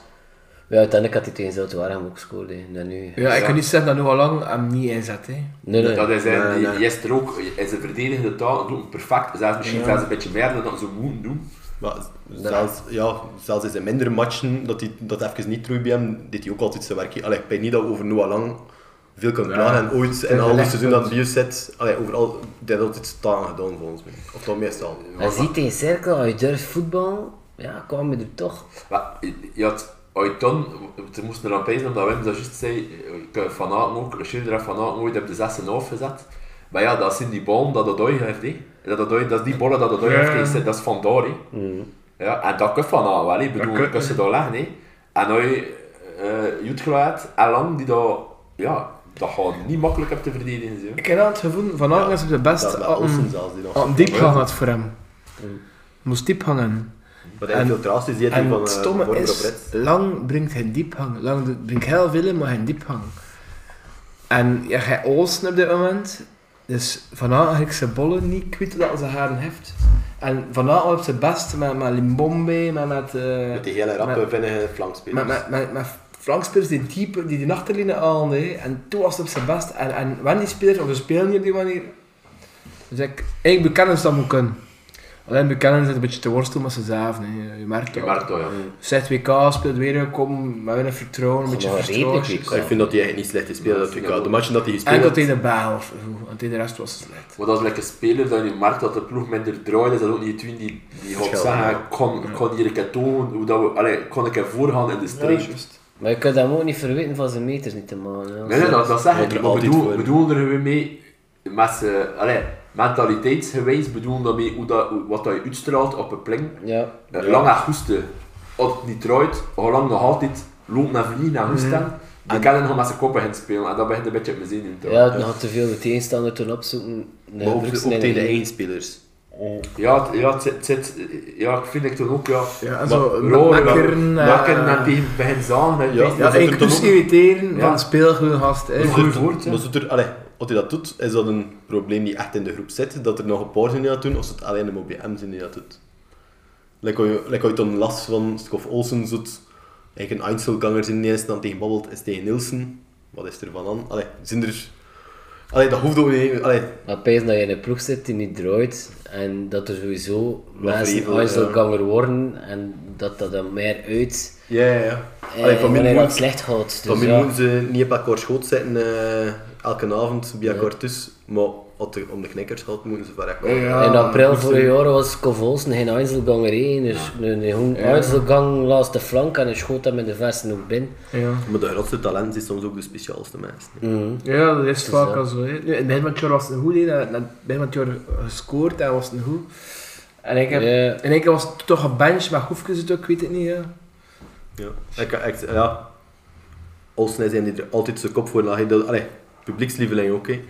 [SPEAKER 3] Ja, uiteindelijk had hij tegen Zulte Waregem ook gescoord. hè. Dat nu.
[SPEAKER 2] Ja, ik kan niet zeggen dat Noah Lang hem niet inzet. Hè.
[SPEAKER 3] Nee, nee.
[SPEAKER 4] dat hij zei,
[SPEAKER 5] Nee,
[SPEAKER 4] die-
[SPEAKER 5] nee.
[SPEAKER 4] gisteren ook, in zijn verdedigende taal, doet hem perfect. Zelfs misschien zelfs een beetje meer dan dat ze moeten doen.
[SPEAKER 5] Maar zelfs, ja, zelfs in zijn mindere matchen, dat hij dat even niet terug bij hem, deed hij ook altijd zijn werk. Allee, ik weet niet dat we over Noah Lang veel kunnen praten. En ooit, en
[SPEAKER 2] een
[SPEAKER 5] al het
[SPEAKER 2] lichtpunt.
[SPEAKER 5] seizoen dat hij hier zit, allee, overal, dat had altijd staan gedaan volgens mij. Of dan meestal.
[SPEAKER 3] Hij ziet tegen Cirkel, als je durft voetbal, ja, kwam je er toch.
[SPEAKER 4] Maar je had Aiton, ze moesten er aan pijzen omdat Wim dat juist zei, ik heb Van Aken ook, Schilder heeft Van Aken ooit op de 6,5 gezet. Maar ja, dat zijn die ballen dat Odoi heeft, hè. dat, Odoi, dat is die ballen dat Odoi heeft gezet, dat is van daar. hè. Ja, en dat kan Van Aken wel, hè. ik bedoel, dat kan ze daar leggen. hè. En dan eh Jutgeluid en Lang, die dat, ja, dat gaat niet makkelijk op te verdedigen. Zo.
[SPEAKER 2] Ik heb wel het gevoel, Van Aken is op de Um, best
[SPEAKER 5] Dat, met
[SPEAKER 2] al
[SPEAKER 5] Olsen
[SPEAKER 2] een,
[SPEAKER 5] zelfs die nog.
[SPEAKER 2] al een diep gehad voor hem. Moest diep hangen.
[SPEAKER 5] Wat hij veel traas is, die heeft
[SPEAKER 2] En
[SPEAKER 5] van
[SPEAKER 2] het
[SPEAKER 5] eh,
[SPEAKER 2] stomme
[SPEAKER 5] Vormer op
[SPEAKER 2] is,
[SPEAKER 5] Reds.
[SPEAKER 2] lang brengt hij diep hangen. Lang doet- brengt heel veel in, maar hij diep hangen. En ja, hij Olsen op dit moment. Dus Van Aken eigenlijk zijn bollen niet kwijt dat ze haren heeft. En Van Aken op zijn best met, met Limbombe, met... met, eh,
[SPEAKER 5] Met die hele rappe, vinnige flankspelers.
[SPEAKER 2] met, met, met, met flankspelers die diep, die de achterlijnen haalden. hè. En toen was het op zijn best. En, en wanneer die spelers, of ze spelen niet op die manier. Dus ik, ik bekennen ze dat moet kunnen. Alleen bekennen ze een beetje te worstelen met zichzelf. Hè. Je merkt
[SPEAKER 4] Je
[SPEAKER 2] dat.
[SPEAKER 4] merkt dat, ja.
[SPEAKER 2] ZWK speelt weer een kom, met weinig vertrouwen, een beetje
[SPEAKER 3] Gewoon redelijk
[SPEAKER 2] vertrouwen.
[SPEAKER 5] Maar ik vind dat hij echt niet slecht is spelen. dat WK. De matchen dat hij gespeeld
[SPEAKER 2] Enkel
[SPEAKER 5] heeft,
[SPEAKER 2] tegen de Bijl, of zo, en tegen de rest was het slecht.
[SPEAKER 4] Maar dat is lekker een speler dat je merkt dat de ploeg minder draait, is dat ook niet twin die, die gaat
[SPEAKER 5] Verschil,
[SPEAKER 4] zeggen,
[SPEAKER 5] ja.
[SPEAKER 4] ik kon, ik kon hier een keer tonen, hoe dat we, allee, ik kon een keer voorgaan in de streep.
[SPEAKER 3] Maar je kunt hem ook niet verweten van zijn meters niet te maken. ja.
[SPEAKER 4] nee, nee, dat, dat zeg
[SPEAKER 5] Wordt
[SPEAKER 4] ik niet,
[SPEAKER 5] er
[SPEAKER 4] maar
[SPEAKER 5] altijd
[SPEAKER 4] bedoel,
[SPEAKER 5] voor.
[SPEAKER 4] bedoelen er weer mee, met z'n- allee, mentaliteitsgewijs bedoelen dat mee hoe dat, hoe- wat dat je uitstraalt op een plek.
[SPEAKER 3] Ja.
[SPEAKER 4] Eh, Lang en goesten, als het niet draait, hoe lang nog altijd loopt naar vliegen en
[SPEAKER 5] Mhm.
[SPEAKER 4] goesten, die kennen nog met zijn koppen gaan spelen en dat begint een beetje op mijn zenuwen te
[SPEAKER 3] Ja, nog te veel de tegenstander toen opzoeken. De
[SPEAKER 5] maar ook, ook
[SPEAKER 3] drugsnelle
[SPEAKER 5] tegen de
[SPEAKER 3] hier.
[SPEAKER 5] eigen spelers.
[SPEAKER 4] Ja, het- ja, het zit- het zit- ja, ik vind het toen ook, ja.
[SPEAKER 2] Ja, en
[SPEAKER 5] zo,
[SPEAKER 2] zo,
[SPEAKER 5] eh,
[SPEAKER 4] Roren,
[SPEAKER 2] makkeren,
[SPEAKER 4] makkeren en tegen begin zagen.
[SPEAKER 5] Ja.
[SPEAKER 4] Ja,
[SPEAKER 2] ja,
[SPEAKER 5] dat er toch
[SPEAKER 2] inclusief
[SPEAKER 5] ook-
[SPEAKER 2] irriteren
[SPEAKER 4] Ja.
[SPEAKER 2] van speelgoed gast. hè.
[SPEAKER 4] Goed woord, ja.
[SPEAKER 5] Maar zit er, allee, als hij dat doet, is dat een probleem die echt in de groep zit. Dat er nog een paar zijn die dat doen, of het alleen de OBM zijn die dat doet. Like als je- like als je dan last van Skof Olsen zoet, eigenlijk een Einzelganger zijn die eens dan tegen babbelt, is tegen Nielsen. Wat is er van aan? Allee, zijn er... Allee, dat hoeft ook niet... Allee,
[SPEAKER 3] Maar pijs dat je in een ploeg zit die niet draait en dat er sowieso mensen
[SPEAKER 5] vrevel,
[SPEAKER 3] Einzelganger worden en dat dat dan meer uit
[SPEAKER 5] ja, ja, ja.
[SPEAKER 3] eh,
[SPEAKER 5] Allee, van
[SPEAKER 3] wanneer
[SPEAKER 5] mij
[SPEAKER 3] het
[SPEAKER 5] moet,
[SPEAKER 3] slecht gaat.
[SPEAKER 5] van
[SPEAKER 3] Dus
[SPEAKER 5] mij
[SPEAKER 3] ja.
[SPEAKER 5] moeten ze niet op elkaar schoot zitten, eh, elke avond, bij elkaar tussen. Maar als het om de knikkers gaat, moeten ze van elkaar.
[SPEAKER 3] In april vorig jaar was Kovolsen geen Einzelganger één, dus een, een Einzelgang langs de flank en een schoot hem in de versen ook binnen.
[SPEAKER 2] Ja.
[SPEAKER 5] Maar de grootste talent is soms ook de speciaalste mensen.
[SPEAKER 2] Ja, dat is vaak
[SPEAKER 3] dat.
[SPEAKER 2] al zo. Hè. Nu, in het begin van het jaar was het een goed, hè. Na- na- in het begin van het jaar gescoord en was het een goed. En ik heb,
[SPEAKER 3] Ja.
[SPEAKER 2] in één keer was het toch een bench, maar Hoefkes het ook, ik weet het niet. Ja.
[SPEAKER 5] Ja. Ik, ik, ja. Olsen is een die er altijd zijn kop voor lag. hè. Dat- Allee, publiekslieveling ook. hè.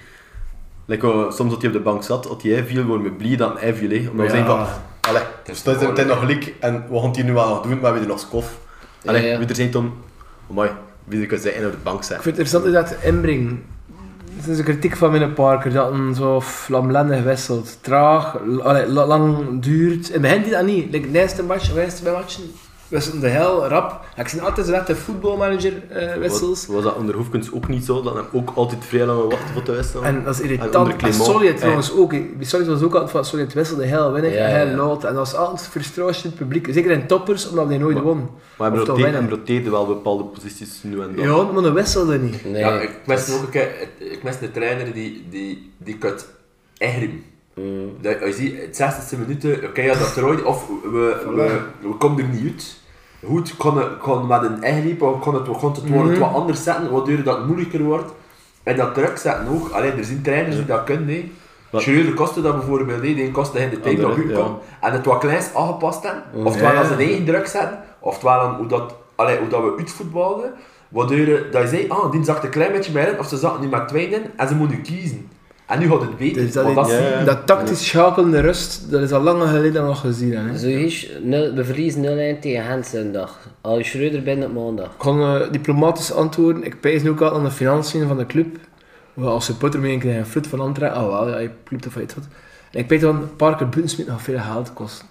[SPEAKER 5] Like, eh, soms dat hij op de bank zat, dat hij viel, worden we blij dat hij viel. hè. Omdat we
[SPEAKER 2] Ja.
[SPEAKER 5] zeggen van, allee,
[SPEAKER 4] is
[SPEAKER 5] dus dat is het is nog gelijk en we gaan het hier nu wel nog doen, maar we hebben er nog skof. Allee,
[SPEAKER 3] Ja, ja.
[SPEAKER 5] wie er zijn dan, amai, wie er kan zijn en op de bank zijn.
[SPEAKER 2] Ik vind het interessant is dat ze inbrengen. Dat is een kritiek van meneer Parker, dat een zo flamlendig wisselt. Traag, l- allee, la- lang duurt. In het begin die dat niet. Like, de eerste match, de eerste matchen wisselden de heel rap. Ik zie altijd zo net de voetbalmanager eh, wissels.
[SPEAKER 5] Was, was dat onder Hoefkens ook niet zo, dat hij ook altijd vrij lang wachten voor te wisselen?
[SPEAKER 2] En dat is
[SPEAKER 5] En
[SPEAKER 2] irritant.
[SPEAKER 5] onder
[SPEAKER 2] En,
[SPEAKER 5] Ah, Clément,
[SPEAKER 2] Solid
[SPEAKER 5] eh.
[SPEAKER 2] trouwens ook. hè. Bij Solid was ook altijd van Solid wisselde heel weinig
[SPEAKER 3] Ja,
[SPEAKER 2] en heel
[SPEAKER 3] ja.
[SPEAKER 2] laat. En dat was altijd frustratie in het publiek. Zeker in toppers, omdat die nooit won.
[SPEAKER 5] maar hij
[SPEAKER 2] Of toch
[SPEAKER 5] roteerde, hij
[SPEAKER 2] weinig.
[SPEAKER 5] roteerde wel bepaalde posities nu en dan.
[SPEAKER 2] Ja, maar dat wisselde niet.
[SPEAKER 3] Nee,
[SPEAKER 4] Ja, ik mis ook een keer, ik mis een trainer die, die, die kunt egrim. Dat, als je ziet, het 60ste minuut, eh, oké, ja, dat draait, of we, we, we komen er niet uit. Goed, kon, het- kon met een egriep, of kon het, we konden
[SPEAKER 5] Mhm.
[SPEAKER 4] het woord wat anders zetten, waardoor dat moeilijker wordt. En dat druk zetten ook, Allee, er zijn trainers die dat kunnen, hè.
[SPEAKER 5] Wat-
[SPEAKER 4] Schreuder kostte dat bijvoorbeeld, hè. die kostte in de tijd dat
[SPEAKER 5] Andere,
[SPEAKER 4] goed
[SPEAKER 5] ja.
[SPEAKER 4] kon. En het wat kleins aangepast hebben, oftewel aan zijn eigen druk zetten, oftewel aan hoe dat, allee, hoe dat we uitvoetbalden. Waardoor eh, dat je zei, ah, die zakt een klein beetje meer in, of ze zaten nu maar twee in, en ze moeten kiezen. En nu gaat het beter.
[SPEAKER 2] Dus dat,
[SPEAKER 4] want
[SPEAKER 2] is-
[SPEAKER 4] dat is-
[SPEAKER 5] Ja.
[SPEAKER 2] dat tactisch schakelende rust, dat is al lang geleden nog gezien. Hè.
[SPEAKER 3] Zo is, nul, we verliezen 0-1 tegen Gent zondag. Al je Schreuder bent op maandag.
[SPEAKER 2] Ik kan eh, diplomatisch antwoorden. Ik pijs nu ook al aan de financiën van de club. Wel, Als supporter meen ik een fruit van Antwerpen. Ah, wel, ja, je plukt of iets wat. En ik weet dan, Parker Bunsmit nog veel geld kosten.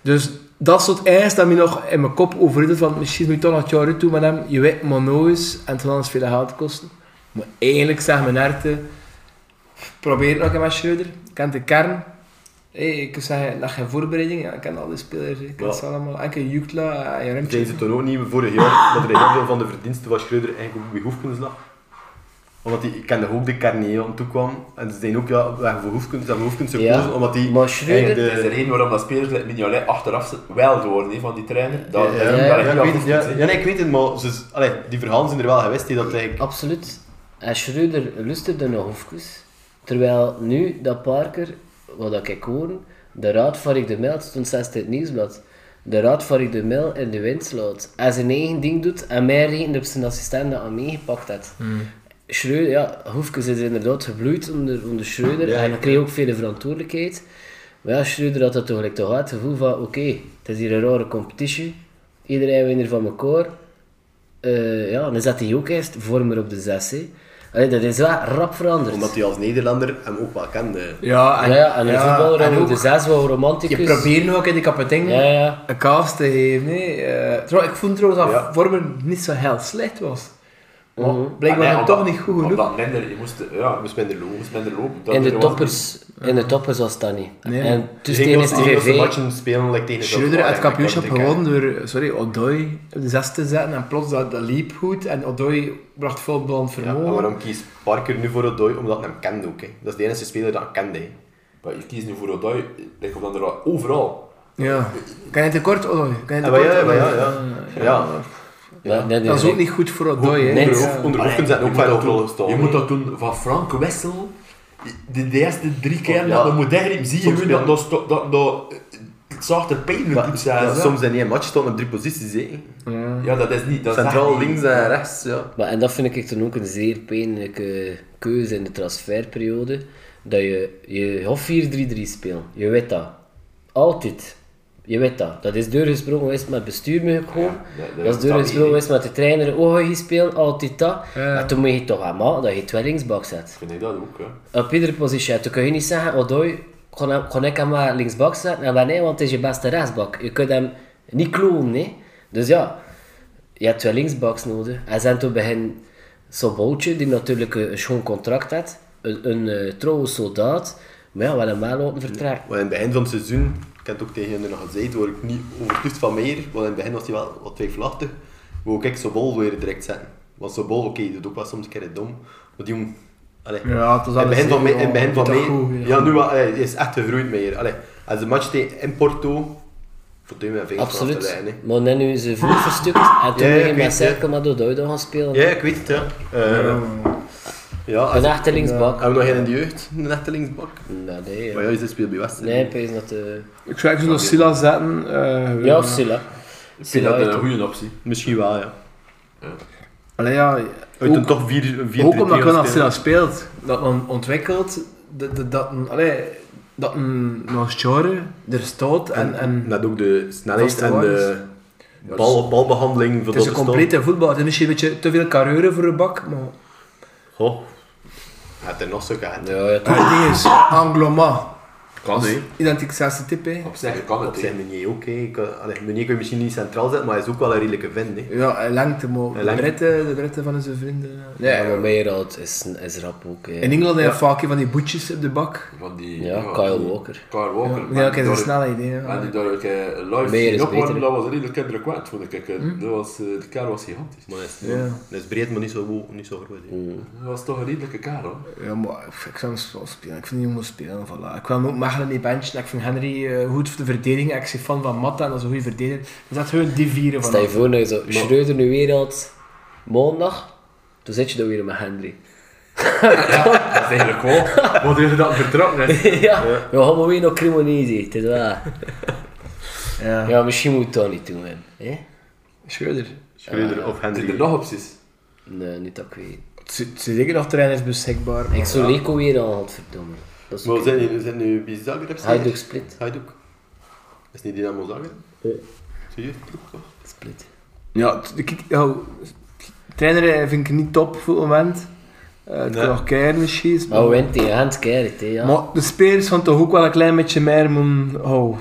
[SPEAKER 2] Dus dat soort eis dat me nog in mijn kop overriddelt van misschien moet ik toch nog het jaar uit doen met hem. Je weet maar nooit en het zal anders veel geld kosten. Maar eigenlijk zeg mijn herten, probeer het nog een met Schreuder. Ik ken de kern. Hey, ik kan zeggen, dat geen voorbereiding. Ja, ik ken al die spelers. Ik ken
[SPEAKER 5] Ja.
[SPEAKER 2] ze allemaal. Enke Jukla eh, en
[SPEAKER 5] Zijn
[SPEAKER 2] Remtje.
[SPEAKER 5] ze toen ook niet vorig jaar dat er heel veel van de verdiensten van Schreuder eigenlijk op Hoefkens lag? Omdat die, ik kende ook de kern die aan toe kwam. En ze zijn ook ja, weg voor Hoefkens. Ze hebben Hoefkens
[SPEAKER 3] Ja,
[SPEAKER 5] gekozen omdat die...
[SPEAKER 3] maar Schreuder-
[SPEAKER 5] eigenlijk
[SPEAKER 4] Dat is de reden waarom dat spelers like Mignolet achteraf zitten, wel door nee, van die trainer. Dat,
[SPEAKER 5] ja,
[SPEAKER 4] dat-
[SPEAKER 5] ja,
[SPEAKER 4] dat
[SPEAKER 5] ja,
[SPEAKER 4] ligt
[SPEAKER 5] ik
[SPEAKER 4] niet
[SPEAKER 5] weet
[SPEAKER 4] aan
[SPEAKER 5] het, ja,
[SPEAKER 4] Hoefkens, hè.
[SPEAKER 5] ja, nee, ik weet het, maar ze, allee, die verhalen zijn er wel geweest die dat eigenlijk...
[SPEAKER 3] Absoluut. En Schreuder luisterde naar Hoefkes. Terwijl nu dat Parker, wat dat ik hoor, de raad van Rick de Mel, het stond zelfs in het nieuwsblad, de raad van Rick de Mel in de wind slaat. En zijn eigen ding doet en mij rekent op zijn assistenten aan meegepakt had. Schreuder, ja, Hoefkes is inderdaad gebloeid onder, onder Schreuder
[SPEAKER 5] Ja,
[SPEAKER 3] en
[SPEAKER 5] ik-
[SPEAKER 3] kreeg ook veel verantwoordelijkheid. Maar ja, Schreuder had dat toch gelijk toch hard het gevoel van, oké, het is hier een rare competitie, iedereen wint hier van elkaar. Eh, ja, dan zat hij ook eerst vormer op de 6. hè. Allee, dat is wel rap veranderd.
[SPEAKER 5] Omdat die als Nederlander hem ook wel kende.
[SPEAKER 2] Ja,
[SPEAKER 3] Ja, ja, en een voetballer
[SPEAKER 2] en
[SPEAKER 3] en
[SPEAKER 2] ook-
[SPEAKER 3] de 6 wel romanticus.
[SPEAKER 2] Je probeert nu ook in de kapitein
[SPEAKER 3] Ja, ja.
[SPEAKER 2] een kaas te geven. hè. Eh, trouw- ik vond trouwens dat
[SPEAKER 5] Ja.
[SPEAKER 2] Vormer niet zo heel slecht was. Maar
[SPEAKER 3] Mhm.
[SPEAKER 2] blijkbaar
[SPEAKER 4] Ah, nee,
[SPEAKER 2] nog
[SPEAKER 4] omdat-
[SPEAKER 2] toch niet goed genoeg.
[SPEAKER 4] Omdat minder, je moest, ja, je
[SPEAKER 5] Dat
[SPEAKER 4] moest,
[SPEAKER 5] is minder logisch.
[SPEAKER 4] moest minder lopen. Dat
[SPEAKER 3] in, de
[SPEAKER 4] er was-
[SPEAKER 3] toppers, in de toppers was dat niet.
[SPEAKER 2] Nee.
[SPEAKER 3] En
[SPEAKER 5] Dus
[SPEAKER 3] tussen tegen is de VV.
[SPEAKER 5] matchen spelen like tegen
[SPEAKER 2] Schreuder had
[SPEAKER 5] uit
[SPEAKER 2] het kampioenschap gewonnen door sorry, Odoi op de zes te zetten. En plots dat, dat liep goed. En Odoi bracht veel bland
[SPEAKER 5] Ja,
[SPEAKER 2] vermogen.
[SPEAKER 5] en waarom kiest Parker nu voor Odoi? Omdat hij hem kende ook. Hè. Dat is de enige speler dat hij kende. hè.
[SPEAKER 4] Maar je kiest nu voor Odoi, ik kom dan er wel overal.
[SPEAKER 2] Ja. Kan je tekort, Odoi? Kan je
[SPEAKER 5] Ja, Ah, maar
[SPEAKER 2] tekort,
[SPEAKER 5] ja, ja, maar ja,
[SPEAKER 2] Odoi?
[SPEAKER 5] ja. ja.
[SPEAKER 3] Ja, nee, nee,
[SPEAKER 2] Dat is ook
[SPEAKER 3] nee.
[SPEAKER 2] niet goed voor Odoi. hè.
[SPEAKER 3] Nee.
[SPEAKER 5] Onder, Hoef- onder Hoefkens
[SPEAKER 4] Allee,
[SPEAKER 5] zijn ook
[SPEAKER 4] je moet
[SPEAKER 5] wel
[SPEAKER 4] dat
[SPEAKER 5] op rol
[SPEAKER 4] doen-
[SPEAKER 5] gestaan.
[SPEAKER 4] Je moet dat doen van Frank Wessel. De, de eerste drie keer
[SPEAKER 5] Oh, Ja.
[SPEAKER 4] dat je moet degrim zie je
[SPEAKER 5] Soms
[SPEAKER 4] hoe
[SPEAKER 5] wel.
[SPEAKER 4] dat, dat, sto- dat, dat, het zag er pijnlijk
[SPEAKER 5] Maar-
[SPEAKER 4] uit
[SPEAKER 5] ja,
[SPEAKER 4] zijn. hè.
[SPEAKER 5] soms in één match staan op drie posities. Hè.
[SPEAKER 4] ja, dat is niet. Dat is echt
[SPEAKER 5] Centraal
[SPEAKER 4] niet-
[SPEAKER 5] links en rechts. Ja.
[SPEAKER 3] Maar, en dat vind ik dan ook een zeer pijnlijke keuze in de transferperiode. Dat je, je of 4-3-3 speelt. Je weet dat. Altijd. Je weet dat. Dat is doorgesprongen geweest met bestuur me gewoon. dat,
[SPEAKER 4] dat- dat
[SPEAKER 3] is
[SPEAKER 4] is dat
[SPEAKER 3] doorgesprongen
[SPEAKER 4] idee.
[SPEAKER 3] geweest met de trainer. Oh, ga je spelen? Altijd dat. Maar toen moet je toch aan maken dat je twee linksbacks hebt.
[SPEAKER 4] Vind ik dat ook, hè.
[SPEAKER 3] Op iedere positie. Toen kun je niet zeggen, Odoi, kon, hem- kon ik hem maar linksbak zetten? En wel nee, want het is je beste rechtsbak. Je kunt hem niet klonen, nee. Dus ja, je hebt twee linksbacks nodig. En zijn toen begin Soboltje, die natuurlijk een, een schoon contract had. Een, een eh, trouwe soldaat. Maar ja, we hebben hem wel laten vertrekken.
[SPEAKER 5] Maar in het begin van het seizoen, ik heb het ook tegen hen nog gezegd, word ik niet overtuigd van meer. Want in het begin was hij wel wat twijfelachtig. Wou ik Sobol weer direct zetten. Want Sobol, oké, die doet ook wel soms een keer dom. Maar die jongen... Allee,
[SPEAKER 2] Ja, het was
[SPEAKER 5] In het begin
[SPEAKER 2] alles
[SPEAKER 5] van, me,
[SPEAKER 2] zeker
[SPEAKER 5] in het begin
[SPEAKER 2] wel-
[SPEAKER 5] van
[SPEAKER 2] doet dat
[SPEAKER 5] mei-
[SPEAKER 2] goed, ja.
[SPEAKER 5] Ja, nu wel, eh, hij is echt gegroeid meer. Allee, als de match tegen in Porto. Vertuim mijn vingers vanaf de
[SPEAKER 3] Absoluut.
[SPEAKER 5] lijn. hè.
[SPEAKER 3] Maar dan nu zijn voet verstukt. En toen
[SPEAKER 5] Ja, ja,
[SPEAKER 3] ben je
[SPEAKER 5] ik
[SPEAKER 3] met
[SPEAKER 5] weet, ja.
[SPEAKER 3] Cirkel maar Odoi dan gaan spelen.
[SPEAKER 5] Ja, ik weet het, ja. Eh, ja, als-
[SPEAKER 3] Een echte linksbak.
[SPEAKER 5] hebben we nog geen in de jeugd, een echte linksbak?
[SPEAKER 3] Nee, nee,
[SPEAKER 5] Maar
[SPEAKER 3] ja.
[SPEAKER 5] ja, is dit speelt bij Westen.
[SPEAKER 3] nee, ik weet dat... eh,
[SPEAKER 2] Ik zou even nog Silla zetten. eh,
[SPEAKER 3] Ja, of Silla.
[SPEAKER 4] Ik vind
[SPEAKER 3] Silla
[SPEAKER 4] dat
[SPEAKER 3] heeft
[SPEAKER 4] een goede optie.
[SPEAKER 5] Misschien wel, ja.
[SPEAKER 2] Allee, ja,
[SPEAKER 5] Uit een
[SPEAKER 2] ook-
[SPEAKER 5] toch 4 4
[SPEAKER 2] Ook omdat Kun Silla speelt, dat men ontwikkelt, dat, dat, dat, een- allee, dat een Nostjore er staat en, en
[SPEAKER 5] Net ook de snelheid
[SPEAKER 2] Vaste
[SPEAKER 5] en de
[SPEAKER 2] waardes.
[SPEAKER 3] dus-
[SPEAKER 5] bal, balbehandeling.
[SPEAKER 2] het is een complete voetbal. Het is misschien een beetje te veel carreuren voor een bak, maar...
[SPEAKER 5] Goh. Het is nog zo gaan.
[SPEAKER 3] Ja, ja, toch.
[SPEAKER 2] Het ding is, Angloma,
[SPEAKER 6] Kan hè.
[SPEAKER 2] identiek zelfs type. hè.
[SPEAKER 4] Op zich kan
[SPEAKER 5] Op
[SPEAKER 4] het, hè.
[SPEAKER 5] zich Meunier ook. hè. Ik, eh, allee, Meunier kun je misschien niet centraal zetten, maar hij is ook wel een redelijke vent. hè.
[SPEAKER 2] Ja, hij lengte, maar de
[SPEAKER 5] lengte.
[SPEAKER 2] Britten, de Britten van zijn vrienden... eh.
[SPEAKER 3] Ja, maar Meerhout is, is rap ook. hè.
[SPEAKER 2] In Engeland heb je vaak van die boetjes op de bak.
[SPEAKER 4] Van die...
[SPEAKER 3] Ja,
[SPEAKER 4] van
[SPEAKER 3] Kyle
[SPEAKER 4] die-
[SPEAKER 3] Walker.
[SPEAKER 4] Kyle
[SPEAKER 2] Ja,
[SPEAKER 4] Walker.
[SPEAKER 2] ja, ik heb een
[SPEAKER 4] Door-
[SPEAKER 2] snelle idee. ja.
[SPEAKER 4] En die door ik eh, live
[SPEAKER 3] Meer is
[SPEAKER 4] zien opwarmen,
[SPEAKER 3] beter. Hm?
[SPEAKER 4] dat was redelijk indrukwekkend, vond ik. eh. Dat was, eh, de kerel was gigantisch.
[SPEAKER 5] Maar hij is,
[SPEAKER 2] Ja.
[SPEAKER 5] hij is breed, maar niet zo, wo- niet zo groot. hè. Eh,
[SPEAKER 4] Dat was toch een redelijke kerel.
[SPEAKER 2] Ja, maar ik- ik zou hem wel spelen. Ik vind die jongen spelen. Voilà. Ik kwam ook Mechelen niet benchen. Ik vind Henry eh, goed voor de verdediging. Ik ben fan van Matta en dat is een goede verdediger. Dus dat gewoon die vieren van.
[SPEAKER 3] Stel je voor dat je zo Schreuder nu weer had maandag, toen zit je dan weer met Henry.
[SPEAKER 4] Dat is eigenlijk wel. Want heeft dat
[SPEAKER 3] <laughs>
[SPEAKER 4] vertrokken, hè.
[SPEAKER 3] <laughs> ja, we gaan maar weer naar Cremonese, het is waar.
[SPEAKER 2] Ja.
[SPEAKER 3] Ja, misschien moet je dat niet doen, hè?
[SPEAKER 2] Schreuder.
[SPEAKER 5] Schreuder of
[SPEAKER 4] Zijn er
[SPEAKER 5] Hendrik.
[SPEAKER 4] nog opties?
[SPEAKER 3] Nee, niet dat ik weet.
[SPEAKER 2] Er zijn zeker nog trainers beschikbaar. maar
[SPEAKER 3] Ik zou
[SPEAKER 2] ja.
[SPEAKER 3] Leko weer al had verdomme. Dat is
[SPEAKER 5] Maar we
[SPEAKER 3] oké.
[SPEAKER 5] zijn nu, we zijn nu bij Zagreb. zeker?
[SPEAKER 3] Hajduk Split.
[SPEAKER 5] Hajduk. Is niet Dynamo Zagreb?
[SPEAKER 3] Nee.
[SPEAKER 5] Serieus? ploeg, toch?
[SPEAKER 3] Split.
[SPEAKER 2] Ja, t- ik, ja, trainer eh, vind ik niet top voor het moment. Eh het
[SPEAKER 5] Nee.
[SPEAKER 2] kan nog keihard misschien.
[SPEAKER 3] Maar we wint tegen Hans Gerrit, hè, ja.
[SPEAKER 2] Maar de spelers van toch ook wel een klein beetje meer moeten... Oh,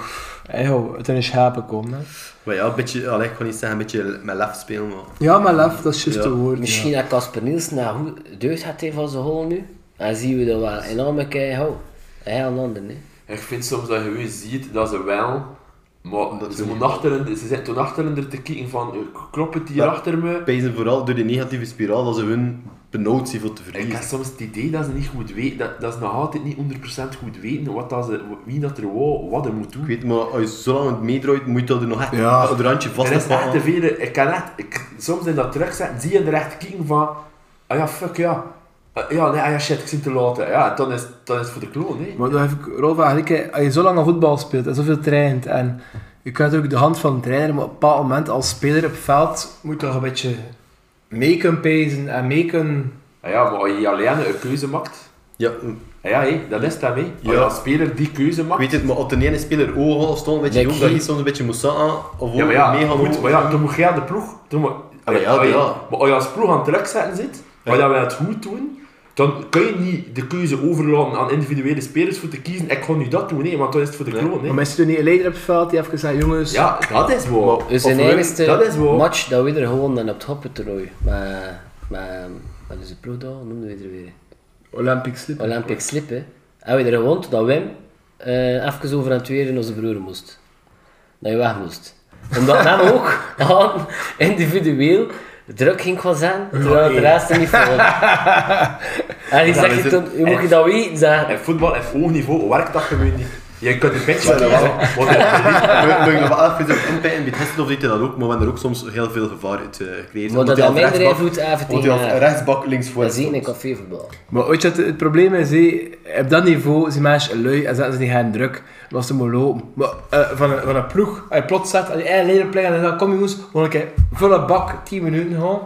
[SPEAKER 2] hey, oh, uit hun schapen komen. Hè.
[SPEAKER 5] Maar ja, een beetje, allee, ik kan niet zeggen, een beetje met lef spelen, maar...
[SPEAKER 2] Ja, maar lef, dat is juist
[SPEAKER 5] Ja.
[SPEAKER 2] het woord.
[SPEAKER 3] Misschien dat Casper Nielsen dat goed deugd gaat hij van zijn hol nu. Dan zien we dat wel enorme keihou. Hij een ander, hè.
[SPEAKER 4] Ik vind soms dat je weer ziet dat ze wel... Maar
[SPEAKER 5] Dat
[SPEAKER 4] ze,
[SPEAKER 5] ze
[SPEAKER 4] moeten
[SPEAKER 5] niet-
[SPEAKER 4] achteren, ze zijn toen achteren er te kijken van, eh, klopt het hier
[SPEAKER 5] Ja.
[SPEAKER 4] achter me?
[SPEAKER 5] Pezen vooral door die negatieve spiraal dat ze hun benauwd zijn voor te
[SPEAKER 4] Ik heb
[SPEAKER 5] verliezen.
[SPEAKER 4] soms het idee dat ze niet goed weten, dat, dat ze nog altijd niet 100% goed weten wat dat ze, wie dat er wou, wat er moet doen.
[SPEAKER 5] Ik weet, maar als je zo lang het meedraait, moet je dat er nog echt
[SPEAKER 2] Ja.
[SPEAKER 5] dat randje vast
[SPEAKER 4] Er is echt te
[SPEAKER 5] pakken.
[SPEAKER 4] veel, ik kan echt, ik, soms in dat terugzetten, zie je er echt kijken van, ah ja, fuck ja. Ah, ja, nee, ah ja, shit, ik zit te laat. hè. Ja, dan is, dan is het voor de kloon, hè.
[SPEAKER 2] Maar dan heb ik Rolf eigenlijk, hè, als je zo lang aan voetbal speelt en zoveel traint en je kunt ook de hand van de trainer, maar op een bepaald moment als speler op het veld moet je toch een beetje mee kunnen pezen en mee kunnen...
[SPEAKER 4] Ah ja, maar als je alleen een keuze maakt,
[SPEAKER 5] Ja,
[SPEAKER 4] ah ja, hé, dan is het daarmee. Als je
[SPEAKER 5] Ja.
[SPEAKER 4] als speler die keuze
[SPEAKER 5] ik
[SPEAKER 4] maakt,
[SPEAKER 5] weet het, maar als de ene speler ogen al stond, weet je
[SPEAKER 3] Nee,
[SPEAKER 5] ook dat je
[SPEAKER 3] Guy.
[SPEAKER 5] soms een beetje moest aan of
[SPEAKER 4] ja, maar
[SPEAKER 5] ook
[SPEAKER 4] ja,
[SPEAKER 5] meegaan
[SPEAKER 4] goed,
[SPEAKER 5] over-
[SPEAKER 4] maar ja, dan moet je aan de ploeg, dan moet, Allee,
[SPEAKER 5] Ah, ja,
[SPEAKER 4] als je-
[SPEAKER 5] ja.
[SPEAKER 4] maar als je als ploeg aan het terugzetten zit, maar
[SPEAKER 5] Ja.
[SPEAKER 4] dat wij het goed doen, dan kun je niet de keuze overlaten aan individuele spelers voor te kiezen, ik ga nu dat doen, nee, want dan is het voor de kloon, hè.
[SPEAKER 2] Maar is er niet een leider op het veld die even zegt, jongens...
[SPEAKER 4] Ja, dat is wel.
[SPEAKER 3] Dus
[SPEAKER 4] Of
[SPEAKER 3] in
[SPEAKER 4] wel,
[SPEAKER 3] eerste
[SPEAKER 4] Dat is wel.
[SPEAKER 3] match dat we er gewoon dan op het hoppen toernooi. Maar, maar, wat is de ploeg daar? Noemden we er weer.
[SPEAKER 2] Olympic slip.
[SPEAKER 3] Olympic Ah slip, hè. Hebben we er gewoon dat Wim eh even over aan het weer in onze broer moest. Dat je weg moest. Omdat hem ook <laughs> aan individueel druk ging gaan zijn, terwijl de rest er niet
[SPEAKER 5] <laughs>
[SPEAKER 3] voor. En die
[SPEAKER 5] maar
[SPEAKER 3] zegt je
[SPEAKER 5] dit-
[SPEAKER 3] toen, je moet je dat weten, zeggen.
[SPEAKER 4] En voetbal en hoog niveau werkt dat gewoon niet. Je kunt het beetje
[SPEAKER 5] Ja, dat
[SPEAKER 4] kiezen. Want het-
[SPEAKER 5] Moet- moet ik nog wel even op inpijpen, bij het hessen of dit en dat ook, maar we hebben er ook soms heel veel gevaar uit eh, gekregen.
[SPEAKER 3] Maar dat
[SPEAKER 5] Omdat
[SPEAKER 3] dat
[SPEAKER 5] hij als
[SPEAKER 3] minder
[SPEAKER 5] rechtsbak-
[SPEAKER 3] invloed even
[SPEAKER 5] Want je
[SPEAKER 3] tegen
[SPEAKER 5] had
[SPEAKER 3] haar.
[SPEAKER 5] rechtsbak links voor.
[SPEAKER 3] eh, Dat zie je in cafévoetbal.
[SPEAKER 2] Maar weet je wat het, het probleem is? hé? op dat niveau zijn mensen lui en zetten ze niet gaan druk. Maar ze moeten lopen. Maar eh, van, een, van een ploeg, als je plots zet, als je eigen leider pleegt en dan kom je moest, gewoon een keer volle bak, 10 minuten gewoon.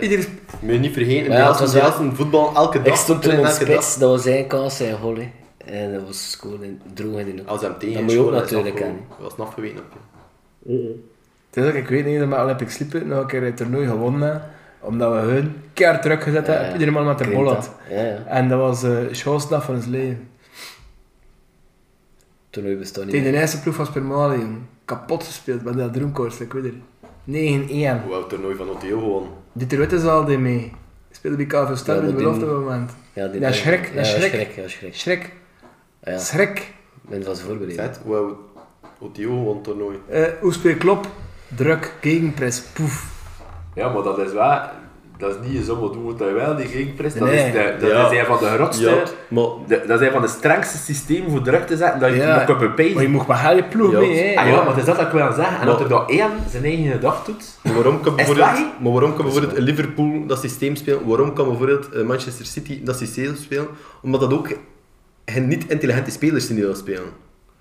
[SPEAKER 2] Iedereen
[SPEAKER 5] Moet je niet vergeten,
[SPEAKER 3] Ja,
[SPEAKER 5] ja,
[SPEAKER 3] het was
[SPEAKER 5] als
[SPEAKER 3] wel-
[SPEAKER 5] een voetbal elke dag.
[SPEAKER 3] Ik stond toen
[SPEAKER 5] trainen
[SPEAKER 3] in de
[SPEAKER 5] elke dag.
[SPEAKER 3] spits, dat was zijn kans, zijn goal. hè. En dat was gewoon in- droog in de
[SPEAKER 5] Als hij hem tegen
[SPEAKER 3] Dat moet je ook
[SPEAKER 5] schoot, dat is
[SPEAKER 3] natuurlijk
[SPEAKER 5] afgelopen.
[SPEAKER 3] kennen.
[SPEAKER 5] Dat was nog geweten. op je.
[SPEAKER 2] Het is ook, ik weet niet, maar Olympic Sliepen nog een keer het toernooi gewonnen. hè. Omdat we hun keer druk gezet hebben op
[SPEAKER 3] Ja,
[SPEAKER 2] iedere man met een
[SPEAKER 3] Klinkt
[SPEAKER 2] bol
[SPEAKER 3] dat?
[SPEAKER 2] had.
[SPEAKER 3] Ja, ja.
[SPEAKER 2] En dat was eh Schoosnaf van ons leven.
[SPEAKER 3] Toernooi bestond niet.
[SPEAKER 2] Tegen de
[SPEAKER 3] meer.
[SPEAKER 2] eerste ploeg van Spermali, jong. Kapot gespeeld met dat droomkoers, ik weet het. 9-1.
[SPEAKER 5] Hoe hebben we het toernooi van OTO gewonnen?
[SPEAKER 2] Dieter Witte zal die mee. Speelde bij KV Star
[SPEAKER 3] Ja,
[SPEAKER 2] in de
[SPEAKER 3] dat
[SPEAKER 2] belofte
[SPEAKER 3] die-
[SPEAKER 2] moment.
[SPEAKER 3] Ja, die-
[SPEAKER 2] Ja, schrik,
[SPEAKER 3] Ja,
[SPEAKER 2] ja, schrik.
[SPEAKER 3] schrik. Ja, schrik.
[SPEAKER 2] Schrik,
[SPEAKER 3] Ja, ja.
[SPEAKER 2] schrik.
[SPEAKER 3] Men was voorbereid.
[SPEAKER 5] Zet, hoe hebben we OTO gewonnen toernooi?
[SPEAKER 2] Eh, hoe speel klop? Druk, gegenpress, poef.
[SPEAKER 4] Ja, maar dat is wel. Dat is niet zomaar doen wat hij wel die gegenpress. Dat, is, de, dat
[SPEAKER 5] Ja.
[SPEAKER 4] is een van de grootste.
[SPEAKER 5] Ja, maar
[SPEAKER 4] de- dat is een van de strengste systemen voor druk te zetten dat je
[SPEAKER 2] Ja.
[SPEAKER 4] nog kunt
[SPEAKER 2] Maar je
[SPEAKER 4] bepezen.
[SPEAKER 2] mocht maar heel je ploeg
[SPEAKER 5] Ja.
[SPEAKER 2] mee, hè.
[SPEAKER 4] Ah ja, maar het is dat dat ik wil zeggen. En
[SPEAKER 5] Maar-
[SPEAKER 4] dat er dan één zijn eigen dag doet.
[SPEAKER 5] Maar waarom kan
[SPEAKER 4] Is het
[SPEAKER 5] bijvoorbeeld,
[SPEAKER 4] waar?
[SPEAKER 5] maar waarom kan bijvoorbeeld Liverpool dat systeem spelen? Waarom kan bijvoorbeeld eh, Manchester City dat systeem spelen? Omdat dat ook hen niet intelligente spelers zijn die dat
[SPEAKER 2] <laughs>
[SPEAKER 5] spelen.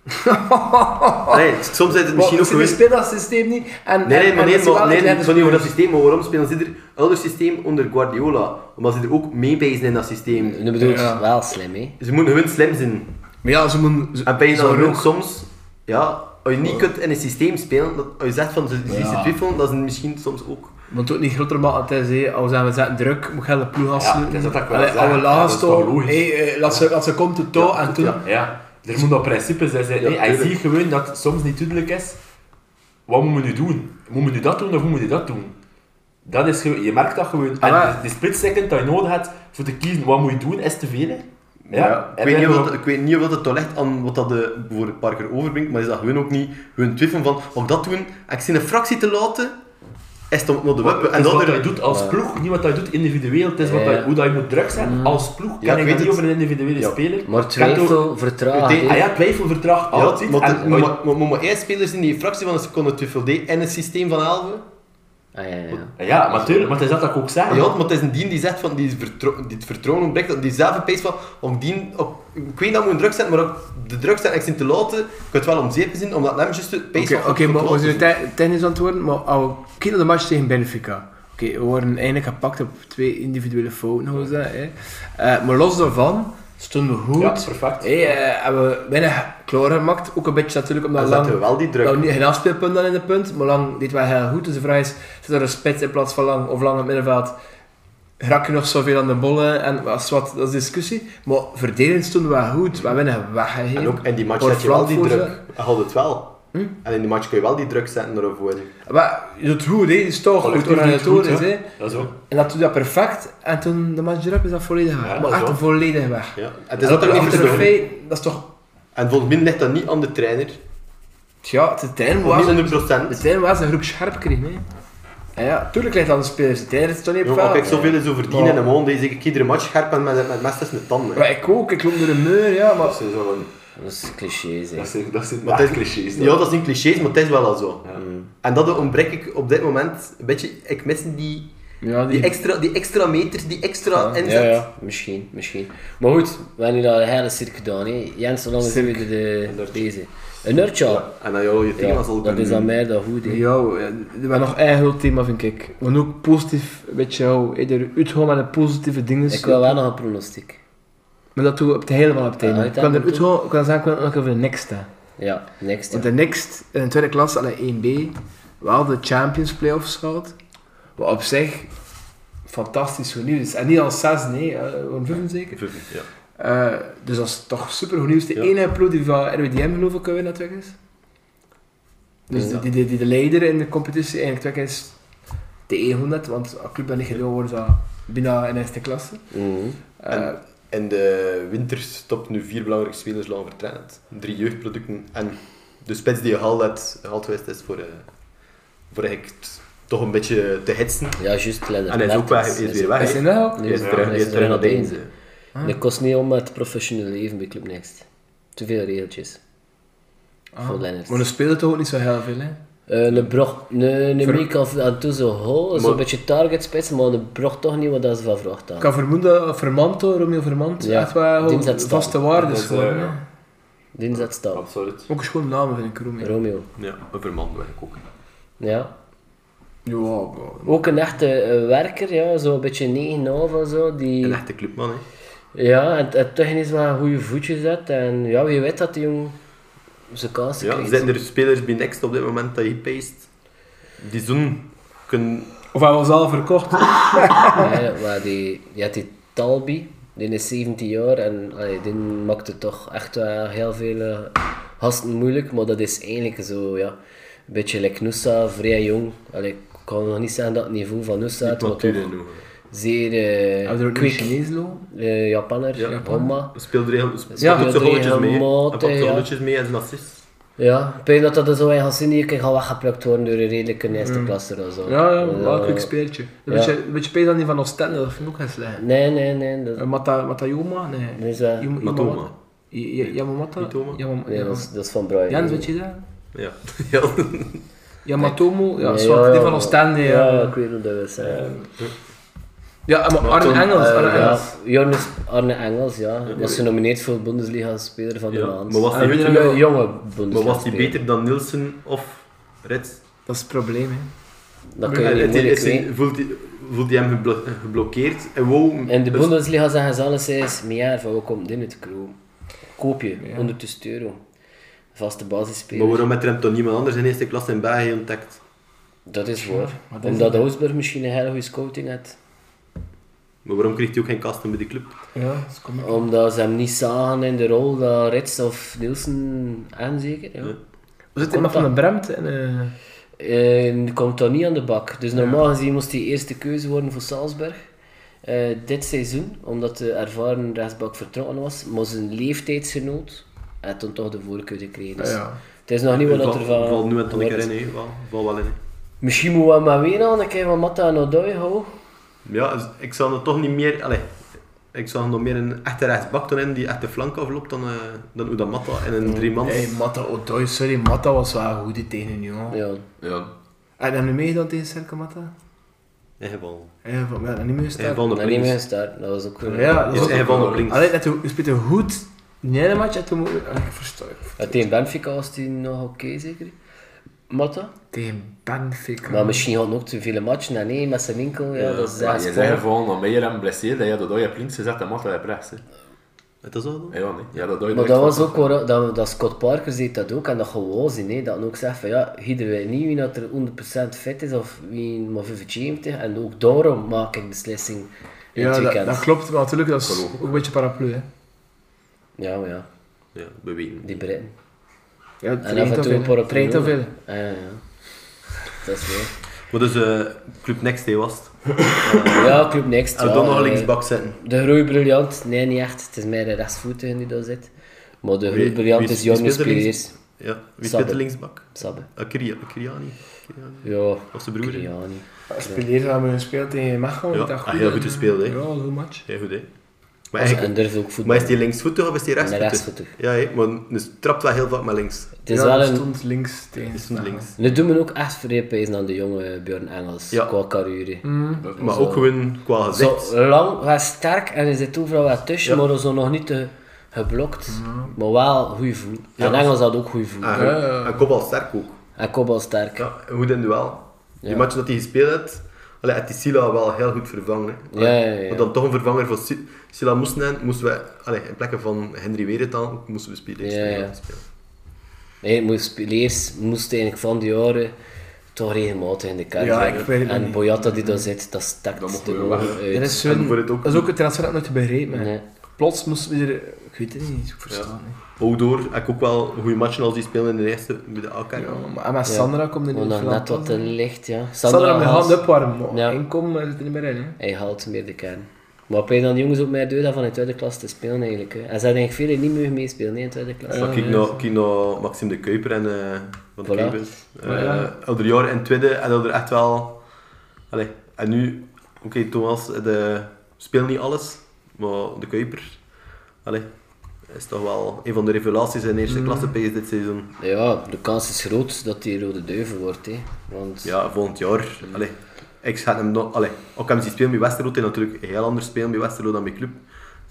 [SPEAKER 5] nee, soms zijn het
[SPEAKER 2] Maar
[SPEAKER 5] misschien ook
[SPEAKER 2] ze
[SPEAKER 5] geweest.
[SPEAKER 2] speelt dat systeem niet. En,
[SPEAKER 5] Nee,
[SPEAKER 2] en-
[SPEAKER 5] nee, maar
[SPEAKER 2] en
[SPEAKER 5] nee,
[SPEAKER 2] dat ze dus-
[SPEAKER 5] maar,
[SPEAKER 2] wel
[SPEAKER 5] nee,
[SPEAKER 2] een
[SPEAKER 5] nee, zo niet over dat systeem. Maar waarom spelen ze er ander systeem onder Guardiola? Omdat ze er ook mee bij zijn in dat systeem.
[SPEAKER 3] Nu bedoel ik
[SPEAKER 2] Ja.
[SPEAKER 3] wel slim, hè?
[SPEAKER 5] Ze moeten hun slim zijn.
[SPEAKER 2] Maar ja, ze moeten... ze-
[SPEAKER 5] En bij
[SPEAKER 2] ze
[SPEAKER 5] dat
[SPEAKER 2] moeten
[SPEAKER 5] hun soms, ja, als je niet kunt in een systeem spelen, dat, als je zegt van ze, ze
[SPEAKER 2] Ja.
[SPEAKER 5] twijfelen, dat is misschien soms ook.
[SPEAKER 2] Want ook niet groter maken het is, hé. als we zetten druk, moet je de ploeg afsluiten.
[SPEAKER 4] het is dat ik wil
[SPEAKER 2] Allee,
[SPEAKER 4] zeggen.
[SPEAKER 2] Alle
[SPEAKER 4] Ja, dat
[SPEAKER 2] laag
[SPEAKER 4] is
[SPEAKER 2] staan.
[SPEAKER 4] toch logisch.
[SPEAKER 2] Hé, eh, laat ze- Laat ze komt het touw en toen...
[SPEAKER 5] ja.
[SPEAKER 4] Ja. Er moet dat principe zijn. zijn nee, hij
[SPEAKER 5] tuurlijk.
[SPEAKER 4] ziet gewoon dat het soms niet duidelijk is. Wat moeten we nu doen? Moeten we nu dat doen of moeten we dat doen? Dat is gewoon, je merkt dat gewoon. En
[SPEAKER 2] Ah.
[SPEAKER 4] de, de split second dat je nodig hebt voor te kiezen wat moet je doen, is te veel. hè.
[SPEAKER 5] Ja, ik,
[SPEAKER 4] En
[SPEAKER 5] weet
[SPEAKER 4] dan
[SPEAKER 5] niet of
[SPEAKER 4] nog-
[SPEAKER 5] dat, ik weet niet of dat het toch ligt aan wat dat de, voor Parker overbrengt, maar is dat hun ook niet hun twijfelen van, mag ik dat doen? En ik zie een fractie te laten, is het om naar de weppen. En
[SPEAKER 4] En
[SPEAKER 5] dat
[SPEAKER 4] wat hij
[SPEAKER 5] er...
[SPEAKER 4] doet als ploeg, niet wat hij doet individueel. Het is wat
[SPEAKER 3] Ja. Mm.
[SPEAKER 4] hij, hoe dat je moet druk zijn als ploeg.
[SPEAKER 5] Ja,
[SPEAKER 4] Kan
[SPEAKER 5] ik
[SPEAKER 4] ik
[SPEAKER 5] weet
[SPEAKER 4] dat niet
[SPEAKER 5] het.
[SPEAKER 4] over een individuele
[SPEAKER 5] Ja.
[SPEAKER 4] speler?
[SPEAKER 3] Maar
[SPEAKER 4] Kan toch-
[SPEAKER 3] twijfel, vertragen.
[SPEAKER 5] Uiteindelijk-
[SPEAKER 4] Ah
[SPEAKER 3] hè.
[SPEAKER 4] ja, twijfel vertraagt
[SPEAKER 5] Ja,
[SPEAKER 4] altijd.
[SPEAKER 5] maar het
[SPEAKER 4] en-
[SPEAKER 5] moet maar- moet maar eerst spelers in die een fractie van een seconde twijfel deed en het systeem van 11.
[SPEAKER 3] Ah, ja, ja.
[SPEAKER 4] ja, maar tuurlijk, maar het is dat dat ik ook zeg.
[SPEAKER 5] Ja, maar het is een dien die zegt van, die, vertro- die het vertrouwen ontbreekt, dat die zelf opeens van, om die, op, ik weet dat moet een druk zijn, maar op de druk zijn en ik zie te laten, ik kan het wel om zeep zien, omdat hem juist de pace
[SPEAKER 2] Oké,
[SPEAKER 5] van-
[SPEAKER 2] oké,
[SPEAKER 5] van
[SPEAKER 2] maar
[SPEAKER 5] te
[SPEAKER 2] we
[SPEAKER 5] laten
[SPEAKER 2] zijn
[SPEAKER 5] zien.
[SPEAKER 2] te- technisch antwoorden, maar als we kijken naar de match tegen Benfica. Oké, we worden eigenlijk gepakt op twee individuele fouten, hoe is dat? Hè? Eh, maar los daarvan stonden we goed.
[SPEAKER 4] Ja, perfect.
[SPEAKER 2] Hey, eh, hebben we weinig klaar gemaakt. Ook een beetje natuurlijk omdat we
[SPEAKER 5] Dan
[SPEAKER 2] lang...
[SPEAKER 5] zetten we wel die druk.
[SPEAKER 2] Nou, niet geen afspeelpunt dan in de punt, maar lang dit wel heel goed. Dus de vraag is, zit er een spits in plaats van lang of lang op het middenveld? Rak je nog zoveel aan de bollen? En als wat, dat is discussie. Maar verdedigend stonden we goed. We winnen weggegeven.
[SPEAKER 5] En ook in die match
[SPEAKER 2] Wordt
[SPEAKER 5] zet je wel die
[SPEAKER 2] Vlaanderen
[SPEAKER 5] druk.
[SPEAKER 2] voorzet.
[SPEAKER 5] Je houdt het wel.
[SPEAKER 2] Hm?
[SPEAKER 5] En in die match kun je wel die druk zetten ervoor.
[SPEAKER 2] Maar je doet goed, hè. is toch goed
[SPEAKER 4] Collectief doet het
[SPEAKER 2] organisatorisch.
[SPEAKER 4] goed, hè.
[SPEAKER 2] hè.
[SPEAKER 4] Dat is ook.
[SPEAKER 2] En dat doet dat perfect. En toen de match erop is dat volledig weg.
[SPEAKER 4] Ja,
[SPEAKER 2] maar
[SPEAKER 4] dat is
[SPEAKER 2] echt
[SPEAKER 4] wel.
[SPEAKER 2] volledig weg.
[SPEAKER 5] Ja. Het
[SPEAKER 2] Dus dat
[SPEAKER 5] is altijd
[SPEAKER 2] ook
[SPEAKER 5] wel
[SPEAKER 2] niet
[SPEAKER 5] afgesproken.
[SPEAKER 2] trofee, dat is toch...
[SPEAKER 5] En volgens mij ligt dat niet aan de trainer.
[SPEAKER 2] Ja, de trein was,
[SPEAKER 5] Niet 100%.
[SPEAKER 2] de trein Dus was een groep scherp kreeg, hè. En ja, tuurlijk ligt dat aan de spelers. De trein is toch niet op
[SPEAKER 5] Jongen,
[SPEAKER 2] veld.
[SPEAKER 5] als ik zoveel is over verdienen
[SPEAKER 2] Maar-
[SPEAKER 5] en een maand, is ik iedere match scherp en met, met mes tussen de tanden. hè.
[SPEAKER 2] Maar ik ook, ik loop door een muur, ja, maar...
[SPEAKER 4] Dat is zo van-
[SPEAKER 3] Dat is cliché,
[SPEAKER 4] dat
[SPEAKER 3] zeg.
[SPEAKER 4] zijn- Dat zijn
[SPEAKER 5] Maar
[SPEAKER 4] maar
[SPEAKER 5] het
[SPEAKER 4] echt
[SPEAKER 5] is-
[SPEAKER 4] clichés.
[SPEAKER 5] Ja, dat is een cliché, maar het is wel al zo.
[SPEAKER 4] Ja.
[SPEAKER 5] En dat ontbrek ik op dit moment een beetje. Ik mis die,
[SPEAKER 2] Ja,
[SPEAKER 5] die, extra, die extra meter, die extra
[SPEAKER 3] Ja,
[SPEAKER 5] inzet.
[SPEAKER 3] ja, misschien, misschien. Maar goed, we hebben hier al een hele cirk gedaan. Hè. Jens, zolang is weer de, deze. Een nerdje al.
[SPEAKER 5] En dan jouw je
[SPEAKER 3] Ja,
[SPEAKER 5] thema's al
[SPEAKER 3] dat is aan mij dat goed. hè.
[SPEAKER 2] Ja, we hebben nog eigen heel thema, vind ik. Maar ook positief, weet je wel, ieder uitgaan met de positieve dingen.
[SPEAKER 3] Ik wil wel nog een pronostiek.
[SPEAKER 2] Maar dat doen we op het helemaal op het einde.
[SPEAKER 3] Ja,
[SPEAKER 2] Ik kan er
[SPEAKER 3] uiteindelijk
[SPEAKER 2] uitgaan, ik kan zeggen, ik wil nog even de next staan.
[SPEAKER 3] Ja, next.
[SPEAKER 2] Want
[SPEAKER 3] Ja.
[SPEAKER 2] de next, in de tweede klas, alle 1B, wel de Champions Playoffs gehad. Wat op zich fantastisch goed nieuws is. En niet als 6, nee, eh, om 5 zeker.
[SPEAKER 5] Ja.
[SPEAKER 2] Eh, dus dat is toch super goed nieuws. De
[SPEAKER 5] Ja.
[SPEAKER 2] enige ploeg die van RWDM geloof ik winnen terug is. Dus
[SPEAKER 3] Ja.
[SPEAKER 2] die, die, die, die de leider in de competitie eigenlijk terug is de 100, want als club dat niet gedaan wordt, is dat bijna in eerste klasse.
[SPEAKER 3] Mhm.
[SPEAKER 2] Eh,
[SPEAKER 5] En- In de winter stopt nu vier belangrijke spelers lang vertraind. Drie jeugdproducten en de spits die gehaald hebt- gehaald geweest is voor, eh, voor eigenlijk t- toch een beetje te hitsen.
[SPEAKER 3] Ja, juist. Leonard
[SPEAKER 5] En hij Ah, is ook weg,
[SPEAKER 3] Mertens.
[SPEAKER 5] hij is weer weg.
[SPEAKER 2] is
[SPEAKER 5] hè.
[SPEAKER 2] hij nou?
[SPEAKER 3] Nee,
[SPEAKER 5] Hij is
[SPEAKER 3] ja,
[SPEAKER 5] terug,
[SPEAKER 3] hij
[SPEAKER 5] hij
[SPEAKER 3] is
[SPEAKER 5] is terug naar
[SPEAKER 3] naar
[SPEAKER 5] Deense.
[SPEAKER 3] Deense. Dat kost niet om het professionele leven bij Club Next. Te veel regeltjes. Voor Lennart.
[SPEAKER 2] Maar dan
[SPEAKER 5] dus-
[SPEAKER 2] speelt het ook niet zo heel veel, hè?
[SPEAKER 3] Eh, een brocht, een, een Miek af en toe zo hoog, zo'n
[SPEAKER 5] Maar-
[SPEAKER 3] beetje target spits, maar een brocht toch niet wat dat ze van verwacht
[SPEAKER 2] Ik
[SPEAKER 3] hadden.
[SPEAKER 2] kan vermoeden, Vermanto, Romeo Vermanto,
[SPEAKER 3] Ja,
[SPEAKER 2] echt wel
[SPEAKER 3] die
[SPEAKER 2] gewoon
[SPEAKER 3] zet staan.
[SPEAKER 2] vaste waardes.
[SPEAKER 4] Dat is,
[SPEAKER 2] gewoon,
[SPEAKER 4] eh,
[SPEAKER 2] hè.
[SPEAKER 4] ja.
[SPEAKER 3] Dinsdag stap.
[SPEAKER 4] Absoluut.
[SPEAKER 2] Ook een schoon naam vind ik, Romeo.
[SPEAKER 3] Romeo.
[SPEAKER 5] Ja, een vermand eigenlijk ook.
[SPEAKER 3] Ja.
[SPEAKER 2] Ja, wow.
[SPEAKER 3] Ook een echte eh, werker, ja, zo'n beetje 9,5 of zo. Die,
[SPEAKER 5] Een echte clubman, hè.
[SPEAKER 3] Ja, en, en technisch wel een goede voetje zet. En ja, wie weet dat die jong zijn kansen
[SPEAKER 5] Ja,
[SPEAKER 3] krijgt.
[SPEAKER 5] zijn er spelers bij Next op dit moment dat je paced? Die zoen kunnen...
[SPEAKER 2] Of hij was al verkocht.
[SPEAKER 3] Ja, maar die, die had die Talbi, die is 17 jaar en allee, die maakte toch echt wel heel veel eh, gasten moeilijk, maar dat is eigenlijk zo, ja, een beetje like Nusa, vrij jong. Allee, ik kan nog niet zeggen dat het niveau van Nusa had, maar toch
[SPEAKER 5] noemen.
[SPEAKER 3] zeer
[SPEAKER 2] Hebben we er ook
[SPEAKER 3] eh
[SPEAKER 2] een
[SPEAKER 3] quick
[SPEAKER 2] Chinees lopen?
[SPEAKER 3] eh, Japanner,
[SPEAKER 5] Ja.
[SPEAKER 3] Honma.
[SPEAKER 5] Speelt er heel... Speelt
[SPEAKER 3] Ja,
[SPEAKER 5] ja,
[SPEAKER 3] dat
[SPEAKER 5] zijn rolletjes
[SPEAKER 3] die
[SPEAKER 5] mee. hè. Hij
[SPEAKER 3] helemaal
[SPEAKER 5] pakt
[SPEAKER 3] te-
[SPEAKER 5] zijn
[SPEAKER 3] ja.
[SPEAKER 5] rolletjes mee en zijn assist.
[SPEAKER 3] Ja, ik denk dat dat er zo in Hassini kan gaan weggeplukt worden door een
[SPEAKER 5] Mm.
[SPEAKER 3] redelijke eerste klasse of zo.
[SPEAKER 2] Ja, ja,
[SPEAKER 3] Eh,
[SPEAKER 2] wel een quick speertje. Een
[SPEAKER 3] ja.
[SPEAKER 2] beetje, een beetje pees aan die van Oostende, dat vind ik ook heel slecht.
[SPEAKER 3] Nee, nee, nee,
[SPEAKER 2] Eh,
[SPEAKER 3] dat,
[SPEAKER 2] Mata, Matayoma? Nee.
[SPEAKER 3] dat is wel...
[SPEAKER 2] Yam-
[SPEAKER 5] Matoma.
[SPEAKER 2] I- I- Yamamata?
[SPEAKER 5] Mitoma?
[SPEAKER 2] Yamam-
[SPEAKER 3] Nee, dat
[SPEAKER 2] Yamam-
[SPEAKER 3] is, dat is van Brian.
[SPEAKER 2] Jens, weet je dat?
[SPEAKER 5] Ja. <laughs> ja.
[SPEAKER 2] Yamatomo? Ja,
[SPEAKER 3] Nee,
[SPEAKER 2] zwart,
[SPEAKER 3] ja,
[SPEAKER 2] die
[SPEAKER 3] ja,
[SPEAKER 2] van
[SPEAKER 3] maar-
[SPEAKER 2] Oostende,
[SPEAKER 3] Ja,
[SPEAKER 5] eh,
[SPEAKER 2] ja.
[SPEAKER 3] ik weet hoe dat we zijn.
[SPEAKER 2] Ja, maar Arne Engels,
[SPEAKER 3] Eh,
[SPEAKER 2] Arne
[SPEAKER 3] ja,
[SPEAKER 2] Engels.
[SPEAKER 3] Jonas Arne Engels, ja. Was genomineerd voor Bundesliga-speler van de
[SPEAKER 5] Ja,
[SPEAKER 3] maand.
[SPEAKER 5] maar was die
[SPEAKER 3] En
[SPEAKER 5] beter
[SPEAKER 3] een
[SPEAKER 5] dan-
[SPEAKER 3] jonge
[SPEAKER 5] Maar was die
[SPEAKER 3] Bundesliga-speler.
[SPEAKER 5] beter dan Nielsen of Eh, Rits?
[SPEAKER 2] Dat is het probleem, hè.
[SPEAKER 3] Dat kun je
[SPEAKER 5] En
[SPEAKER 3] niet
[SPEAKER 5] het
[SPEAKER 3] moeilijk
[SPEAKER 5] is- is-
[SPEAKER 3] weten.
[SPEAKER 5] Voelt hij- voelt hij hem geblo- eh, geblokkeerd? En wow...
[SPEAKER 3] In de
[SPEAKER 5] dus-
[SPEAKER 3] Bundesliga zeggen ze alles eens, meer van we komen dit niet te koop. Koop je, 100 euro. Vaste
[SPEAKER 5] Maar
[SPEAKER 3] basisspeler.
[SPEAKER 5] waarom heeft er hem toch niemand anders in eerste klas in België ontdekt?
[SPEAKER 3] Dat is waar.
[SPEAKER 2] maar dat is
[SPEAKER 3] Omdat Hoosburg misschien een hele goede scouting had.
[SPEAKER 5] Maar waarom kreeg hij ook geen kasten bij de club?
[SPEAKER 2] Ja, dat is kom
[SPEAKER 3] Omdat ze hem niet zagen in de rol dat Rits of Nielsen aan zeker. Ja.
[SPEAKER 5] Ja.
[SPEAKER 2] We zitten iemand van de Bremt en... eh,
[SPEAKER 3] En komt dan niet aan de bak. Dus normaal gezien moest hij eerste keuze worden voor Salzburg. Eh, dit seizoen, omdat de ervaren rechtsbak vertrokken was, maar zijn leeftijdsgenoot had dan toch de voorkeur gekregen. Dus
[SPEAKER 2] ja.
[SPEAKER 3] Het is nog niet wat er van...
[SPEAKER 5] Valt nu en dan een
[SPEAKER 3] geworden
[SPEAKER 5] keer
[SPEAKER 3] is.
[SPEAKER 5] in, hè. Wel- Valt wel in, hè.
[SPEAKER 3] Misschien moeten we maar weer aan, een keer van Matta en Odoi houden.
[SPEAKER 5] Ja, dus ik zou er toch niet meer... Allee, ik zou nog meer een echte rechtsbak doen in die echt de flank afloopt dan, eh dan Uda Matta in een drie man.
[SPEAKER 2] Hey, Matta Odoi, sorry, Matta was wel goed die tegen jongen.
[SPEAKER 3] Ja.
[SPEAKER 7] Ja,
[SPEAKER 2] En hebben we meegedaan tegen Serke Matta?
[SPEAKER 5] Hij valt
[SPEAKER 2] Ja, van mij, dat niet meer
[SPEAKER 5] hij
[SPEAKER 2] gestaan.
[SPEAKER 5] valt op
[SPEAKER 3] Dat niet
[SPEAKER 5] links.
[SPEAKER 3] meer gestart. Dat was ook...
[SPEAKER 2] Ja, dat
[SPEAKER 5] Is
[SPEAKER 2] is
[SPEAKER 5] Hij valt op links.
[SPEAKER 2] Alleen dat je speelt een goed in de ene match en toen moet je... Ah, Ik versta
[SPEAKER 3] Ja, Tegen Benfica was die nog oké, zeker? Motta.
[SPEAKER 2] Tegen Benfica.
[SPEAKER 3] Maar misschien had hij ook te vele matchen en één met zijn winkel. Ja, dat is
[SPEAKER 4] Ja,
[SPEAKER 3] echt
[SPEAKER 4] je
[SPEAKER 3] spoor.
[SPEAKER 4] zei gewoon, omdat je hem blesseerde, ja, dat je op links gezet en Matta op rechts. hè.
[SPEAKER 5] Het is al dan?
[SPEAKER 4] Ja, nee. Ja, dat doe je
[SPEAKER 3] Maar dat
[SPEAKER 4] direct
[SPEAKER 3] was
[SPEAKER 4] van-
[SPEAKER 3] ook waar, dat, dat Scott Parker deed dat ook en dat gewoon zien, hè, dat hij ook zegt van ja, iedereen weet niet wie dat er 100% fit is of wie maar verveemt en ook daarom maak ik beslissing in het
[SPEAKER 2] Ja, dat,
[SPEAKER 3] weekend.
[SPEAKER 2] dat klopt, maar natuurlijk, dat is ook een beetje paraplu. Hè.
[SPEAKER 3] Ja, maar ja,
[SPEAKER 5] Ja, we weten.
[SPEAKER 3] die Britten.
[SPEAKER 2] Ja, het
[SPEAKER 3] En af en toe een paar op
[SPEAKER 2] traint al veel.
[SPEAKER 3] Ja, ja, ja. Dat is weer.
[SPEAKER 5] Maar dus eh, Club Next Day was het.
[SPEAKER 3] Ja, Club Next.
[SPEAKER 5] En
[SPEAKER 3] ja,
[SPEAKER 5] dan nog
[SPEAKER 3] eh,
[SPEAKER 5] linksbak zetten.
[SPEAKER 3] De groei briljant, nee niet echt, het is mij de rechtsvoetige die daar zit. Maar de groei
[SPEAKER 5] Wie-
[SPEAKER 3] briljant
[SPEAKER 5] wie-
[SPEAKER 3] is
[SPEAKER 5] wie
[SPEAKER 3] Jonas
[SPEAKER 5] speelt er links?
[SPEAKER 3] Pires.
[SPEAKER 5] Ja, wie
[SPEAKER 3] Sabbe.
[SPEAKER 5] speelt de linksbak? Eh,
[SPEAKER 3] Sabbe.
[SPEAKER 5] Akiriani. Kiriani.
[SPEAKER 3] Ja,
[SPEAKER 5] Of zijn broer. hè?
[SPEAKER 3] Kriani.
[SPEAKER 2] Speleer dat we gespeeld tegen Mechelen.
[SPEAKER 5] Ja,
[SPEAKER 2] dat
[SPEAKER 5] ah, heel goed gespeeld, hè.
[SPEAKER 2] Ja, een goed match.
[SPEAKER 5] Ja, goed hè. Maar,
[SPEAKER 3] En
[SPEAKER 5] eigenlijk,
[SPEAKER 3] durft ook voetbal.
[SPEAKER 5] maar is die linksvoetig of is die
[SPEAKER 3] En de
[SPEAKER 5] rechtsvoetig?
[SPEAKER 3] rechtsvoetig.
[SPEAKER 5] Ja, hè, maar dus trapt wel heel vaak met links.
[SPEAKER 3] Het is
[SPEAKER 2] ja,
[SPEAKER 3] wel
[SPEAKER 2] dat
[SPEAKER 3] een,
[SPEAKER 2] stond links tegen
[SPEAKER 5] Is het
[SPEAKER 2] Mechelen.
[SPEAKER 5] links.
[SPEAKER 3] Nu doen we ook echt vreepijzen aan de jonge Björn Engels,
[SPEAKER 5] Ja.
[SPEAKER 3] qua carrière.
[SPEAKER 4] Mm.
[SPEAKER 5] Maar ook gewoon qua
[SPEAKER 3] Zo
[SPEAKER 5] gezicht.
[SPEAKER 3] lang, wel sterk en er zit overal wat tussen,
[SPEAKER 5] Ja.
[SPEAKER 3] maar zo nog niet te geblokt.
[SPEAKER 4] Mm.
[SPEAKER 3] Maar wel goede voel. En
[SPEAKER 5] Ja.
[SPEAKER 3] Engels had ook goede voel.
[SPEAKER 5] En, en kopbal sterk ook.
[SPEAKER 3] En kopbal sterk. Ja,
[SPEAKER 5] Ja, en goed in duel.
[SPEAKER 3] Ja.
[SPEAKER 5] Die match dat hij gespeeld heeft, allee, had die Sila wel heel goed vervangen. hè.
[SPEAKER 3] ja, ja.
[SPEAKER 5] Maar dan toch een vervanger voor Si- Sila moesten hebben, moesten we, allee, in plekken van Henry Weret dan, moesten we spelen.
[SPEAKER 3] Ja, ja.
[SPEAKER 5] spelen.
[SPEAKER 3] Nee, moest, Leers moest eigenlijk van die jaren toch regelmatig in de kaart
[SPEAKER 2] Ja,
[SPEAKER 3] zijn.
[SPEAKER 2] ik weet het
[SPEAKER 3] En
[SPEAKER 2] niet.
[SPEAKER 3] Boyata die daar zit, dat stakt
[SPEAKER 4] Dat mocht
[SPEAKER 3] de
[SPEAKER 4] wel
[SPEAKER 3] ogen
[SPEAKER 4] weg.
[SPEAKER 3] uit.
[SPEAKER 2] Dat is, zo'n-
[SPEAKER 5] En voor het ook-
[SPEAKER 2] dat is ook een transfer dat ik nooit begreep. hè.
[SPEAKER 3] Nee.
[SPEAKER 2] Plots moesten we er... Ik weet het niet, ik verstaan niet.
[SPEAKER 5] Ook door, heb ik ook wel goede matchen als die spelen in de eerste bij de AK.
[SPEAKER 2] Ja, maar en met Sandra komt er
[SPEAKER 3] Maar
[SPEAKER 2] niet
[SPEAKER 3] nog
[SPEAKER 2] veel aan
[SPEAKER 3] net wat
[SPEAKER 2] toe.
[SPEAKER 3] te licht, ja. Sandra,
[SPEAKER 2] Sandra met de
[SPEAKER 3] Haas,
[SPEAKER 2] hand opwarmen.
[SPEAKER 3] Ja.
[SPEAKER 2] Ja. Inkom eh, zit er niet meer in. Hè.
[SPEAKER 3] Hij haalt meer de kern. Maar opeens dan de jongens ook mij deur dat van de tweede klas te spelen eigenlijk. Hè. En ze hadden eigenlijk veel niet mogen meespelen nee, in de tweede klas.
[SPEAKER 5] Maar kijk naar, kijk naar Maxime de Kuiper en eh van de
[SPEAKER 3] Voilà.
[SPEAKER 5] Kuiper. Eh, Elder jaar en tweede en elder echt wel. Allee, en nu, oké Thomas, eh, de, speel niet alles, maar de Kuiper allee, is toch wel een van de revelaties in
[SPEAKER 3] Mm.
[SPEAKER 5] eerste klasse PS dit seizoen.
[SPEAKER 3] Ja, de kans is groot dat hij rode duivel wordt. Hè. Want
[SPEAKER 5] Ja, volgend jaar.
[SPEAKER 3] Mm.
[SPEAKER 5] Allee, ik ga hem nog, allee, ook hem zien spelen bij Westerlo, hij natuurlijk een heel anders spelen bij Westerlo dan bij Club.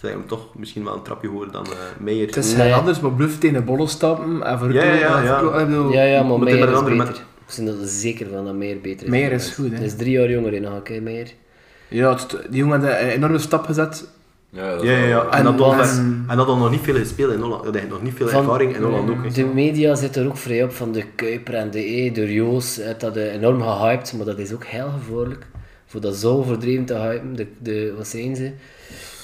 [SPEAKER 5] Zijn hem toch misschien wel een trapje hoger dan eh Meijer.
[SPEAKER 2] Het is
[SPEAKER 3] Nee.
[SPEAKER 2] heel anders, maar bluff tegen de bollen stappen en voor
[SPEAKER 5] Ja, ja, ja, ja.
[SPEAKER 3] ja, ja maar
[SPEAKER 5] Moet hij
[SPEAKER 3] Meijer is
[SPEAKER 5] met een andere
[SPEAKER 3] beter. Ik ben er zeker van dat Meijer beter is.
[SPEAKER 2] Meijer
[SPEAKER 3] dan
[SPEAKER 2] is
[SPEAKER 3] Rens.
[SPEAKER 2] goed, hè.
[SPEAKER 3] Hij is drie jaar jonger in Haak, hè, Meijer.
[SPEAKER 2] Ja, het- die jongen had een enorme stap gezet.
[SPEAKER 4] Ja, dat
[SPEAKER 5] Ja, ja, ja. En,
[SPEAKER 2] En
[SPEAKER 5] dat was,
[SPEAKER 2] was-
[SPEAKER 5] en dat had nog niet veel gespeeld in Holland. Dat heeft nog niet veel
[SPEAKER 3] Van-
[SPEAKER 5] ervaring in Holland ook. hè.
[SPEAKER 3] De media zit er ook vrij op van de Kuiper en de E, door Joos. Het had eh, enorm gehyped, maar dat is ook heel gevaarlijk. Voor dat zo overdreven te hypen, de, de, wat zijn ze?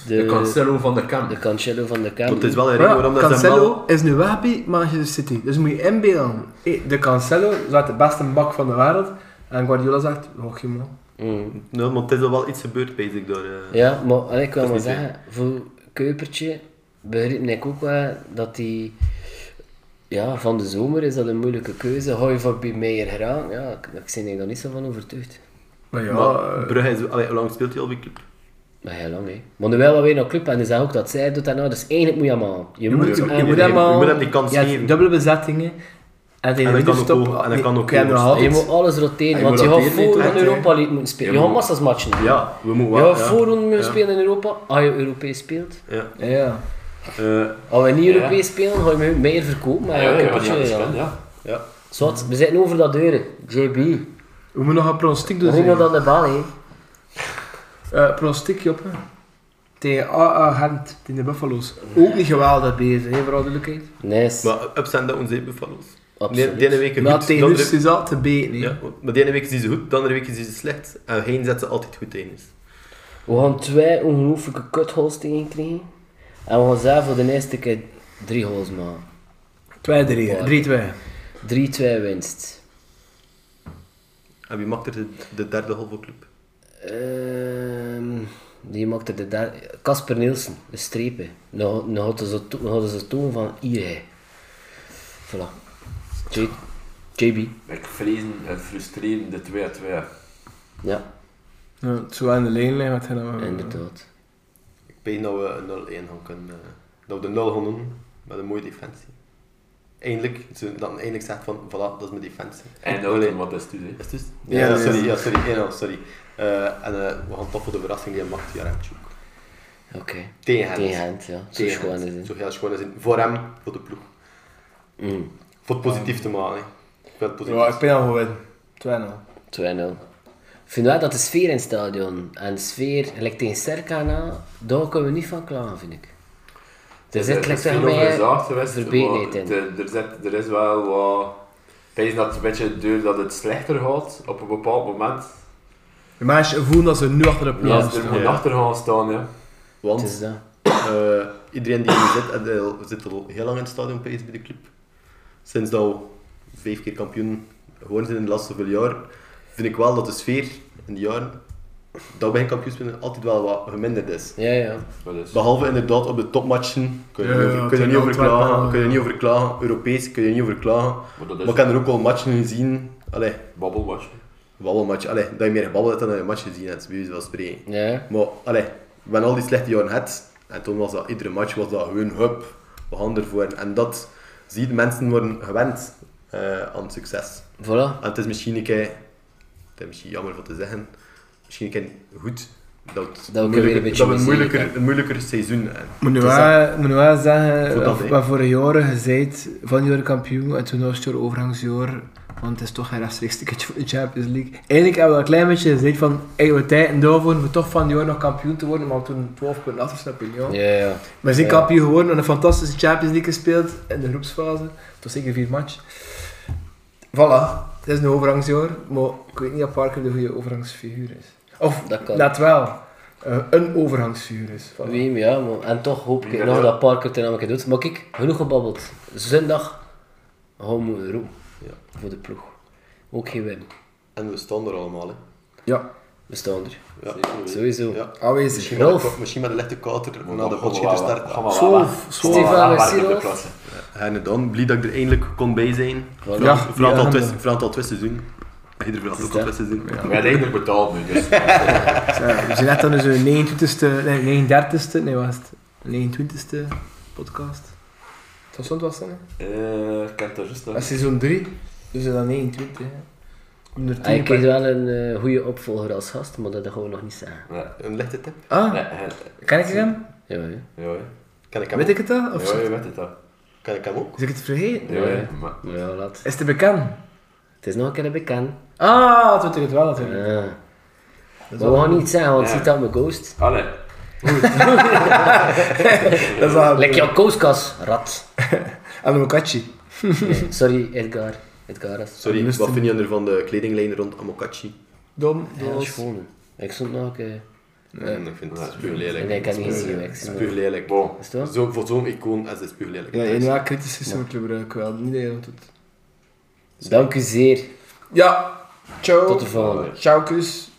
[SPEAKER 3] De,
[SPEAKER 4] De Cancelo van de
[SPEAKER 3] de
[SPEAKER 4] Kamp.
[SPEAKER 3] Cancelo van de Kamp.
[SPEAKER 5] Want het is wel een
[SPEAKER 2] Maar
[SPEAKER 5] reden
[SPEAKER 2] ja,
[SPEAKER 5] waarom dat ze hem
[SPEAKER 2] Cancelo
[SPEAKER 5] wel...
[SPEAKER 2] is nu weg bij Manchester City, dus moet je inbeelden. Hé, De Cancelo zat de beste bak van de wereld en Guardiola zegt, oh je man.
[SPEAKER 3] Mm.
[SPEAKER 5] Nee, maar het is al wel iets gebeurd, weet ik, door... eh,
[SPEAKER 3] Ja, maar allee, ik wil
[SPEAKER 5] Dat
[SPEAKER 3] maar
[SPEAKER 5] is niet
[SPEAKER 3] zeggen, voor Kuipertje begreep ik ook wel dat die... Ja, van de zomer is dat een moeilijke keuze. Hou je voor bij Meijer geraakt? Ja, ik, ik ben er nog niet zo van overtuigd.
[SPEAKER 2] Maar ja,
[SPEAKER 5] maar
[SPEAKER 2] eh,
[SPEAKER 5] Brugge is... Allee, hoe lang speelt hij al bij club?
[SPEAKER 3] Maar heel lang, hè. Maar nu wel wat weer naar club en die zeggen ook dat zij doet dat nou. Dus eigenlijk moet je hem aan. Je, moet
[SPEAKER 5] moet
[SPEAKER 3] hem
[SPEAKER 5] hem-
[SPEAKER 3] aan.
[SPEAKER 5] je
[SPEAKER 2] je moet
[SPEAKER 5] hem-
[SPEAKER 2] hem al...
[SPEAKER 5] je moet hem die kans
[SPEAKER 2] je hebt
[SPEAKER 5] geven.
[SPEAKER 2] dubbele bezettingen. En tegen de
[SPEAKER 5] En dat kan ook
[SPEAKER 2] winterstop...
[SPEAKER 5] over- en dat kan ook
[SPEAKER 2] je hebt nog
[SPEAKER 5] oversteken.
[SPEAKER 3] En je
[SPEAKER 2] altijd-
[SPEAKER 3] moet alles roteren,
[SPEAKER 5] Ah, je
[SPEAKER 3] want
[SPEAKER 5] moet
[SPEAKER 3] je gaat
[SPEAKER 5] roteren,
[SPEAKER 3] voor
[SPEAKER 5] hè,
[SPEAKER 3] een
[SPEAKER 5] hè.
[SPEAKER 3] Europa League moeten spelen. Je gaat massas matchen doen.
[SPEAKER 5] Ja, we moeten
[SPEAKER 3] Je
[SPEAKER 5] wel...
[SPEAKER 3] gaat voorronden moeten spelen in Europa, als je Europees speelt.
[SPEAKER 5] Ja.
[SPEAKER 2] Ja.
[SPEAKER 5] Eh,
[SPEAKER 3] Als we niet Europees spelen, ga je me meer verkopen. Maar
[SPEAKER 8] Ah, Ja,
[SPEAKER 3] ja,
[SPEAKER 8] ja, ja,
[SPEAKER 3] Kuipertje,
[SPEAKER 8] ja,
[SPEAKER 3] ja.
[SPEAKER 8] ja.
[SPEAKER 5] ja.
[SPEAKER 3] Zwart, we zitten over dat deuren. JB.
[SPEAKER 2] We moeten nog een pronostiek doen.
[SPEAKER 3] Ringo
[SPEAKER 2] zeg.
[SPEAKER 3] dan de bal, hè.
[SPEAKER 2] Eh, pronostiek, Job. hè. Tegen AA Gent, tegen de Buffalo's. Ook niet geweldig bezig, hè, voor alle duidelijkheid.
[SPEAKER 3] Nice.
[SPEAKER 5] Maar ups en downs, hè, Buffalo's.
[SPEAKER 3] Absoluut.
[SPEAKER 5] Nee, De ene week
[SPEAKER 2] Maar
[SPEAKER 5] goed, de
[SPEAKER 2] tegen
[SPEAKER 5] andere...
[SPEAKER 2] Rust is altijd beter. hè.
[SPEAKER 5] Ja, maar de ene week is ze goed, de andere week is ze slecht. En geen zet ze altijd goed in.
[SPEAKER 3] We gaan twee ongelooflijke kutholes tegen krijgen. En we gaan zelf voor de eerste keer drie holes maken.
[SPEAKER 2] 2-3, hè. 3-2.
[SPEAKER 3] 3-2 winst.
[SPEAKER 5] En wie maakt er de, de derde hol voor club?
[SPEAKER 3] Ehm, die maakte de derde... Casper Nielsen, de strepen. Nou nou hadden ze, to- nou hadden ze toon van hier, hè. Voilà. J- JB.
[SPEAKER 8] Ik vrees het frustrerende 2-2.
[SPEAKER 3] Ja,
[SPEAKER 2] Ja, het zou wel in de lijn liggen eh. wat hij dan...
[SPEAKER 5] Mhm.
[SPEAKER 3] inderdaad.
[SPEAKER 5] Ik weet dat we een 0-1 gaan kunnen... eh, Dat we de 0 gaan doen met een mooie defensie. Eindelijk, dat ze dan eindelijk zegt van, voilà, dat is mijn defensie.
[SPEAKER 8] En dat
[SPEAKER 5] Allee.
[SPEAKER 8] is wat is het dus, hè.
[SPEAKER 5] Is het dus?
[SPEAKER 3] Ja,
[SPEAKER 5] Ja,
[SPEAKER 3] ja,
[SPEAKER 5] sorry, ja, sorry, één al, sorry. Eh, en eh, we gaan toch voor de verrassing die hij maakt via Remtjoek.
[SPEAKER 3] Oké.
[SPEAKER 5] Tegen hem.
[SPEAKER 3] Tegen hand, ja. Zo
[SPEAKER 5] Tegen
[SPEAKER 3] schoon
[SPEAKER 5] hem.
[SPEAKER 3] is het.
[SPEAKER 5] Zo heel schoon is het. Voor hem, voor de ploeg.
[SPEAKER 3] Mm.
[SPEAKER 5] Voor het positief te maken. hè. vind het positief.
[SPEAKER 2] Ja, ik ben al gewoon. 2-0.
[SPEAKER 3] 2-0. Ik vind wel dat de sfeer in het stadion en de sfeer, gelijk tegen Cerca na, daar kunnen we niet van klagen, vind ik. Er
[SPEAKER 4] Er
[SPEAKER 3] zit
[SPEAKER 4] is
[SPEAKER 3] gelijk
[SPEAKER 4] veel
[SPEAKER 3] tegen mij
[SPEAKER 4] overzaagd geweest,
[SPEAKER 3] verbetenheid
[SPEAKER 4] maar
[SPEAKER 3] in.
[SPEAKER 4] de- Er, zit, er is wel wat... Ik denk dat het een beetje duur dat het slechter gaat op een bepaald moment.
[SPEAKER 2] De mensen voelen dat ze nu achter de
[SPEAKER 4] Ja,
[SPEAKER 2] plaats
[SPEAKER 4] er
[SPEAKER 2] staan.
[SPEAKER 4] moet achter gaan staan, ja.
[SPEAKER 5] Want
[SPEAKER 3] Het is dat.
[SPEAKER 5] eh, iedereen die hier zit, en, eh, zit al heel lang in het stadion bij bij de club. Sinds dat we vijf keer kampioen geworden zijn in de laatste veel jaar, vind ik wel dat de sfeer in de jaren dat wij kampioens winnen altijd wel wat geminderd is.
[SPEAKER 3] Ja, ja.
[SPEAKER 4] Maar dus,
[SPEAKER 5] Behalve inderdaad op de topmatchen, kun je,
[SPEAKER 2] Ja,
[SPEAKER 5] niet over-
[SPEAKER 2] ja,
[SPEAKER 5] kun je
[SPEAKER 2] tegen
[SPEAKER 5] niet over
[SPEAKER 2] Antwerpen,
[SPEAKER 5] klagen,
[SPEAKER 2] ja.
[SPEAKER 5] kun je niet over klagen, Europees kun je niet over klagen.
[SPEAKER 4] maar dat
[SPEAKER 5] Maar
[SPEAKER 4] is
[SPEAKER 5] ik
[SPEAKER 4] een
[SPEAKER 5] heb er ook al matchen zien, allee,
[SPEAKER 4] babbelwatch.
[SPEAKER 5] babbelmatch, allee, dat je meer gebabbeld hebt dan dat je een match gezien hebt, bij wijze van spreken.
[SPEAKER 3] ja.
[SPEAKER 5] Maar allee, we hebben al die slechte jaren gehad. En toen was dat iedere match was dat gewoon hup, we gaan ervoor. En dat ziet mensen worden gewend eh, aan het succes.
[SPEAKER 3] Voilà.
[SPEAKER 5] En het is misschien een keer, het is misschien jammer wat te zeggen, misschien een keer goed dat, het
[SPEAKER 3] weer een
[SPEAKER 5] moeilijker-
[SPEAKER 3] beetje
[SPEAKER 5] dat we een
[SPEAKER 3] miserie
[SPEAKER 5] moeilijker,
[SPEAKER 3] hebben.
[SPEAKER 5] een moeilijker seizoen hebben.
[SPEAKER 2] Moet nu
[SPEAKER 5] Het is
[SPEAKER 2] wel- moet nu wel
[SPEAKER 5] Voor
[SPEAKER 2] zeggen,
[SPEAKER 5] dat,
[SPEAKER 2] eh,
[SPEAKER 5] hè.
[SPEAKER 2] wat voor jaren je zijt van jaren kampioen en toen was het je overgangsjaar, want het is toch geen rechtstreeks ticketje voor de Champions League. Eigenlijk hebben we een klein beetje gezegd van, eigenlijk tijd en daarvoor om toch van die jaar nog kampioen te worden, maar toen 12 punten achterstand in ja.
[SPEAKER 3] Ja, ja.
[SPEAKER 2] We zijn
[SPEAKER 3] Ja.
[SPEAKER 2] kampioen geworden en een fantastische Champions League gespeeld in de groepsfase. Tot zeker vier match. Voilà, het is een overgangsjaar, maar ik weet niet of Parker de goede overgangsfiguur is. Of
[SPEAKER 3] Dat kan.
[SPEAKER 2] net wel, eh, een overgangsfiguur is. Voilà.
[SPEAKER 3] Wie, ja, maar, en toch hoop ik nog dat Parker het namelijk doet. Maar kijk, genoeg gebabbeld. Zondag gaan we roepen
[SPEAKER 5] Ja.
[SPEAKER 3] voor de ploeg. Ook geen win.
[SPEAKER 5] En we staan er allemaal. Hè.
[SPEAKER 2] Ja,
[SPEAKER 3] We staan er.
[SPEAKER 5] Ja.
[SPEAKER 3] Sowieso.
[SPEAKER 5] Ja.
[SPEAKER 2] aanwezig.
[SPEAKER 5] Misschien, met
[SPEAKER 3] Rolf.
[SPEAKER 5] de, misschien met een lichte kater na de
[SPEAKER 4] Gaan we
[SPEAKER 5] potje
[SPEAKER 4] wel-
[SPEAKER 5] start.
[SPEAKER 4] gaan we wel-
[SPEAKER 3] Solf,
[SPEAKER 4] gaan we
[SPEAKER 3] Stefan
[SPEAKER 4] wel aanwerken op de
[SPEAKER 3] Silf.
[SPEAKER 4] klasse.
[SPEAKER 5] En dan, blij dat ik er eindelijk kon bij zijn. Voor
[SPEAKER 2] Ja,
[SPEAKER 5] een- voor een aantal
[SPEAKER 2] ja.
[SPEAKER 5] twist- voor een aantal twee seizoenen. Ieder voor een aantal twee seizoenen.
[SPEAKER 4] We hebben eindelijk betaald nu, dus... <laughs>
[SPEAKER 2] Ja, Eh, we zijn net aan zo'n 29ste, nee, 39ste, nee, was het? 29ste podcast. Tot stond was dat, hè?
[SPEAKER 4] Eh, Ik heb daar juist nog...
[SPEAKER 2] Dat is seizoen 3, dus dat is 29, hè.
[SPEAKER 3] Ah, ik
[SPEAKER 2] 110
[SPEAKER 3] kreeg
[SPEAKER 2] per-
[SPEAKER 3] wel een eh, goede opvolger als gast, maar dat gaan we nog niet zeggen.
[SPEAKER 4] Nee,
[SPEAKER 5] Een lichte tip?
[SPEAKER 2] Ah,
[SPEAKER 4] nee, hè.
[SPEAKER 2] kan ik hem?
[SPEAKER 3] Ja, ja.
[SPEAKER 4] Ja, hè.
[SPEAKER 5] Kan ik hem
[SPEAKER 2] Weet ik het dan? Of
[SPEAKER 4] Ja, je weet het al.
[SPEAKER 5] Kan ik hem ook?
[SPEAKER 2] is ik het vergeten?
[SPEAKER 4] Ja, hè. Maar-
[SPEAKER 3] Maar ja, laat.
[SPEAKER 2] Is het bekend?
[SPEAKER 3] Het is nog een keer bekend.
[SPEAKER 2] Ah, dat weet ik het wel natuurlijk.
[SPEAKER 3] Ja. Maar we gaan niet zeggen, want
[SPEAKER 4] Ja.
[SPEAKER 3] ziet dat mijn ghost.
[SPEAKER 4] Allee.
[SPEAKER 2] Dat is wel...
[SPEAKER 3] Lek jouw kooskas, rat.
[SPEAKER 2] En Mokachi.
[SPEAKER 3] Nee, sorry, Edgar. Edgar is
[SPEAKER 5] Sorry,
[SPEAKER 2] Rustig.
[SPEAKER 5] wat vind je er van de kledinglijn rond Amokachi?
[SPEAKER 2] Dom,
[SPEAKER 3] Ja, dat is
[SPEAKER 2] doos.
[SPEAKER 3] gewoon. Ik stond nog een keer.
[SPEAKER 5] Mm, ik vind het is puur lelijk.
[SPEAKER 3] Nee, ik heb niet
[SPEAKER 5] Het is
[SPEAKER 3] gezien,
[SPEAKER 5] puur-
[SPEAKER 3] ik
[SPEAKER 5] Het
[SPEAKER 3] zie
[SPEAKER 5] is
[SPEAKER 3] het
[SPEAKER 5] puur
[SPEAKER 3] niet.
[SPEAKER 5] lelijk.
[SPEAKER 4] Bon.
[SPEAKER 3] Is het wel?
[SPEAKER 5] Zo, voor zo'n icoon is het puur lelijk.
[SPEAKER 2] Ja,
[SPEAKER 5] Dat is-
[SPEAKER 2] inderdaad, kritisch is moeten gebruiken wel. Niet dat je dat doet.
[SPEAKER 3] Dank u zeer.
[SPEAKER 2] Ja, ciao.
[SPEAKER 3] Tot de volgende.
[SPEAKER 2] Ciao, kus.